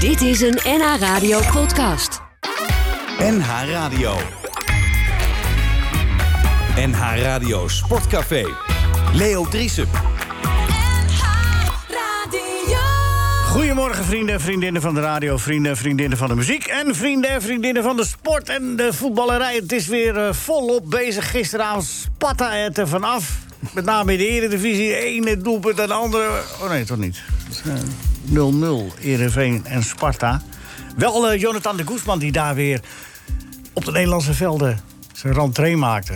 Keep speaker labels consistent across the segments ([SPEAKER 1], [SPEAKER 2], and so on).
[SPEAKER 1] Dit is een NH Radio podcast.
[SPEAKER 2] NH Radio. NH Radio Sportcafé. Leo Driesen.
[SPEAKER 3] Goedemorgen, vrienden en vriendinnen van de radio, vrienden en vriendinnen van de muziek... en vrienden en vriendinnen van de sport en de voetballerij. Het is weer eh, volop bezig. Gisteravond spatte het er vanaf. Met name in de Eredivisie. Ene doelpunt en de andere... Oh nee, toch niet. Eh, 0-0 Ereveen en Sparta. Wel eh, Jonathan de Guzman die daar weer op de Nederlandse velden zijn rentree maakte.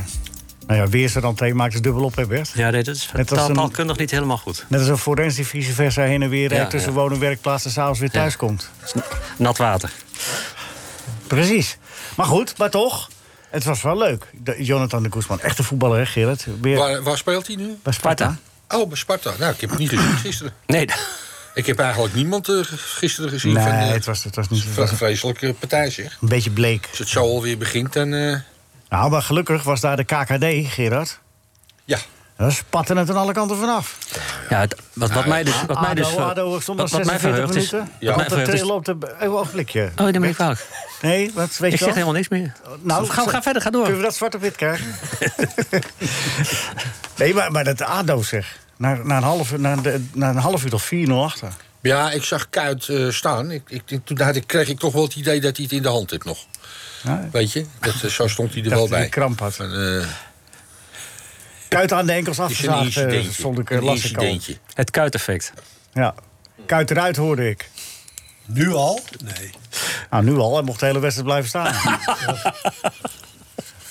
[SPEAKER 3] Nou ja, weer zijn rentree maakte is dubbel op, hè Bert?
[SPEAKER 4] Ja, nee, dat is
[SPEAKER 3] Net als een-
[SPEAKER 4] taalkundig niet helemaal goed.
[SPEAKER 3] Net als een forens die vice versa heen en weer
[SPEAKER 4] Ja,
[SPEAKER 3] rijdt tussen
[SPEAKER 4] ja.
[SPEAKER 3] woon- en werkplaats en s'avonds weer
[SPEAKER 4] Ja.
[SPEAKER 3] thuis komt.
[SPEAKER 4] Dat is n- Nat water.
[SPEAKER 3] Precies. Maar goed, maar toch. Het was wel leuk. De- Jonathan de Koesman, echte voetballer, hè, Gerrit? Weer
[SPEAKER 5] Waar, waar speelt hij nu?
[SPEAKER 3] bij Sparta.
[SPEAKER 4] Sparta.
[SPEAKER 5] Oh, bij Sparta. Nou, ik heb hem niet gezien gisteren.
[SPEAKER 4] Nee,
[SPEAKER 5] Ik heb eigenlijk niemand eh, gisteren gezien.
[SPEAKER 3] Nee,
[SPEAKER 5] van, eh,
[SPEAKER 3] het was, het was niet. Het
[SPEAKER 5] van
[SPEAKER 3] was
[SPEAKER 5] een vreselijke partij, zeg.
[SPEAKER 3] een beetje bleek.
[SPEAKER 5] Als het zo alweer begint, dan... eh,
[SPEAKER 3] Nou, maar gelukkig was daar de KKD, Gerard.
[SPEAKER 5] ja,
[SPEAKER 3] Dat spatten het aan alle kanten vanaf.
[SPEAKER 4] ja, het- wat, wat mij dus... Wat mij dus
[SPEAKER 3] ADO,
[SPEAKER 4] ver-
[SPEAKER 3] ADO stond al
[SPEAKER 4] wat- wat mij
[SPEAKER 3] 46
[SPEAKER 4] verheugt is-
[SPEAKER 3] minuten.
[SPEAKER 4] wat mij
[SPEAKER 3] Want dat
[SPEAKER 4] verheugt is-
[SPEAKER 3] trillen op de... Oh, ogenblikje.
[SPEAKER 4] Oh, dan ben ik kwalijk.
[SPEAKER 3] Nee, wat weet
[SPEAKER 4] Ik
[SPEAKER 3] je wel?
[SPEAKER 4] zeg helemaal niks meer.
[SPEAKER 3] Nou,
[SPEAKER 4] ga, ga verder, ga door.
[SPEAKER 3] Kunnen we dat zwart op wit krijgen? nee, maar, maar dat ADO zeg. Na, na, een half, uur- na, de, na een half uur toch 4-0 achter.
[SPEAKER 5] ja, ik zag Kuit eh, staan. Ik, ik, ik- toen had ik, kreeg ik toch wel het idee dat hij het in de hand heeft nog.
[SPEAKER 3] Ja,
[SPEAKER 5] Weet je? Dat, eh, zo stond hij er
[SPEAKER 3] dacht
[SPEAKER 5] wel
[SPEAKER 3] dat hij
[SPEAKER 5] bij.
[SPEAKER 3] kramp had.
[SPEAKER 5] Van, eh,
[SPEAKER 3] Kuit aan de enkels
[SPEAKER 5] het is een
[SPEAKER 3] afgezaagd, eh,
[SPEAKER 5] incidentje.
[SPEAKER 3] stond ik eh,
[SPEAKER 5] een
[SPEAKER 3] las ik al.
[SPEAKER 5] incidentje.
[SPEAKER 4] Het kuiteffect.
[SPEAKER 3] Ja. Kuit eruit hoorde ik.
[SPEAKER 6] Nu al? Nee.
[SPEAKER 3] Nou, nu al. Hij mocht de hele wedstrijd blijven staan.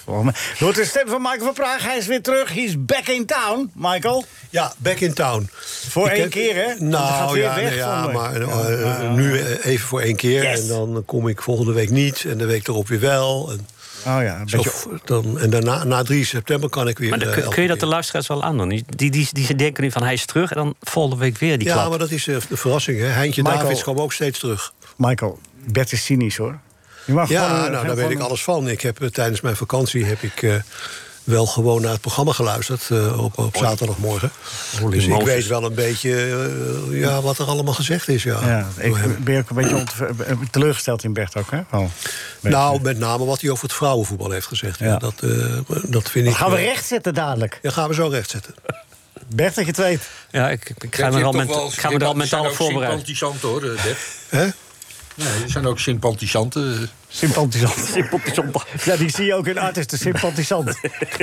[SPEAKER 3] Volgens mij- Door de stem van Michael van Praag. Hij is weer terug. He's back in town, Michael. Oh
[SPEAKER 6] Ja, back in town.
[SPEAKER 3] Voor
[SPEAKER 6] Ik
[SPEAKER 3] één
[SPEAKER 6] heb-
[SPEAKER 3] keer, hè? Want het gaat
[SPEAKER 6] Nou
[SPEAKER 3] weer
[SPEAKER 6] ja,
[SPEAKER 3] weg
[SPEAKER 6] nee, ja
[SPEAKER 3] zondag.
[SPEAKER 6] maar
[SPEAKER 3] Ja,
[SPEAKER 6] eh,
[SPEAKER 3] ja, ja.
[SPEAKER 6] nu eh, even voor één keer.
[SPEAKER 3] Yes.
[SPEAKER 6] En dan kom ik volgende week niet. En de week erop weer wel. En,
[SPEAKER 3] Oh ja, een
[SPEAKER 6] zo
[SPEAKER 3] beetje
[SPEAKER 6] v- dan, en daarna, na 3 september kan ik weer...
[SPEAKER 4] Maar dan
[SPEAKER 6] eh,
[SPEAKER 4] kun,
[SPEAKER 6] elke
[SPEAKER 4] kun je dat de
[SPEAKER 6] keer.
[SPEAKER 4] luisteraars wel aandoen? Die, die, die, die denken nu van hij is terug en dan volgende week weer die
[SPEAKER 6] Ja,
[SPEAKER 4] klap.
[SPEAKER 6] maar dat is eh, de verrassing. Hè? Heintje
[SPEAKER 3] Michael-
[SPEAKER 6] Davids kwam ook steeds terug.
[SPEAKER 3] Michael, Bert is cynisch, hoor. Je mag
[SPEAKER 6] Ja,
[SPEAKER 3] gewoon, eh,
[SPEAKER 6] nou, daar
[SPEAKER 3] gewoon-
[SPEAKER 6] weet ik alles van. Ik heb eh, tijdens mijn vakantie heb ik eh, wel gewoon naar het programma geluisterd eh, op, op zaterdagmorgen. Dus ik
[SPEAKER 4] Mozes.
[SPEAKER 6] weet wel een beetje eh, ja, wat er allemaal gezegd is. Ja,
[SPEAKER 3] Ja,
[SPEAKER 6] door hem.
[SPEAKER 3] ik ben ook een beetje ontev- teleurgesteld in Bert ook, hè? Oh. Wel, een beetje.
[SPEAKER 6] Nou, met name wat hij over het vrouwenvoetbal heeft gezegd. Ja.
[SPEAKER 3] Ja.
[SPEAKER 6] dat, eh, dat vind
[SPEAKER 3] Dat
[SPEAKER 6] ik.
[SPEAKER 3] gaan we
[SPEAKER 6] eh,
[SPEAKER 3] rechtzetten dadelijk.
[SPEAKER 6] Ja, gaan we zo rechtzetten.
[SPEAKER 3] Bert, dat je het weet.
[SPEAKER 4] Ja, ik, ik- ik
[SPEAKER 5] Ja,
[SPEAKER 4] ga
[SPEAKER 5] je
[SPEAKER 4] me er
[SPEAKER 5] hebt
[SPEAKER 4] al,
[SPEAKER 5] toch
[SPEAKER 4] ment-
[SPEAKER 5] wel-
[SPEAKER 4] ik ga me er
[SPEAKER 5] er
[SPEAKER 4] al
[SPEAKER 5] zijn
[SPEAKER 4] mentaal op
[SPEAKER 5] ook
[SPEAKER 4] voorbereiden.
[SPEAKER 5] sympathisanten, hoor, eh, Bert.
[SPEAKER 6] Hè?
[SPEAKER 5] Nee, er zijn ook sympathisanten. eh.
[SPEAKER 3] Sympathisant. Ja, die zie je ook in Artis, de sympathisant.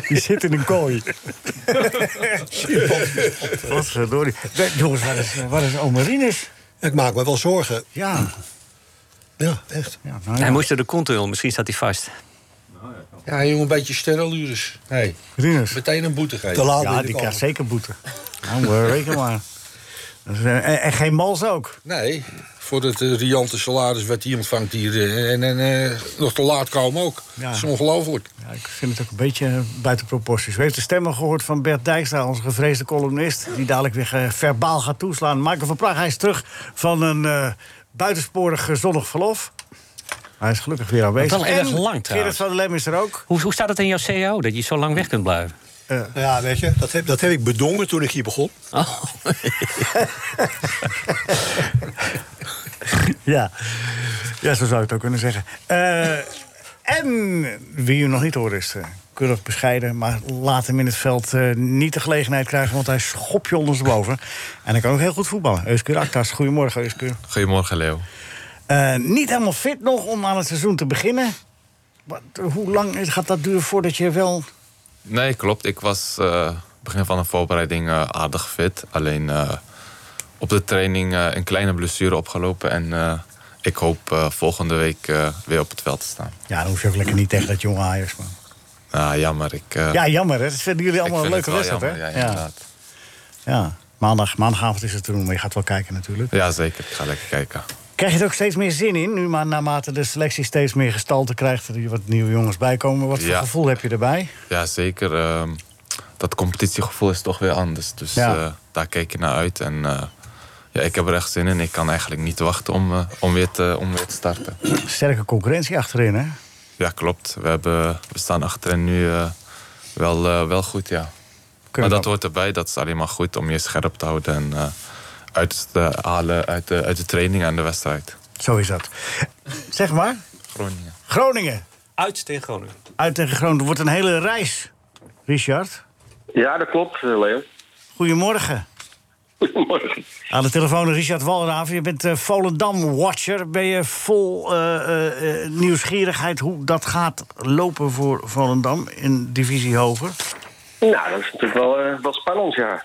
[SPEAKER 3] Die zit in een kooi. Wat verdorie. Nee, Jongens, waar is, waar is Omarinus?
[SPEAKER 6] Ik maak me wel zorgen.
[SPEAKER 3] Ja.
[SPEAKER 6] Ja, echt.
[SPEAKER 3] ja, nou ja.
[SPEAKER 4] Hij moest er de kont in, misschien staat hij vast.
[SPEAKER 5] Ja, jongen, een beetje sterrenlures. Nee,
[SPEAKER 3] Marinus.
[SPEAKER 5] meteen een boete geven.
[SPEAKER 6] Te laat
[SPEAKER 3] Ja, die krijgt zeker boete. Nou, reken maar. Dat is, eh, En, en geen mals ook.
[SPEAKER 5] Nee, voor het eh, riante salaris wat hij ontvangt hier. eh, En, en eh, nog te laat komen ook.
[SPEAKER 3] Ja.
[SPEAKER 5] Dat is ongelooflijk.
[SPEAKER 3] Ja, ik vind het ook een beetje eh, buiten proporties. U heeft de stemmen gehoord van Bert Dijkstra, onze gevreesde columnist... die dadelijk weer eh, verbaal gaat toeslaan. Michael van Praag, hij is terug van een eh, buitensporig eh, zonnig verlof. Hij is gelukkig weer aanwezig.
[SPEAKER 4] Wel erg
[SPEAKER 3] En
[SPEAKER 4] lang, trouwens.
[SPEAKER 3] Gerrit van der Lem is er ook.
[SPEAKER 4] Hoe, hoe staat het in jouw CAO dat je zo lang weg kunt blijven?
[SPEAKER 6] Ja, weet je, dat heb, dat heb ik bedongen toen ik hier begon.
[SPEAKER 4] Oh,
[SPEAKER 3] Ja. ja, zo zou je het ook kunnen zeggen. Eh, en wie u nog niet hoort is eh, keurig bescheiden... maar laat hem in het veld eh, niet de gelegenheid krijgen... want hij schopt je ondersteboven. En hij kan ook heel goed voetballen. Euskeur Aktas, goedemorgen Euskeur.
[SPEAKER 7] Goedemorgen, Leo.
[SPEAKER 3] Eh, niet helemaal fit nog om aan het seizoen te beginnen. Wat, hoe lang is- gaat dat duren voordat je wel...
[SPEAKER 7] Nee, klopt. Ik was eh, begin van de voorbereiding eh, aardig fit. Alleen eh, op de training eh, een kleine blessure opgelopen. En eh, ik hoop eh, volgende week eh, weer op het veld te staan.
[SPEAKER 3] Ja, dan hoef je ook lekker niet tegen dat jonge Ajax, man.
[SPEAKER 7] Nou, jammer. Ik, eh,
[SPEAKER 3] Ja, jammer, hè? Dat vinden jullie
[SPEAKER 7] ik
[SPEAKER 3] allemaal een
[SPEAKER 7] vind
[SPEAKER 3] leuke
[SPEAKER 7] het wel
[SPEAKER 3] wedstrijd, hè?
[SPEAKER 7] jammer. Ja, inderdaad.
[SPEAKER 3] Ja. Maandag, maandagavond is het te doen, maar je gaat wel kijken natuurlijk.
[SPEAKER 7] Ja, zeker. Ik ga lekker kijken.
[SPEAKER 3] Krijg je er ook steeds meer zin in, nu maar naarmate de selectie steeds meer gestalte krijgt... er hier wat nieuwe jongens bijkomen. Wat voor
[SPEAKER 7] Ja.
[SPEAKER 3] gevoel heb je erbij?
[SPEAKER 7] Ja, zeker. ehm, dat competitiegevoel is toch weer anders. Dus
[SPEAKER 3] Ja.
[SPEAKER 7] eh, daar kijk je naar uit. En eh, ja, ik heb er echt zin in. Ik kan eigenlijk niet wachten om, eh, om, weer, te, om weer te starten.
[SPEAKER 3] Sterke concurrentie achterin, hè?
[SPEAKER 7] Ja, klopt. We, hebben, we staan achterin nu eh, wel, eh, wel goed, ja. maar dat hoort erbij. Dat is alleen maar goed om je scherp te houden en eh, uit te halen uit de, uit de training en de wedstrijd.
[SPEAKER 3] Zo is dat. Zeg maar,
[SPEAKER 7] Groningen.
[SPEAKER 3] Groningen.
[SPEAKER 4] Uit tegen Groningen.
[SPEAKER 3] Uit tegen Groningen wordt een hele reis. Richard,
[SPEAKER 8] Ja, dat klopt, eh, Leo.
[SPEAKER 3] goedemorgen.
[SPEAKER 8] Goedemorgen.
[SPEAKER 3] Aan de telefoon Richard Walraven. Je bent eh, Volendam-watcher. Ben je vol eh, eh, eh, nieuwsgierigheid hoe dat gaat lopen voor Volendam in divisie hoger?
[SPEAKER 8] Nou, dat is natuurlijk wel, eh, wel spannend, ja.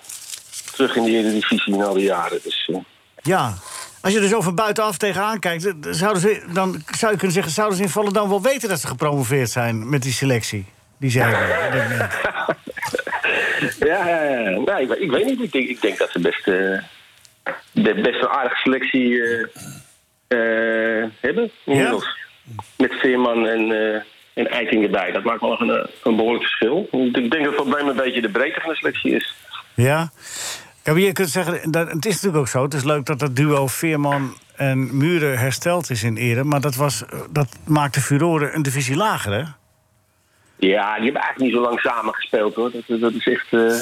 [SPEAKER 8] Terug in de Eredivisie na al die jaren. Dus, eh,
[SPEAKER 3] Ja. Als je er zo van buitenaf tegenaan kijkt, eh, zouden ze, dan zou je kunnen zeggen... zouden ze in Volendam wel weten dat ze gepromoveerd zijn met die selectie? Die ze hebben. op dit moment.
[SPEAKER 8] ja, ja, ja. Nee, ik, weet- ik weet niet. Ik denk, ik denk dat ze best, eh, de- best een aardige selectie eh, eh, hebben. Inmiddels. Met Veerman en, eh en Eiting erbij. Dat maakt wel een, eh, een behoorlijk verschil. Ik denk dat het probleem een beetje de breedte van de selectie is.
[SPEAKER 3] Ja. Ja, maar je kunt zeggen, dat, het is natuurlijk ook zo. Het is leuk dat dat duo Veerman en Muren hersteld is in ere. Maar dat, was, eh, dat maakte Furoren een divisie lager, hè?
[SPEAKER 8] Ja, die hebben eigenlijk niet zo lang samen gespeeld, hoor. Dat, dat is echt eh,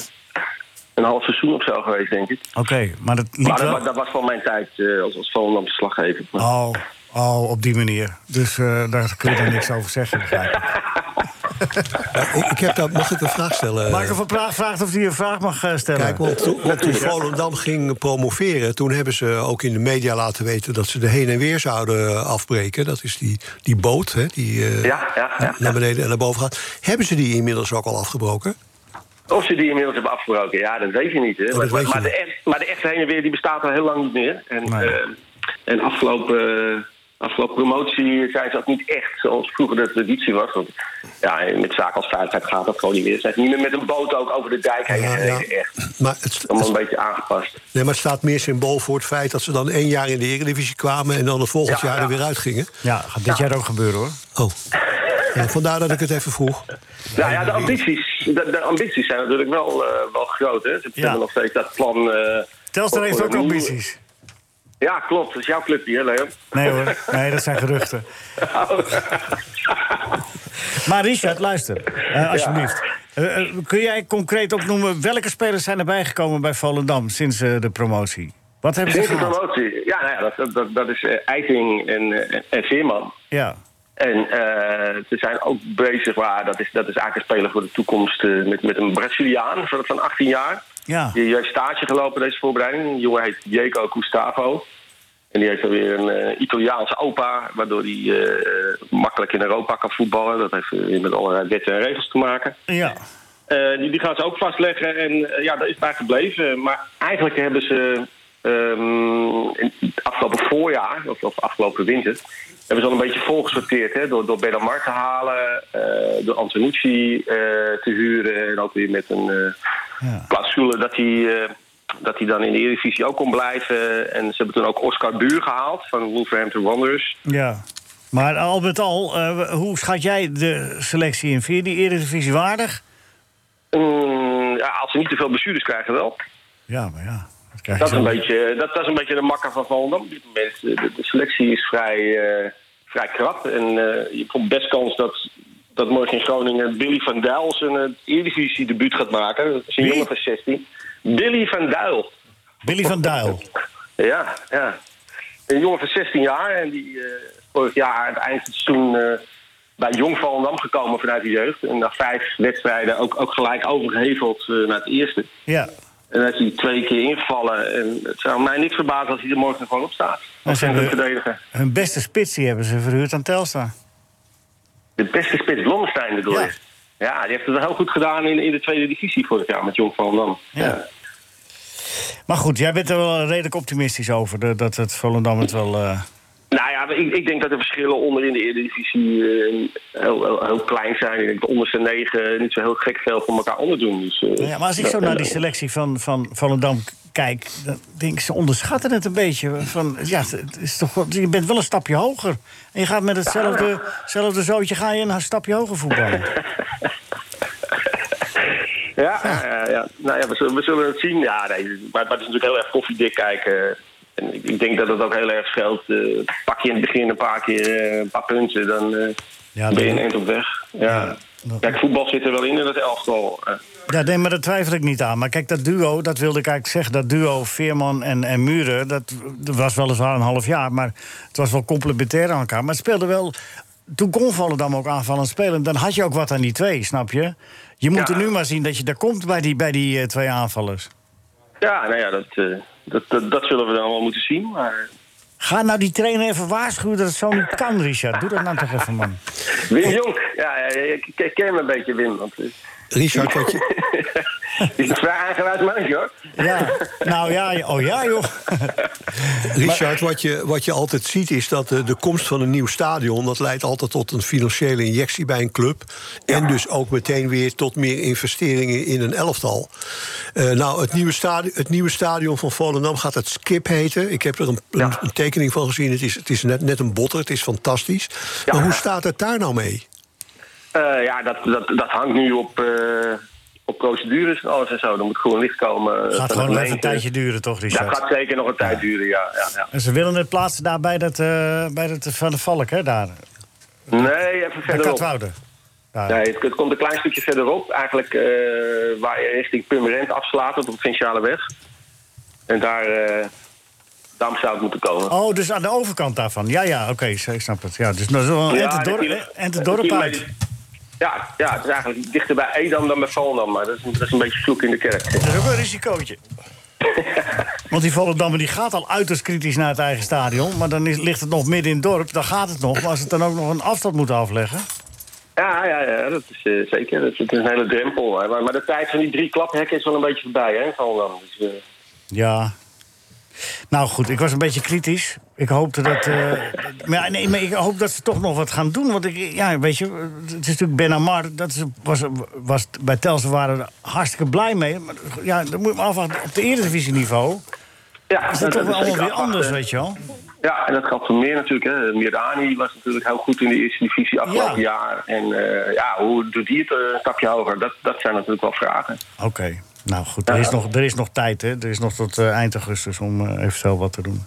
[SPEAKER 8] een half seizoen of zo geweest, denk ik.
[SPEAKER 3] Oké, maar dat liep
[SPEAKER 8] Maar dat,
[SPEAKER 3] wel...
[SPEAKER 8] wa- dat was van mijn tijd eh, als, als Volendamse slaggever. Maar-
[SPEAKER 3] Oh, oh, op die manier. Dus eh, daar kun je dan niks over zeggen. begrijp ik.
[SPEAKER 6] Ik, ik heb daar, mag ik een vraag stellen?
[SPEAKER 3] Marco van Praag vraagt of hij een vraag mag eh, stellen.
[SPEAKER 6] Kijk, want, toen- want toen Volendam ging promoveren... toen hebben ze ook in de media laten weten... dat ze de heen en weer zouden afbreken. Dat is die, die boot hè, die eh,
[SPEAKER 8] Ja, ja, ja.
[SPEAKER 6] naar beneden en naar boven gaat. Hebben ze die inmiddels ook al afgebroken?
[SPEAKER 8] Of ze die inmiddels hebben afgebroken, ja, dat weet je niet. Hè.
[SPEAKER 6] dat
[SPEAKER 8] maar,
[SPEAKER 6] weet je
[SPEAKER 8] maar
[SPEAKER 6] niet.
[SPEAKER 8] De echt, maar de echte heen en weer die bestaat al heel lang niet meer. En,
[SPEAKER 3] Nee.
[SPEAKER 8] eh, en afgelopen, eh, afgelopen promotie zijn ze ook niet echt zoals vroeger de traditie was. Want ja, met zaken als veiligheid gaat dat gewoon niet meer. Ze zijn niet meer met een boot ook over de dijk heen
[SPEAKER 6] Ja,
[SPEAKER 8] gereden,
[SPEAKER 6] ja.
[SPEAKER 8] echt.
[SPEAKER 6] Maar het, het-
[SPEAKER 8] Allemaal een beetje aangepast.
[SPEAKER 6] nee, maar het staat meer symbool voor het feit... dat ze dan één jaar in de Eredivisie kwamen... en dan het volgend
[SPEAKER 8] Ja,
[SPEAKER 6] jaar er
[SPEAKER 8] ja.
[SPEAKER 6] weer uitgingen.
[SPEAKER 3] Ja, gaat dit jaar ook gebeuren hoor.
[SPEAKER 6] Oh. Ja, vandaar dat ik het even vroeg.
[SPEAKER 8] Nou ja, de ambities, de, de ambities zijn natuurlijk wel, eh, wel groot. Hè. Ze hebben nog steeds dat plan... eh,
[SPEAKER 3] Telstar
[SPEAKER 8] voor-
[SPEAKER 3] heeft
[SPEAKER 8] voor
[SPEAKER 3] ook
[SPEAKER 8] een nieuwe-
[SPEAKER 3] ambities.
[SPEAKER 8] Ja, klopt. Dat is jouw club hier, Leo.
[SPEAKER 3] Nee hoor, nee, dat zijn geruchten. Maar Richard, luister, eh, alsjeblieft. Eh, eh, kun jij concreet opnoemen welke spelers zijn erbij gekomen bij Volendam sinds eh, de promotie? Wat hebben ze
[SPEAKER 8] Zeker
[SPEAKER 3] gedaan?
[SPEAKER 8] promotie. Ja, nou ja dat- dat, dat, dat is eh, Eiting en, eh, en Veerman.
[SPEAKER 3] Ja,
[SPEAKER 8] En eh, ze zijn ook bezig, waar, dat, is, dat is eigenlijk een speler voor de toekomst, eh, met, met een Braziliaan van, van 18 jaar.
[SPEAKER 3] ja.
[SPEAKER 8] Die heeft stage gelopen deze voorbereiding. Een jongen heet Diego Gustavo. En die heeft dan weer een eh, Italiaanse opa, waardoor hij eh, makkelijk in Europa kan voetballen. Dat heeft weer met allerlei wetten en regels te maken.
[SPEAKER 3] ja.
[SPEAKER 8] Eh, die, die gaan ze ook vastleggen en eh, ja, daar is het bij gebleven. Maar eigenlijk hebben ze ehm, in het afgelopen voorjaar, of, of afgelopen winter... hebben ze al een beetje volgesorteerd. Hè? Door, door Benamar te halen, eh, door Antonucci eh, te huren... en ook weer met een eh
[SPEAKER 3] Ja.
[SPEAKER 8] clausule dat hij... eh, dat hij dan in de Eredivisie ook kon blijven. En ze hebben toen ook Oscar Buur gehaald van Wolverhampton Wanderers.
[SPEAKER 3] ja. Maar al met al, eh, hoe schat jij de selectie in? Vind je die Eredivisie waardig?
[SPEAKER 8] Mm, ja, als ze niet te veel blessures krijgen wel.
[SPEAKER 3] Ja, maar ja. Dat, krijg je
[SPEAKER 8] Dat is, een
[SPEAKER 3] zo.
[SPEAKER 8] beetje, dat, dat is een beetje de makker van Volendam op dit moment. eh, De, de selectie is vrij, eh, vrij krap. En eh, je komt best kans dat, dat morgen in Groningen Billy van Duil zijn eh, Eredivisie debuut gaat maken. Dat is een
[SPEAKER 3] Wie?
[SPEAKER 8] jongen van 16. Billy van Duil.
[SPEAKER 3] Billy van Duil.
[SPEAKER 8] Ja, ja. Een jongen van 16 jaar. En die eh, vorig jaar aan het eind van het seizoen eh, bij Jong Volendam gekomen vanuit de jeugd. En na vijf wedstrijden ook, ook gelijk overgeheveld eh, naar het eerste.
[SPEAKER 3] Ja.
[SPEAKER 8] En dat hij twee keer ingevallen. En het zou mij niks verbazen als hij er morgen gewoon op staat. Als
[SPEAKER 3] zijn
[SPEAKER 8] een
[SPEAKER 3] we-
[SPEAKER 8] verdediger.
[SPEAKER 3] Hun beste spits die hebben ze verhuurd aan Telstar.
[SPEAKER 8] De beste spits, Blommestein bedoel
[SPEAKER 3] Ja.
[SPEAKER 8] je? Ja, die heeft het wel heel goed gedaan in, in de tweede divisie vorig jaar met Jong van Dam.
[SPEAKER 3] Ja. Maar goed, jij bent er wel redelijk optimistisch over de- dat het Volendam het wel. eh,
[SPEAKER 8] Nou ja, maar ik, ik denk dat de verschillen onder in de Eredivisie eh heel, heel, heel klein zijn. Ik denk dat onderste negen niet zo heel gek veel van elkaar onderdoen. Dus, eh,
[SPEAKER 3] nou Ja, maar als ik zo
[SPEAKER 8] dat-
[SPEAKER 3] naar die selectie van, van Volendam k- kijk, dan denk ik, ze onderschatten het een beetje. Van, ja, het is toch, wel- je bent wel een stapje hoger. En je gaat met hetzelfde zelfde zootje ga je een stapje hoger voetballen.
[SPEAKER 8] Ja, ja, ja. Nou ja, we zullen, we zullen het zien. Ja, nee, maar, maar het is natuurlijk heel erg koffiedik kijken. En ik, ik denk dat het ook heel erg scheelt. Eh, pak je in het begin een paar keer eh, een paar punten, dan eh,
[SPEAKER 3] Ja,
[SPEAKER 8] ben je
[SPEAKER 3] dan-
[SPEAKER 8] een eind op weg. Ja. Kijk, voetbal zit er wel in in dat elftal. eh.
[SPEAKER 3] Ja, nee, maar daar twijfel ik niet aan. Maar kijk, dat duo, dat wilde ik eigenlijk zeggen... dat duo Veerman en, en Muren, dat was weliswaar een half jaar... maar het was wel complementair aan elkaar. Maar het speelde wel... Toen kon Volendam ook aanvallend spelen. Dan had je ook wat aan die twee, snap je? Je moet
[SPEAKER 8] Ja.
[SPEAKER 3] er nu maar zien dat je daar komt bij die, bij die eh, twee aanvallers.
[SPEAKER 8] Ja, nou ja, dat, eh, dat, dat, dat zullen we dan wel moeten zien. Maar
[SPEAKER 3] Ga nou die trainer even waarschuwen dat het zo niet kan, Richard. Doe dat nou toch even, man.
[SPEAKER 8] Wim Jonk, ja, ja, ja, ik ik ken hem een beetje, Wim. Want, eh,
[SPEAKER 6] Richard, wat je,
[SPEAKER 8] die is een vrij aangeweid mannetje, hoor.
[SPEAKER 3] Ja, nou ja, ja, oh ja, joh.
[SPEAKER 6] Richard, wat je, wat je altijd ziet is dat eh, de komst van een nieuw stadion... dat leidt altijd tot een financiële injectie bij een club. En dus ook meteen weer tot meer investeringen in een elftal. Eh, nou, het nieuwe, stadion, het nieuwe stadion van Volendam gaat het Skip heten. Ik heb er een, een, een tekening van gezien. Het is, het is net, net een botter, het is fantastisch. Maar hoe staat het daar nou mee?
[SPEAKER 8] Eh, ja, dat, dat, dat hangt nu op, eh, op procedures en alles en zo. Er moet gewoon licht komen. eh, van
[SPEAKER 3] Gaat
[SPEAKER 8] de
[SPEAKER 3] gewoon even
[SPEAKER 8] gemeente.
[SPEAKER 3] een tijdje duren, toch, Richard?
[SPEAKER 8] Dat gaat zeker nog een tijd duren, ja. ja, ja.
[SPEAKER 3] En ze willen het plaatsen daar bij dat, eh, bij dat Van de Valk, hè, daar.
[SPEAKER 8] Nee,
[SPEAKER 3] Bij
[SPEAKER 8] even verderop.
[SPEAKER 3] Katwoude. Daar.
[SPEAKER 8] Nee, het, het komt een klein stukje verderop. Eigenlijk eh, waar je richting Purmerend afslaat op de provinciale weg. En daar, eh daar zou het moeten komen.
[SPEAKER 3] Oh, dus aan de overkant daarvan. Ja, ja, oké, ik snap het. Ja, dus nou, zo, en
[SPEAKER 8] Ja,
[SPEAKER 3] het dorp,
[SPEAKER 8] de kilo-
[SPEAKER 3] en
[SPEAKER 8] de
[SPEAKER 3] het dorp
[SPEAKER 8] kilometer-
[SPEAKER 3] uit.
[SPEAKER 8] Ja, ja, het is eigenlijk dichter bij Edam dan bij Volendam. Maar dat is, dat is een beetje vloek in de kerk.
[SPEAKER 3] Dat is ook een risicootje. Want die Volendammer die gaat al uiterst kritisch naar het eigen stadion. Maar dan is, ligt het nog midden in het dorp, dan gaat het nog. Maar als het dan ook nog een afstand moet afleggen...
[SPEAKER 8] Ja, ja, ja dat is eh, zeker. Dat is, het is een hele drempel. Hè. Maar, maar de tijd van die drie klaphekken is wel een beetje voorbij, hè, in Volendam. Dus, eh,
[SPEAKER 3] Ja. Nou goed, ik was een beetje kritisch. Ik hoopte dat. eh, maar, ja, nee, maar ik hoop dat ze toch nog wat gaan doen. Want ik, ja, weet je, het is natuurlijk Ben Amar. Dat is, was, was, bij Telsen waren we er hartstikke blij mee. Maar ja, dan moet je me afwachten. Op de eredivisieniveau
[SPEAKER 8] ja,
[SPEAKER 3] is dat toch wel allemaal
[SPEAKER 8] zeker
[SPEAKER 3] weer anders,
[SPEAKER 8] afwachten.
[SPEAKER 3] weet je wel.
[SPEAKER 8] Ja, en dat geldt voor meer natuurlijk. Hè. Mirani was natuurlijk heel goed in de eerste divisie
[SPEAKER 3] Ja.
[SPEAKER 8] afgelopen jaar. En eh, ja, hoe doet hij het eh, een stapje hoger? Dat, dat zijn natuurlijk wel vragen.
[SPEAKER 3] Oké, nou goed. Er is, nog, er is nog tijd, hè. Er is nog tot eh, eind augustus om eh, eventueel wat te doen.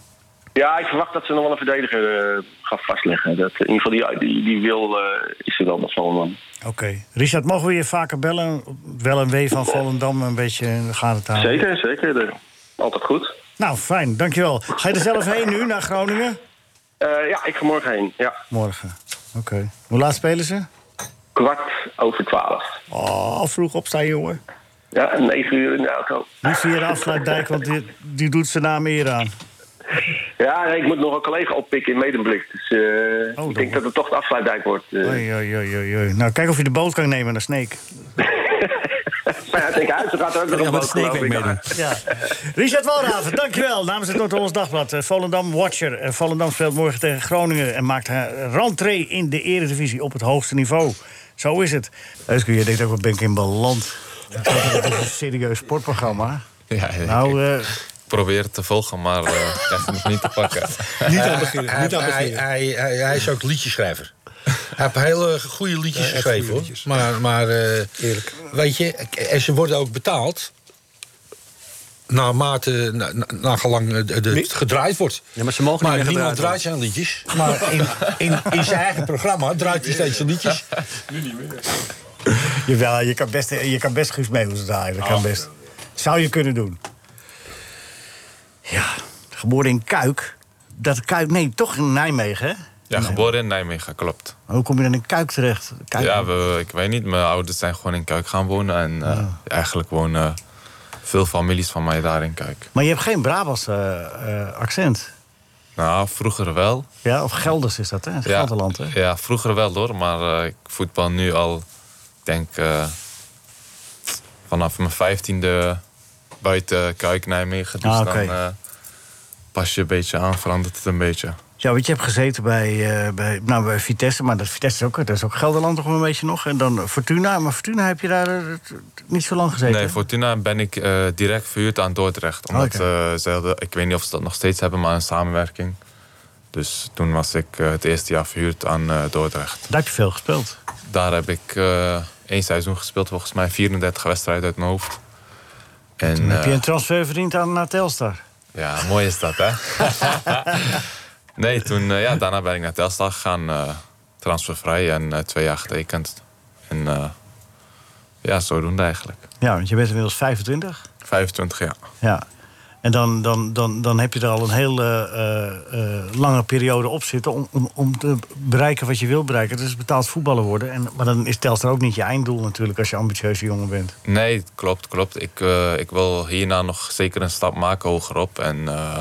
[SPEAKER 8] Ja, ik verwacht dat ze nog wel een verdediger eh gaat vastleggen. Dat, in ieder geval, die, die, die wil eh, is er wel met Volendam.
[SPEAKER 3] Oké. Richard, mogen we je vaker bellen? Wel en wee van Volendam een beetje in de gaten te houden.
[SPEAKER 8] Zeker, zeker. eh, altijd goed.
[SPEAKER 3] Nou, fijn, dankjewel. Ga je er zelf heen nu, naar Groningen?
[SPEAKER 8] Eh, ja, ik ga morgen heen. Ja.
[SPEAKER 3] Morgen. Oké. Hoe laat spelen ze?
[SPEAKER 8] Kwart over twaalf.
[SPEAKER 3] Oh, vroeg opstaan, jongen.
[SPEAKER 8] Ja, negen uur in de auto.
[SPEAKER 3] Niet via de afsluitdijk, want die, die doet zijn naam eer aan.
[SPEAKER 8] Ja, nee, ik moet nog een collega oppikken in Medemblik. Dus eh,
[SPEAKER 3] Oh, dan-
[SPEAKER 8] ik denk dat het toch de afsluitdijk wordt. eh.
[SPEAKER 3] Oei, oei, oei, oei, oei. Nou, kijk of je de boot kan nemen naar Sneek.
[SPEAKER 8] Maar ja, tegen uit, ze gaat er ook nog
[SPEAKER 4] Ja,
[SPEAKER 8] een
[SPEAKER 4] maar
[SPEAKER 8] boot
[SPEAKER 4] Sneek
[SPEAKER 8] geloof ik.
[SPEAKER 4] meedoen.
[SPEAKER 3] Ja. Richard Walraven, dankjewel. Namens het Noord-Hollands Dagblad. eh, Volendam Watcher. Eh, Volendam speelt morgen tegen Groningen... en maakt haar rentree in de eredivisie op het hoogste niveau. Zo is het. Euske, je denkt ook, wat ben ik in beland? Dat is een serieus sportprogramma.
[SPEAKER 7] Ja, ik-
[SPEAKER 3] Nou,
[SPEAKER 7] ik
[SPEAKER 3] eh,
[SPEAKER 7] probeer te volgen, maar eh ik krijg het nog niet te pakken.
[SPEAKER 6] Niet aan beginnen,
[SPEAKER 5] Hij,
[SPEAKER 6] niet aan
[SPEAKER 5] hij,
[SPEAKER 6] beginnen.
[SPEAKER 5] hij, hij, hij is ook liedjeschrijver. Hij heeft hele goede liedjes
[SPEAKER 6] echt
[SPEAKER 5] geschreven
[SPEAKER 6] goede
[SPEAKER 5] hoor.
[SPEAKER 6] liedjes.
[SPEAKER 5] Maar, maar eh,
[SPEAKER 6] Eerlijk.
[SPEAKER 5] weet je, en ze worden ook betaald. Naarmate, na, na, nagelang eh, de- de- het gedraaid wordt.
[SPEAKER 4] Ja, maar ze mogen niet
[SPEAKER 5] Maar
[SPEAKER 4] meer
[SPEAKER 5] niemand
[SPEAKER 4] gedraaid
[SPEAKER 5] draait zijn liedjes. Maar in, in, in zijn eigen programma draait hij steeds zijn liedjes.
[SPEAKER 3] Jawel, je kan best, je kan best Guus Meeuwis draaien. Dat kan best. Zou je kunnen doen. Ja, geboren in Kuik. Dat Kuik, nee, toch in Nijmegen, hè?
[SPEAKER 7] Ja, geboren in Nijmegen, klopt.
[SPEAKER 3] Maar Hoe kom je dan in Kuik terecht? Kuik.
[SPEAKER 7] Ja, we, ik weet niet. Mijn ouders zijn gewoon in Kuik gaan wonen. En eh,
[SPEAKER 3] Ah.
[SPEAKER 7] eigenlijk wonen veel families van mij daar in Kuik.
[SPEAKER 3] Maar je hebt geen Brabants eh, eh, accent.
[SPEAKER 7] Nou, vroeger wel.
[SPEAKER 3] Ja, of Gelders is dat, hè? Het
[SPEAKER 7] Ja,
[SPEAKER 3] Gelderland, hè?
[SPEAKER 7] Ja, vroeger wel hoor. Maar eh, ik voetbal nu al, ik denk, eh, vanaf mijn vijftiende buiten Kuik, Nijmegen. Dus
[SPEAKER 3] Ah,
[SPEAKER 7] dan
[SPEAKER 3] oké.
[SPEAKER 7] eh, pas je een beetje aan, verandert het een beetje.
[SPEAKER 3] Ja, want je hebt gezeten bij, eh, bij, nou, bij Vitesse, maar dat Vitesse is ook, dat is ook Gelderland toch een beetje nog. En dan eh, Fortuna, maar Fortuna heb je daar eh, t- t- niet zo lang gezeten.
[SPEAKER 7] Nee, Fortuna ben ik eh, direct verhuurd aan Dordrecht. Omdat
[SPEAKER 3] Ah, Oké.
[SPEAKER 7] eh, ze hadden, ik weet niet of ze dat nog steeds hebben, maar een samenwerking. Dus toen was ik eh, het eerste jaar verhuurd aan eh, Dordrecht.
[SPEAKER 3] Daar heb je veel gespeeld.
[SPEAKER 7] Daar heb ik eh één seizoen gespeeld, volgens mij 34 wedstrijden uit mijn hoofd. En,
[SPEAKER 3] Dan heb je
[SPEAKER 7] eh,
[SPEAKER 3] een transfer verdiend aan naar Telstar.
[SPEAKER 7] ja, mooi is dat, hè? nee, toen, eh, ja, daarna ben ik naar Telstar gegaan, eh, transfervrij en eh, twee jaar getekend. En eh, ja, zodoende eigenlijk.
[SPEAKER 3] Ja, want je bent inmiddels 25.
[SPEAKER 7] 25 jaar.
[SPEAKER 3] Ja. En dan, dan, dan, dan heb je er al een heel eh, eh, eh, lange periode op zitten om, om, om te bereiken wat je wil bereiken. Dus betaald voetballer worden. En, maar dan is Telstra ook niet je einddoel natuurlijk als je ambitieuze jongen bent.
[SPEAKER 7] Nee, klopt, klopt. Ik, eh, ik wil hierna nog zeker een stap maken hogerop. En eh,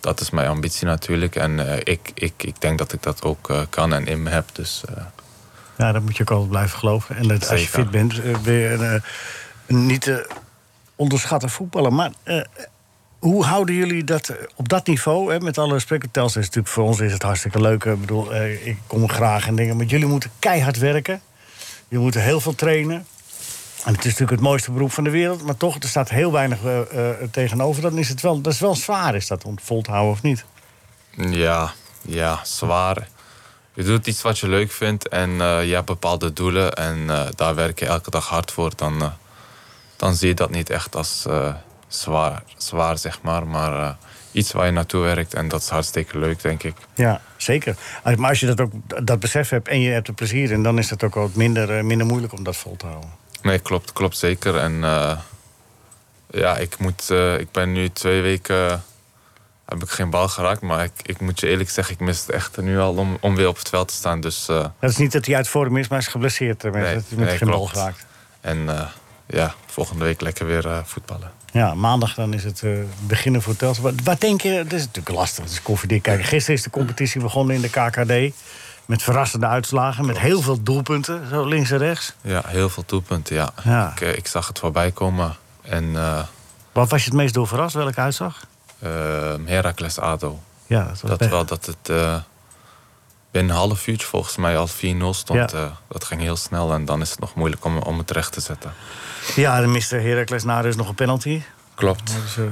[SPEAKER 7] dat is mijn ambitie natuurlijk. En eh, ik, ik, ik denk dat ik dat ook eh, kan en in me heb. Dus eh,
[SPEAKER 3] Ja, dat moet je ook altijd blijven geloven. En dat, als je
[SPEAKER 7] Zeker.
[SPEAKER 3] fit bent, eh, ben je een, eh, een niet te onderschatten voetballer. Maar eh, hoe houden jullie dat eh, op dat niveau? Hè, met alle respect, Telstra is natuurlijk voor ons is het hartstikke leuk. Ik bedoel, eh, ik kom graag en dingen. Maar jullie moeten keihard werken. Jullie moeten heel veel trainen. En het is natuurlijk het mooiste beroep van de wereld. Maar toch, er staat heel weinig eh, eh, tegenover. Dan is het wel, dat is wel zwaar, is dat om vol te houden of niet?
[SPEAKER 7] ja, ja, zwaar. Je doet iets wat je leuk vindt en eh, je hebt bepaalde doelen. En eh, daar werk je elke dag hard voor. Dan, eh, dan zie je dat niet echt als eh, zwaar, zwaar, zeg maar. Maar eh, iets waar je naartoe werkt. En dat is hartstikke leuk, denk ik.
[SPEAKER 3] Ja, zeker. Als- Maar als je dat, ook, dat besef hebt en je hebt er plezier in... dan is het ook wat minder, eh, minder moeilijk om dat vol te houden.
[SPEAKER 7] Nee, klopt, klopt zeker. En eh, ja, ik, moet, eh, ik ben nu twee weken. eh, heb ik geen bal geraakt. Maar ik, ik moet je eerlijk zeggen, ik mis het echt nu al om, om weer op het veld te staan. Dus, eh,
[SPEAKER 3] Dat is niet dat hij uit vorm is, maar hij is geblesseerd. eh, mensen.
[SPEAKER 7] Nee,
[SPEAKER 3] dat hij met
[SPEAKER 7] nee,
[SPEAKER 3] geen bal
[SPEAKER 7] klopt.
[SPEAKER 3] geraakt.
[SPEAKER 7] en eh, ja, volgende week lekker weer eh, voetballen.
[SPEAKER 3] Ja, maandag dan is het eh, beginnen voor Telstra. Wat, wat denk je? Dat is natuurlijk lastig. Het is koffiedik kijken. Gisteren is de competitie begonnen in de KKD. Met verrassende uitslagen, met heel veel doelpunten. Zo links en rechts.
[SPEAKER 7] Ja, heel veel doelpunten, ja.
[SPEAKER 3] Ja.
[SPEAKER 7] Ik, eh, ik zag het voorbij komen. En eh
[SPEAKER 3] Wat was je het meest door verrast? Welke uitslag?
[SPEAKER 7] eh, Heracles Ado.
[SPEAKER 3] Ja, dat was
[SPEAKER 7] Dat
[SPEAKER 3] best-
[SPEAKER 7] wel dat het eh, binnen een half uurtje volgens mij al 4-0
[SPEAKER 3] Ja.
[SPEAKER 7] stond. eh, dat ging heel snel en dan is het nog moeilijk om, om het recht te zetten.
[SPEAKER 3] Ja, dan miste Heracles na dus nog een penalty.
[SPEAKER 7] Klopt.
[SPEAKER 3] Dus, eh,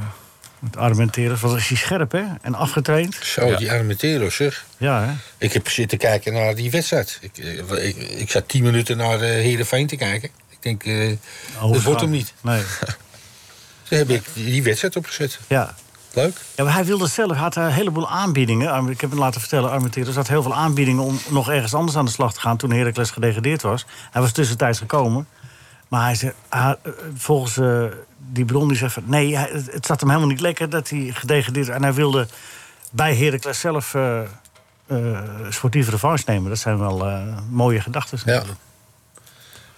[SPEAKER 3] met Armenteros. Wat is hij scherp, hè? En afgetraind.
[SPEAKER 5] Zo,
[SPEAKER 7] Ja.
[SPEAKER 5] die Armenteros, zeg.
[SPEAKER 3] Ja, hè?
[SPEAKER 5] Ik heb zitten kijken naar die wedstrijd. Ik, eh, ik, ik zat tien minuten naar eh Heerenveen te kijken. Ik denk, eh dat wordt hem niet.
[SPEAKER 3] Nee.
[SPEAKER 5] Toen heb ik die die wedstrijd opgezet.
[SPEAKER 3] Ja.
[SPEAKER 5] Leuk.
[SPEAKER 3] Ja, maar hij wilde zelf, had een heleboel aanbiedingen. Arm- Ik heb hem laten vertellen, Armenteros had heel veel aanbiedingen... om nog ergens anders aan de slag te gaan toen Heracles gedegradeerd was. Hij was tussentijds gekomen. Maar hij zei, hij- eh, volgens eh, die bron, die zei van... nee, hij- het het zat hem helemaal niet lekker dat hij gedegradeerd... en hij wilde bij Heracles zelf eh eh, sportieve revanche nemen. Dat zijn wel eh, mooie gedachten.
[SPEAKER 5] Ja.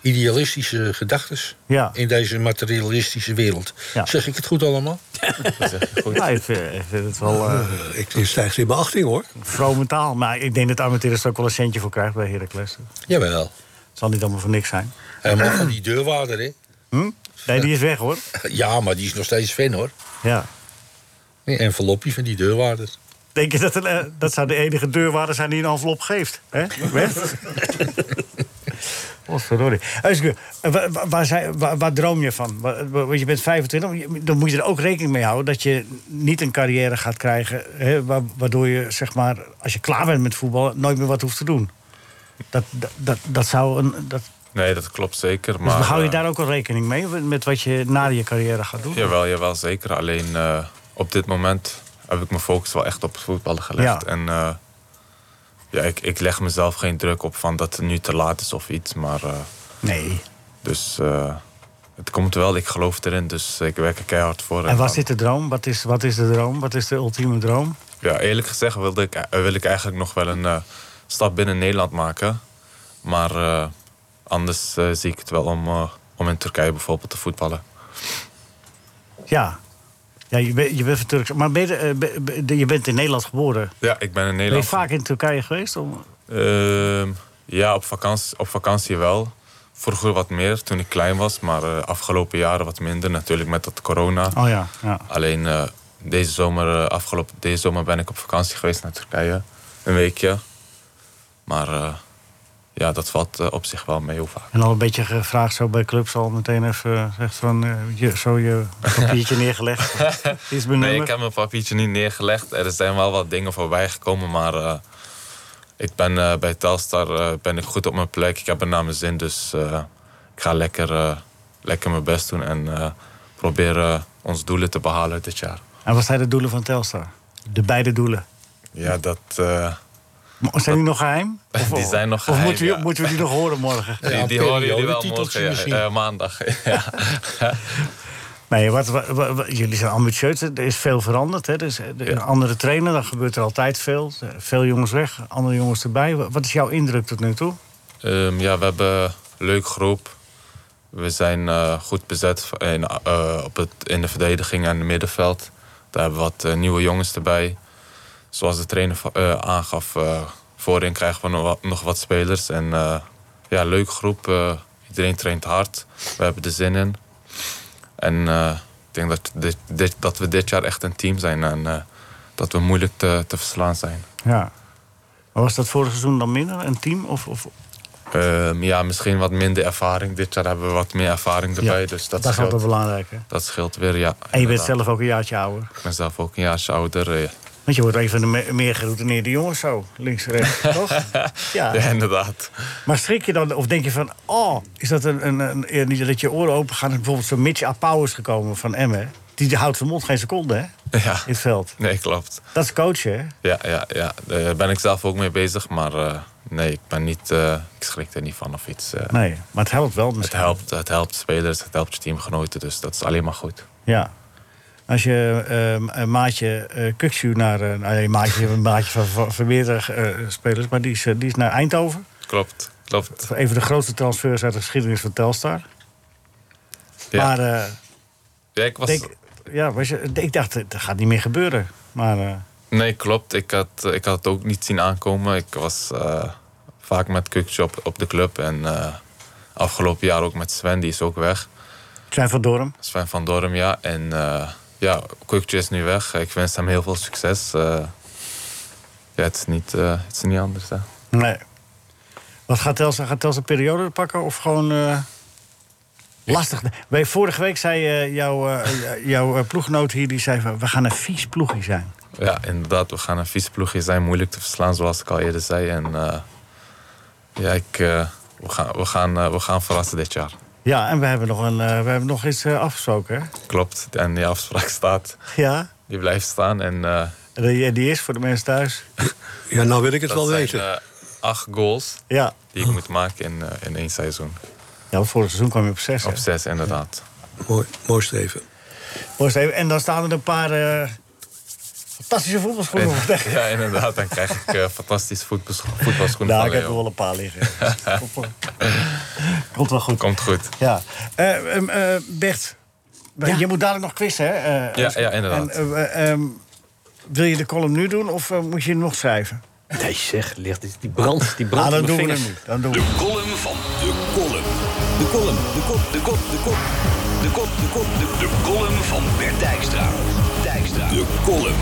[SPEAKER 5] Idealistische gedachten
[SPEAKER 3] Ja.
[SPEAKER 5] in deze materialistische wereld.
[SPEAKER 3] Ja.
[SPEAKER 5] Zeg ik het goed allemaal?
[SPEAKER 7] Dat zeg je goed.
[SPEAKER 3] Ja, ik vind, ik vind het wel eh
[SPEAKER 6] Ik ik stijg in mijn achting hoor.
[SPEAKER 3] vrome taal. Maar ik denk dat Armenteros er ook wel een centje voor krijgt bij Heracles.
[SPEAKER 5] Jawel.
[SPEAKER 3] Het zal niet allemaal voor niks zijn.
[SPEAKER 5] Hij mag van die deurwaarder, hè?
[SPEAKER 3] Nee, die is weg hoor.
[SPEAKER 5] Ja, maar die is nog steeds fan, hoor.
[SPEAKER 3] Ja.
[SPEAKER 5] Een envelopje van die deurwaarder.
[SPEAKER 3] Denk je dat, er, eh, dat zou de enige deurwaarder zijn die een envelop geeft? Hè? Bert? Potverdorie. Euseke, eh, wa- wa- Waar, zei- waar- waar droom je van? Wa- wa- Want je bent 25, maar je- dan moet je er ook rekening mee houden... dat je niet een carrière gaat krijgen... Hè, wa- waardoor je, zeg maar, als je klaar bent met voetbal... nooit meer wat hoeft te doen. Dat, dat, dat, dat zou een... Dat,
[SPEAKER 7] Nee, dat klopt zeker.
[SPEAKER 3] dus
[SPEAKER 7] Maar,
[SPEAKER 3] hou je
[SPEAKER 7] eh,
[SPEAKER 3] daar ook wel rekening mee... met wat je na je carrière gaat doen?
[SPEAKER 7] Jawel, jawel, zeker. Alleen eh, op dit moment heb ik mijn focus wel echt op het voetballen gelegd.
[SPEAKER 3] Ja.
[SPEAKER 7] En eh, ja, ik, ik leg mezelf geen druk op van dat het nu te laat is of iets. Maar eh,
[SPEAKER 3] Nee.
[SPEAKER 7] dus eh, het komt wel, ik geloof erin. Dus ik werk er keihard voor.
[SPEAKER 3] En was
[SPEAKER 7] dan-
[SPEAKER 3] dit de droom? Wat is, wat is de droom? Wat is de ultieme droom?
[SPEAKER 7] Ja, eerlijk gezegd wilde ik, eh, wil ik eigenlijk nog wel een eh, stap binnen Nederland maken. Maar eh, anders eh, zie ik het wel om, eh, om in Turkije bijvoorbeeld te voetballen.
[SPEAKER 3] Ja. Ja, je, bent- je bent van Turks. Maar ben je, eh, ben- ben- je bent in Nederland geboren.
[SPEAKER 7] Ja, ik ben in
[SPEAKER 3] Ben je
[SPEAKER 7] Nederland.
[SPEAKER 3] vaak in Turkije geweest? Om...
[SPEAKER 7] Ehm, ja, op vakantie, op vakantie wel. Vroeger wat meer, toen ik klein was. Maar eh, afgelopen jaren wat minder, natuurlijk met dat corona.
[SPEAKER 3] Oh ja, ja.
[SPEAKER 7] Alleen eh, deze, zomer, eh, afgelopen, deze zomer ben ik op vakantie geweest naar Turkije. Een weekje. Maar eh, ja, dat valt eh, op zich wel mee hoe vaak.
[SPEAKER 3] En al een beetje gevraagd zo bij clubs al meteen even eh, zegt van... eh, je, zo je papiertje neergelegd. Is mijn
[SPEAKER 7] Nee,
[SPEAKER 3] nummer.
[SPEAKER 7] ik heb mijn papiertje niet neergelegd. Er zijn wel wat dingen voorbij gekomen, maar eh, ik ben eh, bij Telstar eh, ben ik goed op mijn plek. Ik heb er naar mijn zin, dus eh, ik ga lekker, eh, lekker mijn best doen en eh, proberen ons doelen te behalen dit jaar.
[SPEAKER 3] En wat zijn de doelen van Telstar? De beide doelen.
[SPEAKER 7] Ja, dat eh,
[SPEAKER 3] Maar Zijn die nog geheim?
[SPEAKER 7] Die zijn nog
[SPEAKER 3] Of
[SPEAKER 7] geheim,
[SPEAKER 3] moeten we,
[SPEAKER 7] ja.
[SPEAKER 3] moeten we die nog horen morgen?
[SPEAKER 5] Ja,
[SPEAKER 7] die die horen jullie wel
[SPEAKER 5] periodetiteltje
[SPEAKER 7] morgen, ja.
[SPEAKER 5] misschien.
[SPEAKER 7] Eh, maandag. ja.
[SPEAKER 3] Nee, wat, wat- wat- wat- jullie zijn ambitieus. Er is veel veranderd. Hè? Er is eh, de- een andere trainer, dan gebeurt er altijd veel. Eh, Veel jongens weg, andere jongens erbij. Wa- Wat is jouw indruk tot nu toe?
[SPEAKER 7] Ehm, ja, we hebben een leuk groep. We zijn eh, goed bezet in, eh, op het, in de verdediging en het middenveld. Daar hebben we wat eh, nieuwe jongens erbij. Zoals de trainer va- eh, aangaf, eh, voorin krijgen we nog wat, nog wat spelers. En eh, ja, leuk groep. eh, iedereen traint hard. We hebben er zin in. En eh, ik denk dat, dit, dit- dat we dit jaar echt een team zijn. En eh, dat we moeilijk te, te verslaan zijn.
[SPEAKER 3] Ja. Maar was dat vorig seizoen dan minder, een team? Of, of...
[SPEAKER 7] Ehm, ja, misschien wat minder ervaring. Dit jaar hebben we wat meer ervaring erbij. dus dat,
[SPEAKER 3] Daar gaat
[SPEAKER 7] scheelt,
[SPEAKER 3] het belangrijk, hè?
[SPEAKER 7] dat scheelt weer, ja.
[SPEAKER 3] En je bent
[SPEAKER 7] inderdaad.
[SPEAKER 3] zelf ook een jaartje ouder.
[SPEAKER 7] Ik ben zelf ook een jaartje ouder. eh,
[SPEAKER 3] Want je wordt een van de me- meer geroutineerde jongens zo, links en rechts, toch? Ja.
[SPEAKER 7] Ja, inderdaad.
[SPEAKER 3] Maar schrik je dan, of denk je van, oh, is dat een, een, een- eh, niet dat je oren open gaan? Bijvoorbeeld zo'n Mitch Apau is gekomen van Emmen. Die houdt zijn mond geen seconde, hè?
[SPEAKER 7] Ja,
[SPEAKER 3] In het veld.
[SPEAKER 7] nee, klopt.
[SPEAKER 3] Dat is coachen, hè?
[SPEAKER 7] Ja, ja, ja. Daar ben ik zelf ook mee bezig. Maar eh, nee, ik ben niet... eh, ik schrik er niet van of iets. eh.
[SPEAKER 3] Nee, maar het helpt wel
[SPEAKER 7] Het
[SPEAKER 3] misschien.
[SPEAKER 7] helpt, het helpt spelers, het helpt je teamgenoten. Dus dat is alleen maar goed.
[SPEAKER 3] Ja. Als je ehm, een maatje eh Kuksu naar... eh, nou, nee, maatje, een maatje van, van, van meerdere eh, spelers, maar die is, eh, die is naar Eindhoven.
[SPEAKER 7] Klopt, klopt.
[SPEAKER 3] Een van de grootste transfers uit de geschiedenis van Telstar.
[SPEAKER 7] Ja,
[SPEAKER 3] Maar eh,
[SPEAKER 7] ja ik was...
[SPEAKER 3] denk, ja, was je- ik dacht, eh, dat gaat niet meer gebeuren. Maar eh,
[SPEAKER 7] Nee, klopt. Ik had, eh, ik had het ook niet zien aankomen. Ik was eh, vaak met Kukje op, op de club. En eh, afgelopen jaar ook met Sven, die is ook weg.
[SPEAKER 3] zijn van Dorm.
[SPEAKER 7] Sven van Dorm, ja. En eh, ja, Kukje is nu weg. Ik wens hem heel veel succes. Eh, ja, het is niet, eh, het is niet anders, hè.
[SPEAKER 3] Nee. Wat gaat Telstar? Gaat Telstar periode pakken of gewoon... eh, Lastig. Wij- Vorige week zei eh, jouw, eh, jouw eh, ploeggenoot hier, die zei van, we gaan een vies ploegje zijn.
[SPEAKER 7] Ja, inderdaad. We gaan een vies ploegje zijn. Moeilijk te verslaan, zoals ik al eerder zei. En eh, ja, ik, eh, we, gaan, we, gaan, eh, we gaan verrassen dit jaar.
[SPEAKER 3] Ja, en we hebben nog, een, eh, we hebben nog iets eh, afgesproken, hè?
[SPEAKER 7] Klopt. En die afspraak staat.
[SPEAKER 3] Ja.
[SPEAKER 7] Die blijft staan. En... eh,
[SPEAKER 3] Die, die is voor de mensen thuis.
[SPEAKER 6] Ja, nou wil ik het wel
[SPEAKER 7] dat zijn
[SPEAKER 6] weten.
[SPEAKER 7] eh, acht goals
[SPEAKER 3] Ja.
[SPEAKER 7] die ik moet maken in, eh, in één seizoen.
[SPEAKER 3] Ja, want vorig seizoen kwam je op zes. hè?
[SPEAKER 7] Op zes, inderdaad.
[SPEAKER 6] Mooi, mooi streven.
[SPEAKER 3] Proost even. En dan staan er een paar eh, fantastische voetbalschoenen. op.
[SPEAKER 7] En- ja, inderdaad. Dan krijg ik eh, fantastisch voetbals- voetbalschoenen
[SPEAKER 3] Nou,
[SPEAKER 7] van
[SPEAKER 3] ik heb er
[SPEAKER 7] Leo.
[SPEAKER 3] wel een paar liggen. Komt wel goed.
[SPEAKER 7] Komt goed.
[SPEAKER 3] Ja. Eh, ehm, eh, Bert, je moet dadelijk nog quizzen, hè? Eh,
[SPEAKER 7] Ja, ja, inderdaad.
[SPEAKER 3] En, eh, ehm, wil je de column nu doen of eh, moet je hem nog schrijven?
[SPEAKER 4] Nee zeg, ligt die brand, die brand
[SPEAKER 3] Ah, dan
[SPEAKER 4] in
[SPEAKER 3] doen
[SPEAKER 4] mijn
[SPEAKER 3] we
[SPEAKER 4] vingers.
[SPEAKER 3] hem nu. Dan doen we
[SPEAKER 2] De
[SPEAKER 3] hem.
[SPEAKER 2] column van de column. De column, de kop, de kop, de kop. De kop, de kop, de De column van Bert Dijkstra. Dijkstra. De column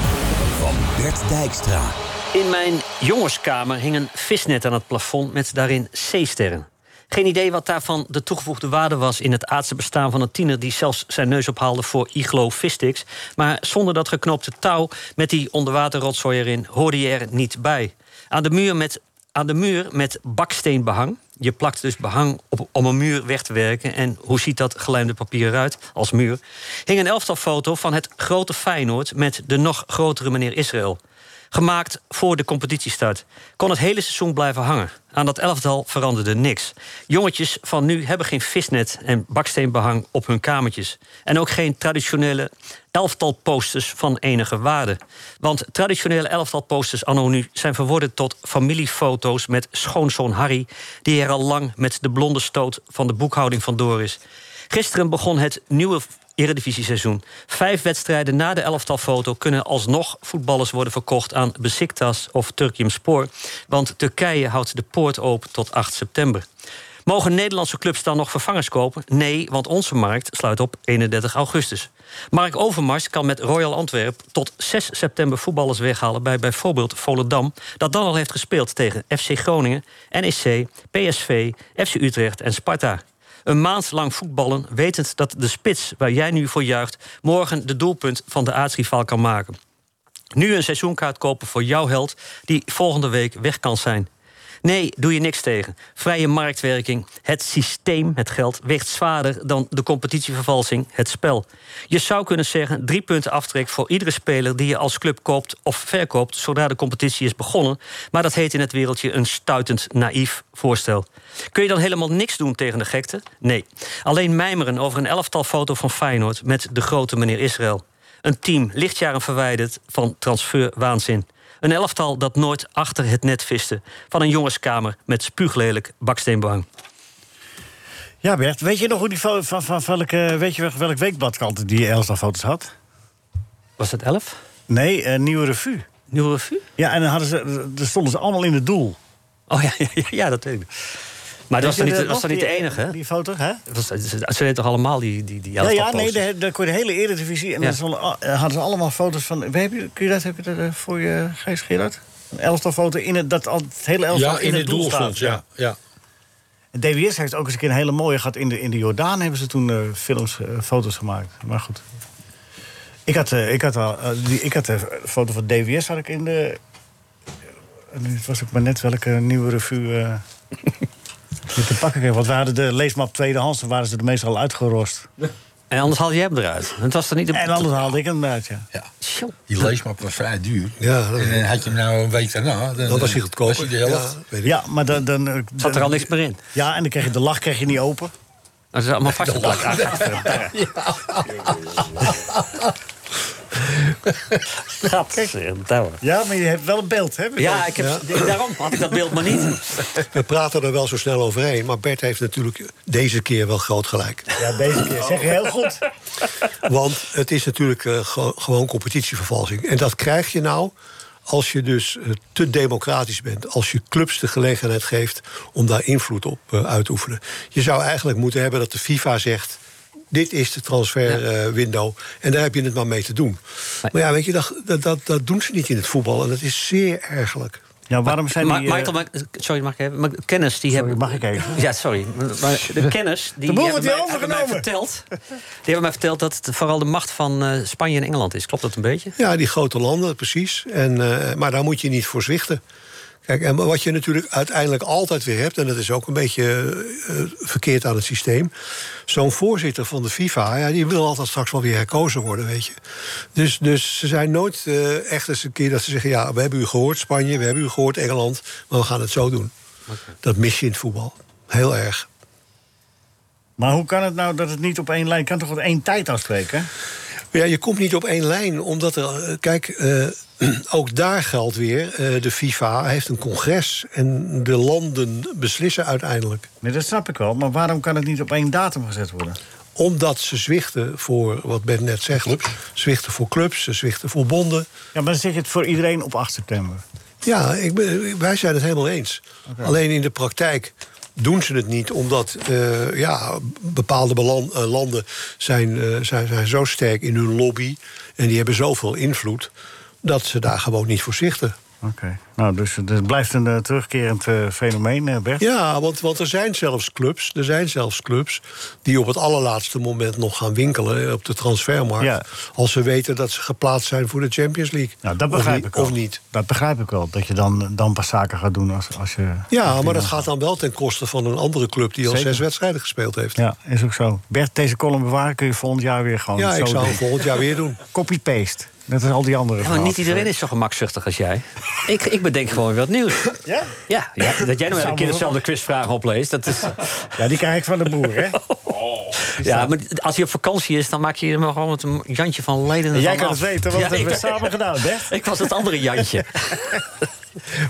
[SPEAKER 2] van Bert Dijkstra.
[SPEAKER 4] In mijn jongenskamer hing een visnet aan het plafond met daarin zeesterren. Geen idee wat daarvan de toegevoegde waarde was in het aardse bestaan van een tiener die zelfs zijn neus ophaalde voor iglo vissticks. Maar zonder dat geknoopte touw met die onderwaterrotzooi erin hoorde je er niet bij. Aan de muur met, aan de muur met baksteenbehang. Je plakt dus behang op, om een muur weg te werken. En hoe ziet dat gelijmde papier eruit als muur? Hing een elftal foto van het grote Feyenoord met de nog grotere meneer Israël. Gemaakt voor de competitiestart. Kon het hele seizoen blijven hangen. Aan dat elftal veranderde niks. Jongetjes van nu hebben geen visnet en baksteenbehang op hun kamertjes. En ook geen traditionele elftal posters van enige waarde. Want traditionele elftal posters anno nu zijn verworden tot familiefoto's met schoonzoon Harry, die er al lang met de blonde stoot van de boekhouding vandoor is. Gisteren begon het nieuwe Eredivisie-seizoen. Vijf wedstrijden na de elftalfoto kunnen alsnog voetballers worden verkocht aan Besiktas of Turkiumspor. Want Turkije houdt de poort open tot 8 september. Mogen Nederlandse clubs dan nog vervangers kopen? Nee, want onze markt sluit op 31 augustus. Mark Overmars kan met Royal Antwerp tot 6 september voetballers weghalen bij bijvoorbeeld Volendam, dat dan al heeft gespeeld tegen FC Groningen, E NEC, PSV, FC Utrecht en Sparta. Een maand lang voetballen, wetend dat de spits waar jij nu voor juicht... morgen de doelpunt van de aartsrivaal kan maken. Nu een seizoenkaart kopen voor jouw held die volgende week weg kan zijn. Nee, doe je niks tegen. Vrije marktwerking, het systeem, het geld, weegt zwaarder dan de competitievervalsing, het spel. Je zou kunnen zeggen: drie punten aftrek voor iedere speler die je als club koopt of verkoopt zodra de competitie is begonnen. Maar dat heet in het wereldje een stuitend naïef voorstel. Kun je dan helemaal niks doen tegen de gekte? Nee. Alleen mijmeren over een elftal foto van Feyenoord met de grote meneer Israël. Een team lichtjaren verwijderd van transferwaanzin. Een elftal dat nooit achter het net viste. Van een jongenskamer met spuuglelijk baksteenbang.
[SPEAKER 3] Ja, Bert, weet je nog hoe die fo- van, van, van welke, weet je wel- welk weekbladkant die Elsa foto's had?
[SPEAKER 4] Was het elf?
[SPEAKER 3] Nee, eh Nieuwe Revue.
[SPEAKER 4] Nieuwe revue?
[SPEAKER 3] Ja, en dan hadden ze, dan stonden ze allemaal in het doel.
[SPEAKER 4] Oh ja, ja, ja, ja, dat weet ik. Maar dat was
[SPEAKER 3] Weet
[SPEAKER 4] dan niet,
[SPEAKER 3] je
[SPEAKER 4] dat
[SPEAKER 3] nog,
[SPEAKER 4] was dan niet de
[SPEAKER 3] die-
[SPEAKER 4] enige? hè?
[SPEAKER 3] Die foto, hè?
[SPEAKER 4] Dat was- Ze ze deden toch allemaal die, die, die
[SPEAKER 3] Ja, ja,
[SPEAKER 4] elftalposters?
[SPEAKER 3] nee, daar, daar kon je de hele Eredivisie. En
[SPEAKER 4] Ja.
[SPEAKER 3] dan stonden al- eh, hadden ze allemaal foto's van... Heb je, kun je dat, heb je dat eh, voor je, Gijs Gerard? Een elftalfoto in het, dat al, het hele elftal
[SPEAKER 5] ja, Oh, in, het, doel stond, ja. ja.
[SPEAKER 3] En DWS heeft ook eens een keer een hele mooie gehad. In de, in de Jordaan hebben ze toen eh, films, eh, foto's gemaakt. Maar goed. Ik had, eh, ik had, al, eh, die, ik had de foto van DWS had ik in de... eh, Het was ook maar net welke nieuwe revue... eh dit te pakken kreeg. Want we hadden de leesmap tweedehands. Dan waren ze het meestal uitgerost.
[SPEAKER 4] En anders haalde jij hem eruit. Het was dan niet de...
[SPEAKER 3] En anders haalde ik hem uit, ja.
[SPEAKER 5] ja.
[SPEAKER 4] Tjoh.
[SPEAKER 5] Die leesmap was vrij duur.
[SPEAKER 6] Ja, dat-
[SPEAKER 5] en dan had je hem nou een week daarna. Dan,
[SPEAKER 6] Dan was hij
[SPEAKER 5] was
[SPEAKER 6] goedkoper.
[SPEAKER 5] hij de helft.
[SPEAKER 6] Ja, weet ik.
[SPEAKER 3] Ja, maar dan... dan, eh,
[SPEAKER 4] Zat er
[SPEAKER 3] dan-
[SPEAKER 4] al niks meer in.
[SPEAKER 3] Ja, en dan kreeg je de lach kreeg je niet open.
[SPEAKER 4] Dat is allemaal vastgeplakt. Ah, Gadverdamme.
[SPEAKER 3] Ja, maar je hebt wel een beeld, hè?
[SPEAKER 4] Ja, ik heb, daarom had ik dat beeld maar niet.
[SPEAKER 6] We praten er wel zo snel overheen, maar Bert heeft natuurlijk deze keer wel groot gelijk.
[SPEAKER 3] Ja, deze keer zeg je heel goed.
[SPEAKER 6] Want het is natuurlijk eh, ge- gewoon competitievervalsing. En dat krijg je nou als je dus eh, te democratisch bent. Als je clubs de gelegenheid geeft om daar invloed op eh, uit te oefenen. Je zou eigenlijk moeten hebben dat de FIFA zegt... dit is de transferwindow en daar heb je het maar mee te doen. Maar ja, weet je, dat, dat- dat, dat doen ze niet in het voetbal. En dat is zeer ergelijk.
[SPEAKER 3] Ja, waarom zijn
[SPEAKER 4] Maar,
[SPEAKER 3] die... eh,
[SPEAKER 4] Michael, maar- sorry, mag ik even? Maar kennis die hebben...
[SPEAKER 3] mag ik even?
[SPEAKER 4] Ja, sorry. Maar de kennis die
[SPEAKER 3] De boel
[SPEAKER 4] hebben
[SPEAKER 3] wordt hier
[SPEAKER 4] mij, hebben mij
[SPEAKER 3] overgenomen.
[SPEAKER 4] verteld... Die hebben mij verteld dat het vooral de macht van eh, Spanje en Engeland is. Klopt dat een beetje?
[SPEAKER 6] Ja, die grote landen, precies. En, eh, maar daar moet je niet voor zwichten. Kijk, en wat je natuurlijk uiteindelijk altijd weer hebt, en dat is ook een beetje eh, verkeerd aan het systeem. Zo'n voorzitter van de FIFA, ja, die wil altijd straks wel weer herkozen worden, weet je. Dus, dus ze zijn nooit eh, echt eens een keer dat ze zeggen: ja, we hebben u gehoord, Spanje, we hebben u gehoord, Engeland, maar we gaan het zo doen. Dat mis je in het voetbal. Heel erg.
[SPEAKER 3] Maar hoe kan het nou dat het niet op één lijn... Je kan toch wat één tijd afspreken?
[SPEAKER 6] Ja, je komt niet op één lijn, omdat er... eh, Kijk, eh, ook daar geldt weer, eh, de FIFA heeft een congres... en de landen beslissen uiteindelijk.
[SPEAKER 3] Nee, dat snap ik wel. Maar waarom kan het niet op één datum gezet worden?
[SPEAKER 6] Omdat ze zwichten voor, wat Ben net zegt...
[SPEAKER 5] Clubs.
[SPEAKER 6] zwichten voor clubs, ze zwichten voor bonden.
[SPEAKER 3] Ja, maar dan zeg je het voor iedereen op 8 september.
[SPEAKER 6] Ja, ik ben, wij zijn het helemaal eens. Alleen in de praktijk doen ze het niet, omdat eh, ja, bepaalde belan- eh, landen zijn, eh, zijn, zijn zo sterk in hun lobby... en die hebben zoveel invloed, dat ze daar gewoon niet voor zichten.
[SPEAKER 3] Oké. Nou, dus het blijft een eh, terugkerend eh, fenomeen, eh, Bert.
[SPEAKER 6] Ja, want, want er zijn zelfs clubs, er zijn zelfs clubs die op het allerlaatste moment nog gaan winkelen eh, op de transfermarkt.
[SPEAKER 3] Ja.
[SPEAKER 6] Als ze weten dat ze geplaatst zijn voor de Champions League.
[SPEAKER 3] Nou, dat
[SPEAKER 6] Of
[SPEAKER 3] begrijp
[SPEAKER 6] niet-
[SPEAKER 3] ik wel.
[SPEAKER 6] Of niet.
[SPEAKER 3] Dat begrijp ik wel. Dat je dan, eh, dan pas zaken gaat doen als, als je...
[SPEAKER 6] Ja, maar dat gaat dan wel ten koste van een andere club die al
[SPEAKER 3] Zeker.
[SPEAKER 6] zes wedstrijden gespeeld heeft.
[SPEAKER 3] Ja, is ook zo. Bert, deze column bewaren kun je volgend jaar weer gewoon
[SPEAKER 6] Ja,
[SPEAKER 3] zo
[SPEAKER 6] ik zou
[SPEAKER 3] doen.
[SPEAKER 6] het volgend jaar weer doen.
[SPEAKER 3] Copy-paste. Net als al die andere
[SPEAKER 4] Ja, maar
[SPEAKER 3] verhalen.
[SPEAKER 4] niet iedereen is zo gemakzuchtig als jij. Ik, ik bedenk gewoon weer wat nieuws.
[SPEAKER 3] Ja?
[SPEAKER 4] Ja, ja, dat jij nou een
[SPEAKER 3] zou
[SPEAKER 4] keer
[SPEAKER 3] me
[SPEAKER 4] dezelfde quizvraag opleest. Dat is,
[SPEAKER 3] Ja, die krijg ik van de boer, hè?
[SPEAKER 4] ja, maar als hij op vakantie is, dan maak je hem gewoon met een Jantje van Leiden.
[SPEAKER 3] En jij
[SPEAKER 4] ervan
[SPEAKER 3] kan
[SPEAKER 4] af.
[SPEAKER 3] het weten, want
[SPEAKER 4] Ja,
[SPEAKER 3] dat hebben we
[SPEAKER 4] ik-
[SPEAKER 3] samen gedaan, Bert.
[SPEAKER 4] Ik was het andere Jantje.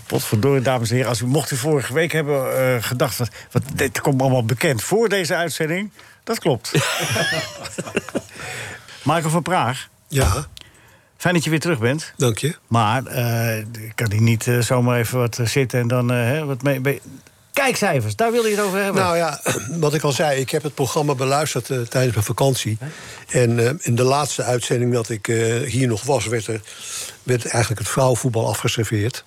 [SPEAKER 3] Potverdorie, dames en heren. Als u, mocht u vorige week hebben eh, gedacht... Wat, wat, dit komt allemaal bekend voor deze uitzending. Dat klopt. Michael van Praag,
[SPEAKER 6] Ja,
[SPEAKER 3] fijn dat je weer terug bent.
[SPEAKER 6] dank je.
[SPEAKER 3] Maar eh, ik kan hier niet eh, zomaar even wat eh, zitten en dan... eh, hè, wat mee, mee- Kijkcijfers, daar wil je het over hebben.
[SPEAKER 6] Nou ja, wat ik al zei, ik heb het programma beluisterd eh, tijdens mijn vakantie. En eh, in de laatste uitzending dat ik eh, hier nog was, werd, er, werd eigenlijk het vrouwenvoetbal afgeserveerd.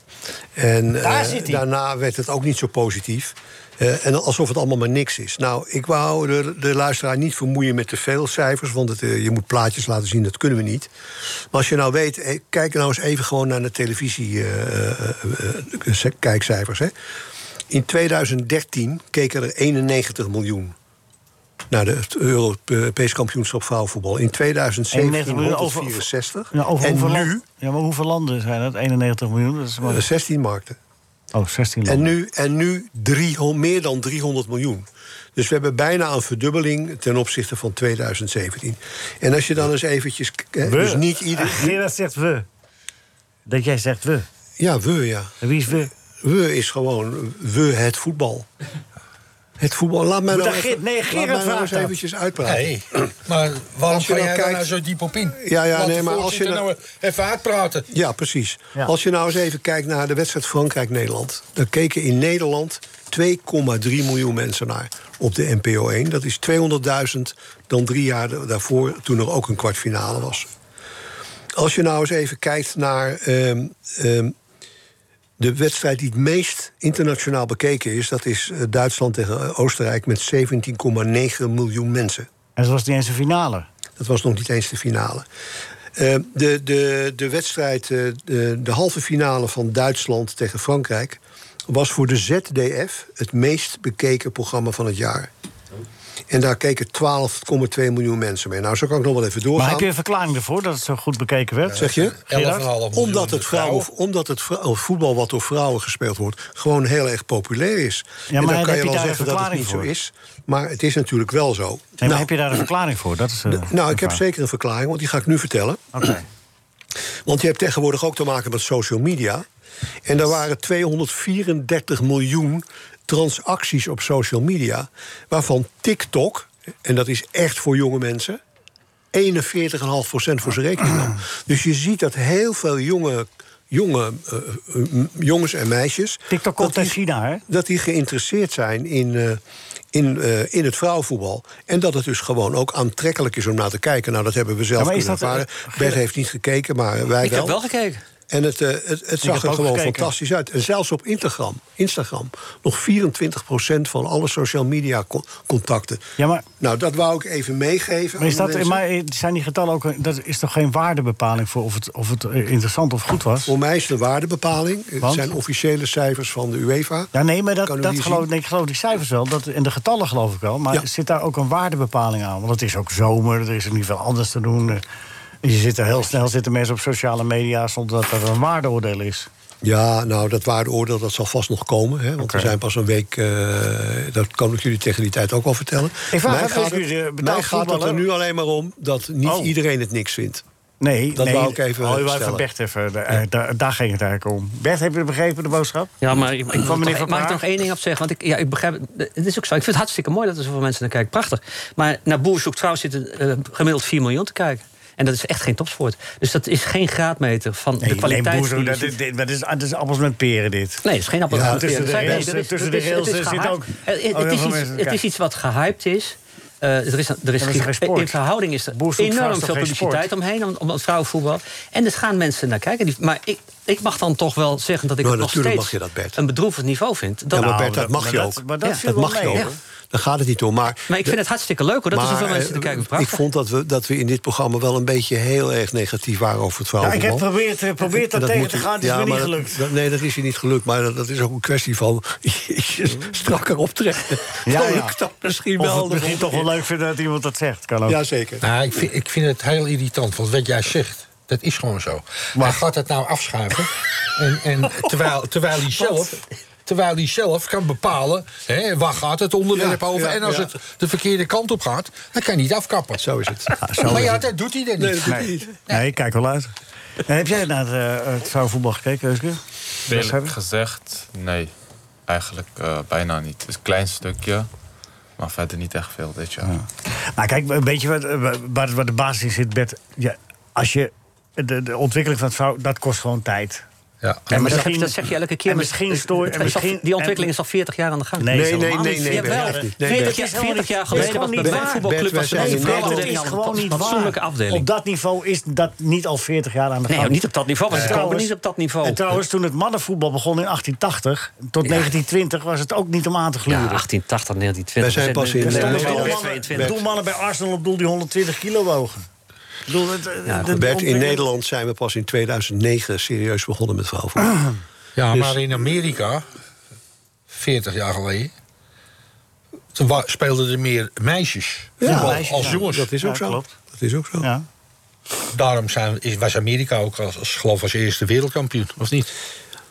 [SPEAKER 6] En eh,
[SPEAKER 3] Daar zit hij.
[SPEAKER 6] daarna werd het ook niet zo positief. Eh, en alsof het allemaal maar niks is. Nou, ik wou de, de luisteraar niet vermoeien met te veel cijfers, want het, eh, je moet plaatjes laten zien, dat kunnen we niet. Maar als je nou weet, eh, eh, kijk nou eens even gewoon naar de televisie-kijkcijfers. hè. In 2013 keken er 91 miljoen naar de- het Europees kampioenschap vrouwenvoetbal. In 2017
[SPEAKER 3] miljoen over-
[SPEAKER 6] 164.
[SPEAKER 3] Ja, over
[SPEAKER 6] en
[SPEAKER 3] hoeveel
[SPEAKER 6] nu
[SPEAKER 3] land- ja, maar hoeveel landen zijn dat? 91 miljoen? Dat is maar...
[SPEAKER 6] eh, 16 markten.
[SPEAKER 3] Oh, 16
[SPEAKER 6] En
[SPEAKER 3] landen.
[SPEAKER 6] nu, en nu 300, meer dan 300 miljoen. Dus we hebben bijna een verdubbeling ten opzichte van 2017. En als je dan eens eventjes... k- hè,
[SPEAKER 3] We.
[SPEAKER 6] Dus niet ieder...
[SPEAKER 3] Gerard zegt we. Dat jij zegt we.
[SPEAKER 6] Ja, we, ja.
[SPEAKER 3] En wie is we?
[SPEAKER 6] We is gewoon we het voetbal. Het voetbal. Laat mij
[SPEAKER 3] Moet
[SPEAKER 6] nou,
[SPEAKER 3] dat
[SPEAKER 6] even-
[SPEAKER 3] Geert- nee,
[SPEAKER 6] laat
[SPEAKER 3] Gerard
[SPEAKER 6] mij nou
[SPEAKER 3] vraagt
[SPEAKER 6] eens
[SPEAKER 3] dat.
[SPEAKER 6] eventjes uitpraten.
[SPEAKER 5] Nee, maar waarom
[SPEAKER 6] Als je
[SPEAKER 5] ga
[SPEAKER 6] nou
[SPEAKER 5] jij daar
[SPEAKER 6] kijkt-
[SPEAKER 5] nou zo diep op in?
[SPEAKER 6] Ja, ja,
[SPEAKER 5] Want
[SPEAKER 6] nee,
[SPEAKER 5] de
[SPEAKER 6] maar als je
[SPEAKER 5] voorzitter
[SPEAKER 6] nou-
[SPEAKER 5] nou even uitpraten.
[SPEAKER 6] Ja, precies.
[SPEAKER 3] Ja.
[SPEAKER 6] Als je nou eens even kijkt naar de wedstrijd Frankrijk-Nederland... dan keken in Nederland 2,3 miljoen mensen naar op de NPO 1. Dat is 200.000 dan drie jaar da- daarvoor, toen er ook een kwartfinale was. Als je nou eens even kijkt naar ehm, ehm, de wedstrijd die het meest internationaal bekeken is... dat is eh, Duitsland tegen Oostenrijk met 17,9 miljoen mensen.
[SPEAKER 3] En het was niet eens een finale.
[SPEAKER 6] Dat was nog niet eens de finale. Eh, de, de, de wedstrijd, eh, de, de halve finale van Duitsland tegen Frankrijk... was voor de ZDF het meest bekeken programma van het jaar. En daar keken 12,2 miljoen mensen mee. Nou, zo kan ik nog wel even doorgaan.
[SPEAKER 3] Maar heb je een verklaring ervoor dat het zo goed bekeken werd?
[SPEAKER 6] Zeg je?
[SPEAKER 5] 11,5 miljoen
[SPEAKER 6] Omdat het, vrouwen,
[SPEAKER 5] vrouwen.
[SPEAKER 6] omdat het vrou- of voetbal wat door vrouwen gespeeld wordt... gewoon heel erg populair is.
[SPEAKER 3] maar
[SPEAKER 6] en
[SPEAKER 3] heb
[SPEAKER 6] dan kan
[SPEAKER 3] je
[SPEAKER 6] je wel
[SPEAKER 3] daar een
[SPEAKER 6] zeggen dat het
[SPEAKER 3] verklaring
[SPEAKER 6] niet
[SPEAKER 3] voor?
[SPEAKER 6] zo is. Maar het is natuurlijk wel zo.
[SPEAKER 3] Nee, maar
[SPEAKER 6] Nou,
[SPEAKER 3] heb je daar een verklaring voor? Dat is, eh, de
[SPEAKER 6] nou, ik heb
[SPEAKER 3] vraag.
[SPEAKER 6] zeker een verklaring, want die ga ik nu vertellen.
[SPEAKER 3] Oké.
[SPEAKER 6] Want je hebt tegenwoordig ook te maken met social media. En er waren 234 miljoen transacties op social media. Waarvan TikTok, en dat is echt voor jonge mensen. 41,5% voor zijn rekening nam. Dus je ziet dat heel veel jonge, jonge, eh, eh, m- jongens en meisjes.
[SPEAKER 3] TikTok komt
[SPEAKER 6] dat
[SPEAKER 3] uit
[SPEAKER 6] die-
[SPEAKER 3] China, hè?
[SPEAKER 6] dat die geïnteresseerd zijn in, eh, in, eh, in het vrouwenvoetbal. En dat het dus gewoon ook aantrekkelijk is om naar te kijken. Nou, dat hebben we zelf
[SPEAKER 3] Ja, maar is
[SPEAKER 6] kunnen
[SPEAKER 3] dat, eh,
[SPEAKER 6] ervaren. Bert heeft niet gekeken, maar wij
[SPEAKER 4] Ik
[SPEAKER 6] wel.
[SPEAKER 4] heb wel gekeken.
[SPEAKER 6] En het, eh, het, het zag
[SPEAKER 3] heb
[SPEAKER 6] er
[SPEAKER 3] ook
[SPEAKER 6] gewoon
[SPEAKER 3] gekeken.
[SPEAKER 6] fantastisch uit. En zelfs op Instagram, Instagram nog 24% van alle social media co- contacten.
[SPEAKER 3] Ja, maar-
[SPEAKER 6] Nou, dat wou ik even meegeven.
[SPEAKER 3] Maar, is
[SPEAKER 6] aan de
[SPEAKER 3] dat,
[SPEAKER 6] mensen.
[SPEAKER 3] maar zijn die getallen ook... een- Dat is toch geen waardebepaling voor of het, of het eh, interessant of goed was?
[SPEAKER 6] Voor mij is het een waardebepaling. Het
[SPEAKER 3] Want?
[SPEAKER 6] zijn officiële cijfers van de UEFA.
[SPEAKER 3] Ja, nee, maar
[SPEAKER 6] Kan
[SPEAKER 3] dat,
[SPEAKER 6] u
[SPEAKER 3] dat
[SPEAKER 6] hier
[SPEAKER 3] geloof,
[SPEAKER 6] zien?
[SPEAKER 3] nee, ik geloof die cijfers wel. Dat, en de getallen geloof ik wel. Maar
[SPEAKER 6] Ja.
[SPEAKER 3] zit daar ook een waardebepaling aan? Want het is ook zomer, er is ook niet veel anders te doen. eh, Je zit er heel snel zitten mensen op sociale media zonder dat er een waardeoordeel is.
[SPEAKER 6] Ja, nou, dat waardeoordeel dat zal vast nog komen. Hè, want we zijn pas een week... eh, dat kan ik jullie tegen die tijd ook wel vertellen.
[SPEAKER 3] Ik vraag
[SPEAKER 6] mij
[SPEAKER 3] het
[SPEAKER 6] gaat,
[SPEAKER 3] even, jullie, eh,
[SPEAKER 6] het,
[SPEAKER 3] betaald
[SPEAKER 6] mij gaat het
[SPEAKER 3] voetballen?
[SPEAKER 6] er nu alleen maar om dat niet
[SPEAKER 3] Oh.
[SPEAKER 6] iedereen het niks vindt.
[SPEAKER 3] Nee,
[SPEAKER 6] Dat
[SPEAKER 3] nee,
[SPEAKER 6] wou ik even
[SPEAKER 3] Hou je wel even
[SPEAKER 6] stellen.
[SPEAKER 3] Bert even. eh, eh, daar, daar ging het eigenlijk om. Bert, heb je begrepen de boodschap?
[SPEAKER 4] Ja, maar ik, ik,
[SPEAKER 3] Van meneer Van
[SPEAKER 4] mag
[SPEAKER 3] Praag?
[SPEAKER 4] ik er nog één ding op zeggen? Want ik, ja, ik begrijp, het Het is ook zo. Ik vind het hartstikke mooi dat er zoveel mensen naar kijken. Prachtig. Maar naar Boer zoekt vrouw zitten eh, gemiddeld 4 miljoen te kijken. En dat is echt geen topsport. Dus dat is geen graadmeter van de kwaliteit.
[SPEAKER 3] nee,
[SPEAKER 4] Nee,
[SPEAKER 3] Boezo, dat, is- dit- dat, is, dat is appels met peren, dit.
[SPEAKER 6] Nou,
[SPEAKER 4] nee, het is geen appel.
[SPEAKER 3] Ja,
[SPEAKER 4] en
[SPEAKER 3] tussen
[SPEAKER 4] peren.
[SPEAKER 3] de
[SPEAKER 4] Nee,
[SPEAKER 3] rails-
[SPEAKER 4] er is-
[SPEAKER 3] tussen
[SPEAKER 4] het
[SPEAKER 3] de
[SPEAKER 4] is- het
[SPEAKER 3] rails
[SPEAKER 4] is
[SPEAKER 3] zit
[SPEAKER 4] gehyped.
[SPEAKER 3] ook-
[SPEAKER 4] Het-
[SPEAKER 3] Oh, heel veel
[SPEAKER 4] Het is iets-
[SPEAKER 3] mensen
[SPEAKER 4] het is
[SPEAKER 3] kijken.
[SPEAKER 4] iets wat gehyped is. Eh, er is, er is,
[SPEAKER 3] dat is geen sport.
[SPEAKER 4] in verhouding is er
[SPEAKER 3] Boer zoekt vrouw is
[SPEAKER 4] enorm
[SPEAKER 3] toch
[SPEAKER 4] veel
[SPEAKER 3] geen
[SPEAKER 4] publiciteit
[SPEAKER 3] sport?
[SPEAKER 4] omheen om, om het vrouwenvoetbal. En dus gaan mensen naar kijken. Die- Maar ik, ik mag dan toch wel zeggen dat ik
[SPEAKER 6] Nou,
[SPEAKER 4] het nog steeds
[SPEAKER 6] natuurlijk mag je dat, Bert.
[SPEAKER 4] een bedroevend niveau vind. Dat,
[SPEAKER 6] ja, maar
[SPEAKER 3] Nou,
[SPEAKER 6] Bert, dat,
[SPEAKER 3] dat-
[SPEAKER 6] mag
[SPEAKER 3] maar
[SPEAKER 6] je
[SPEAKER 3] dat-
[SPEAKER 6] ook.
[SPEAKER 3] maar dat
[SPEAKER 6] Ja,
[SPEAKER 3] viel wel
[SPEAKER 6] mag je
[SPEAKER 3] mee,
[SPEAKER 6] ook.
[SPEAKER 3] hè?
[SPEAKER 6] hoor. Daar gaat het niet om. Maar,
[SPEAKER 4] Maar ik vind het hartstikke leuk hoor, dat er
[SPEAKER 6] maar,
[SPEAKER 4] zoveel mensen te
[SPEAKER 6] eh,
[SPEAKER 4] kijken.
[SPEAKER 6] Ik
[SPEAKER 4] Prachtig.
[SPEAKER 6] vond dat we, dat we in dit programma wel een beetje heel erg negatief waren over het
[SPEAKER 3] Ja,
[SPEAKER 6] verhaal.
[SPEAKER 3] ik heb geprobeerd eh, probeerd dat, tegen
[SPEAKER 6] moet
[SPEAKER 3] te
[SPEAKER 6] u-
[SPEAKER 3] gaan, het is
[SPEAKER 6] ja,
[SPEAKER 3] me niet
[SPEAKER 6] maar dat-
[SPEAKER 3] gelukt.
[SPEAKER 6] dat- nee, dat is je niet gelukt. Maar dat, dat is ook een kwestie van je strakker optrekken.
[SPEAKER 3] Ja,
[SPEAKER 6] Dan
[SPEAKER 3] ja.
[SPEAKER 6] lukt dat misschien
[SPEAKER 3] Of
[SPEAKER 6] wel.
[SPEAKER 3] het misschien toch wel leuk vinden dat iemand dat zegt. Kan ook.
[SPEAKER 6] Jazeker.
[SPEAKER 5] Nou, ik vind, ik vind het heel irritant, want wat jij zegt, dat is gewoon zo. Maar gaat het nou afschuiven? en, en terwijl, terwijl hij zelf... Terwijl hij zelf kan bepalen hè, waar gaat het onderwerp
[SPEAKER 6] Ja,
[SPEAKER 5] over.
[SPEAKER 6] ja,
[SPEAKER 5] en als
[SPEAKER 6] ja.
[SPEAKER 5] het de verkeerde kant op gaat, dan kan hij niet afkappen.
[SPEAKER 6] Zo is het.
[SPEAKER 3] Ah,
[SPEAKER 5] maar ja, dat doet hij dan niet.
[SPEAKER 3] Nee. nee, ik kijk wel uit. En heb jij naar het, eh, het vrouwenvoetbal gekeken, Euske?
[SPEAKER 7] Eerlijk gezegd, nee. Eigenlijk eh, bijna niet. Het is een klein stukje, maar verder niet echt veel dit jaar.
[SPEAKER 3] Maar Nou, kijk, een beetje wat, eh, waar, waar de basis in zit, Bert. Ja, als je, de, de ontwikkeling van het vrouw, dat kost gewoon tijd.
[SPEAKER 5] Ja.
[SPEAKER 3] En
[SPEAKER 4] Maar dat,
[SPEAKER 3] misschien-
[SPEAKER 4] zeg, dat zeg je elke keer.
[SPEAKER 3] en
[SPEAKER 4] maar
[SPEAKER 3] misschien
[SPEAKER 4] het-
[SPEAKER 3] stoor-
[SPEAKER 4] het
[SPEAKER 3] en
[SPEAKER 4] is al-
[SPEAKER 3] misschien-
[SPEAKER 4] die ontwikkeling
[SPEAKER 3] en-
[SPEAKER 4] is al 40 jaar aan de gang.
[SPEAKER 3] Nee,
[SPEAKER 6] Nee,
[SPEAKER 3] helemaal
[SPEAKER 6] nee,
[SPEAKER 3] niet.
[SPEAKER 6] nee, nee,
[SPEAKER 3] Jawel.
[SPEAKER 6] Bert, echt niet. Nee,
[SPEAKER 4] 40,
[SPEAKER 6] Bert.
[SPEAKER 3] Dat is helemaal
[SPEAKER 4] 40 jaar
[SPEAKER 3] niet- dat
[SPEAKER 4] geleden
[SPEAKER 3] is gewoon
[SPEAKER 4] was bij mijn
[SPEAKER 3] niet
[SPEAKER 4] voetbalclub
[SPEAKER 6] waar.
[SPEAKER 4] was er een
[SPEAKER 6] Bert, wij zijn
[SPEAKER 3] dat is
[SPEAKER 4] vrouwenafdeling al
[SPEAKER 3] gewoon
[SPEAKER 4] een
[SPEAKER 3] niet
[SPEAKER 4] fatsoenlijke
[SPEAKER 3] waar. Op
[SPEAKER 4] afdeling.
[SPEAKER 3] dat niveau is dat niet al 40 jaar aan de gang.
[SPEAKER 4] Nee, niet op dat niveau, want ze komen
[SPEAKER 3] Trouwens-
[SPEAKER 4] niet op dat niveau.
[SPEAKER 3] En trouwens, toen het mannenvoetbal begon in 1880 tot 1920 was het ook niet om aan te
[SPEAKER 4] Ja,
[SPEAKER 3] gluren.
[SPEAKER 4] 1880, 1920.
[SPEAKER 6] Wij zijn pas in-
[SPEAKER 4] we
[SPEAKER 6] eh,
[SPEAKER 3] Er
[SPEAKER 4] zijn
[SPEAKER 3] stonden
[SPEAKER 4] nu
[SPEAKER 6] nee,
[SPEAKER 4] al
[SPEAKER 6] nee,
[SPEAKER 3] doelmannen-
[SPEAKER 4] 22.
[SPEAKER 3] doelmannen bij Arsenal op doel die 120 kilo wogen. Ik bedoel, het, de- de
[SPEAKER 6] Bert, ah, in
[SPEAKER 3] ontwikkeling-
[SPEAKER 6] Nederland zijn we pas in
[SPEAKER 3] Ah,
[SPEAKER 6] 2009 serieus begonnen met vrouwenvoetbal.
[SPEAKER 5] Ja, maar in Amerika 40 jaar geleden. Toen wa- speelden er meer meisjes
[SPEAKER 6] Ja,
[SPEAKER 5] voetbal
[SPEAKER 3] meisjes,
[SPEAKER 5] als
[SPEAKER 3] ja.
[SPEAKER 5] jongens.
[SPEAKER 6] Dat is ook
[SPEAKER 3] Ja,
[SPEAKER 6] zo.
[SPEAKER 3] klopt.
[SPEAKER 6] Dat is ook zo.
[SPEAKER 3] Ja.
[SPEAKER 5] Daarom zijn, is, was Amerika ook als, als, geloof als eerste wereldkampioen, of niet?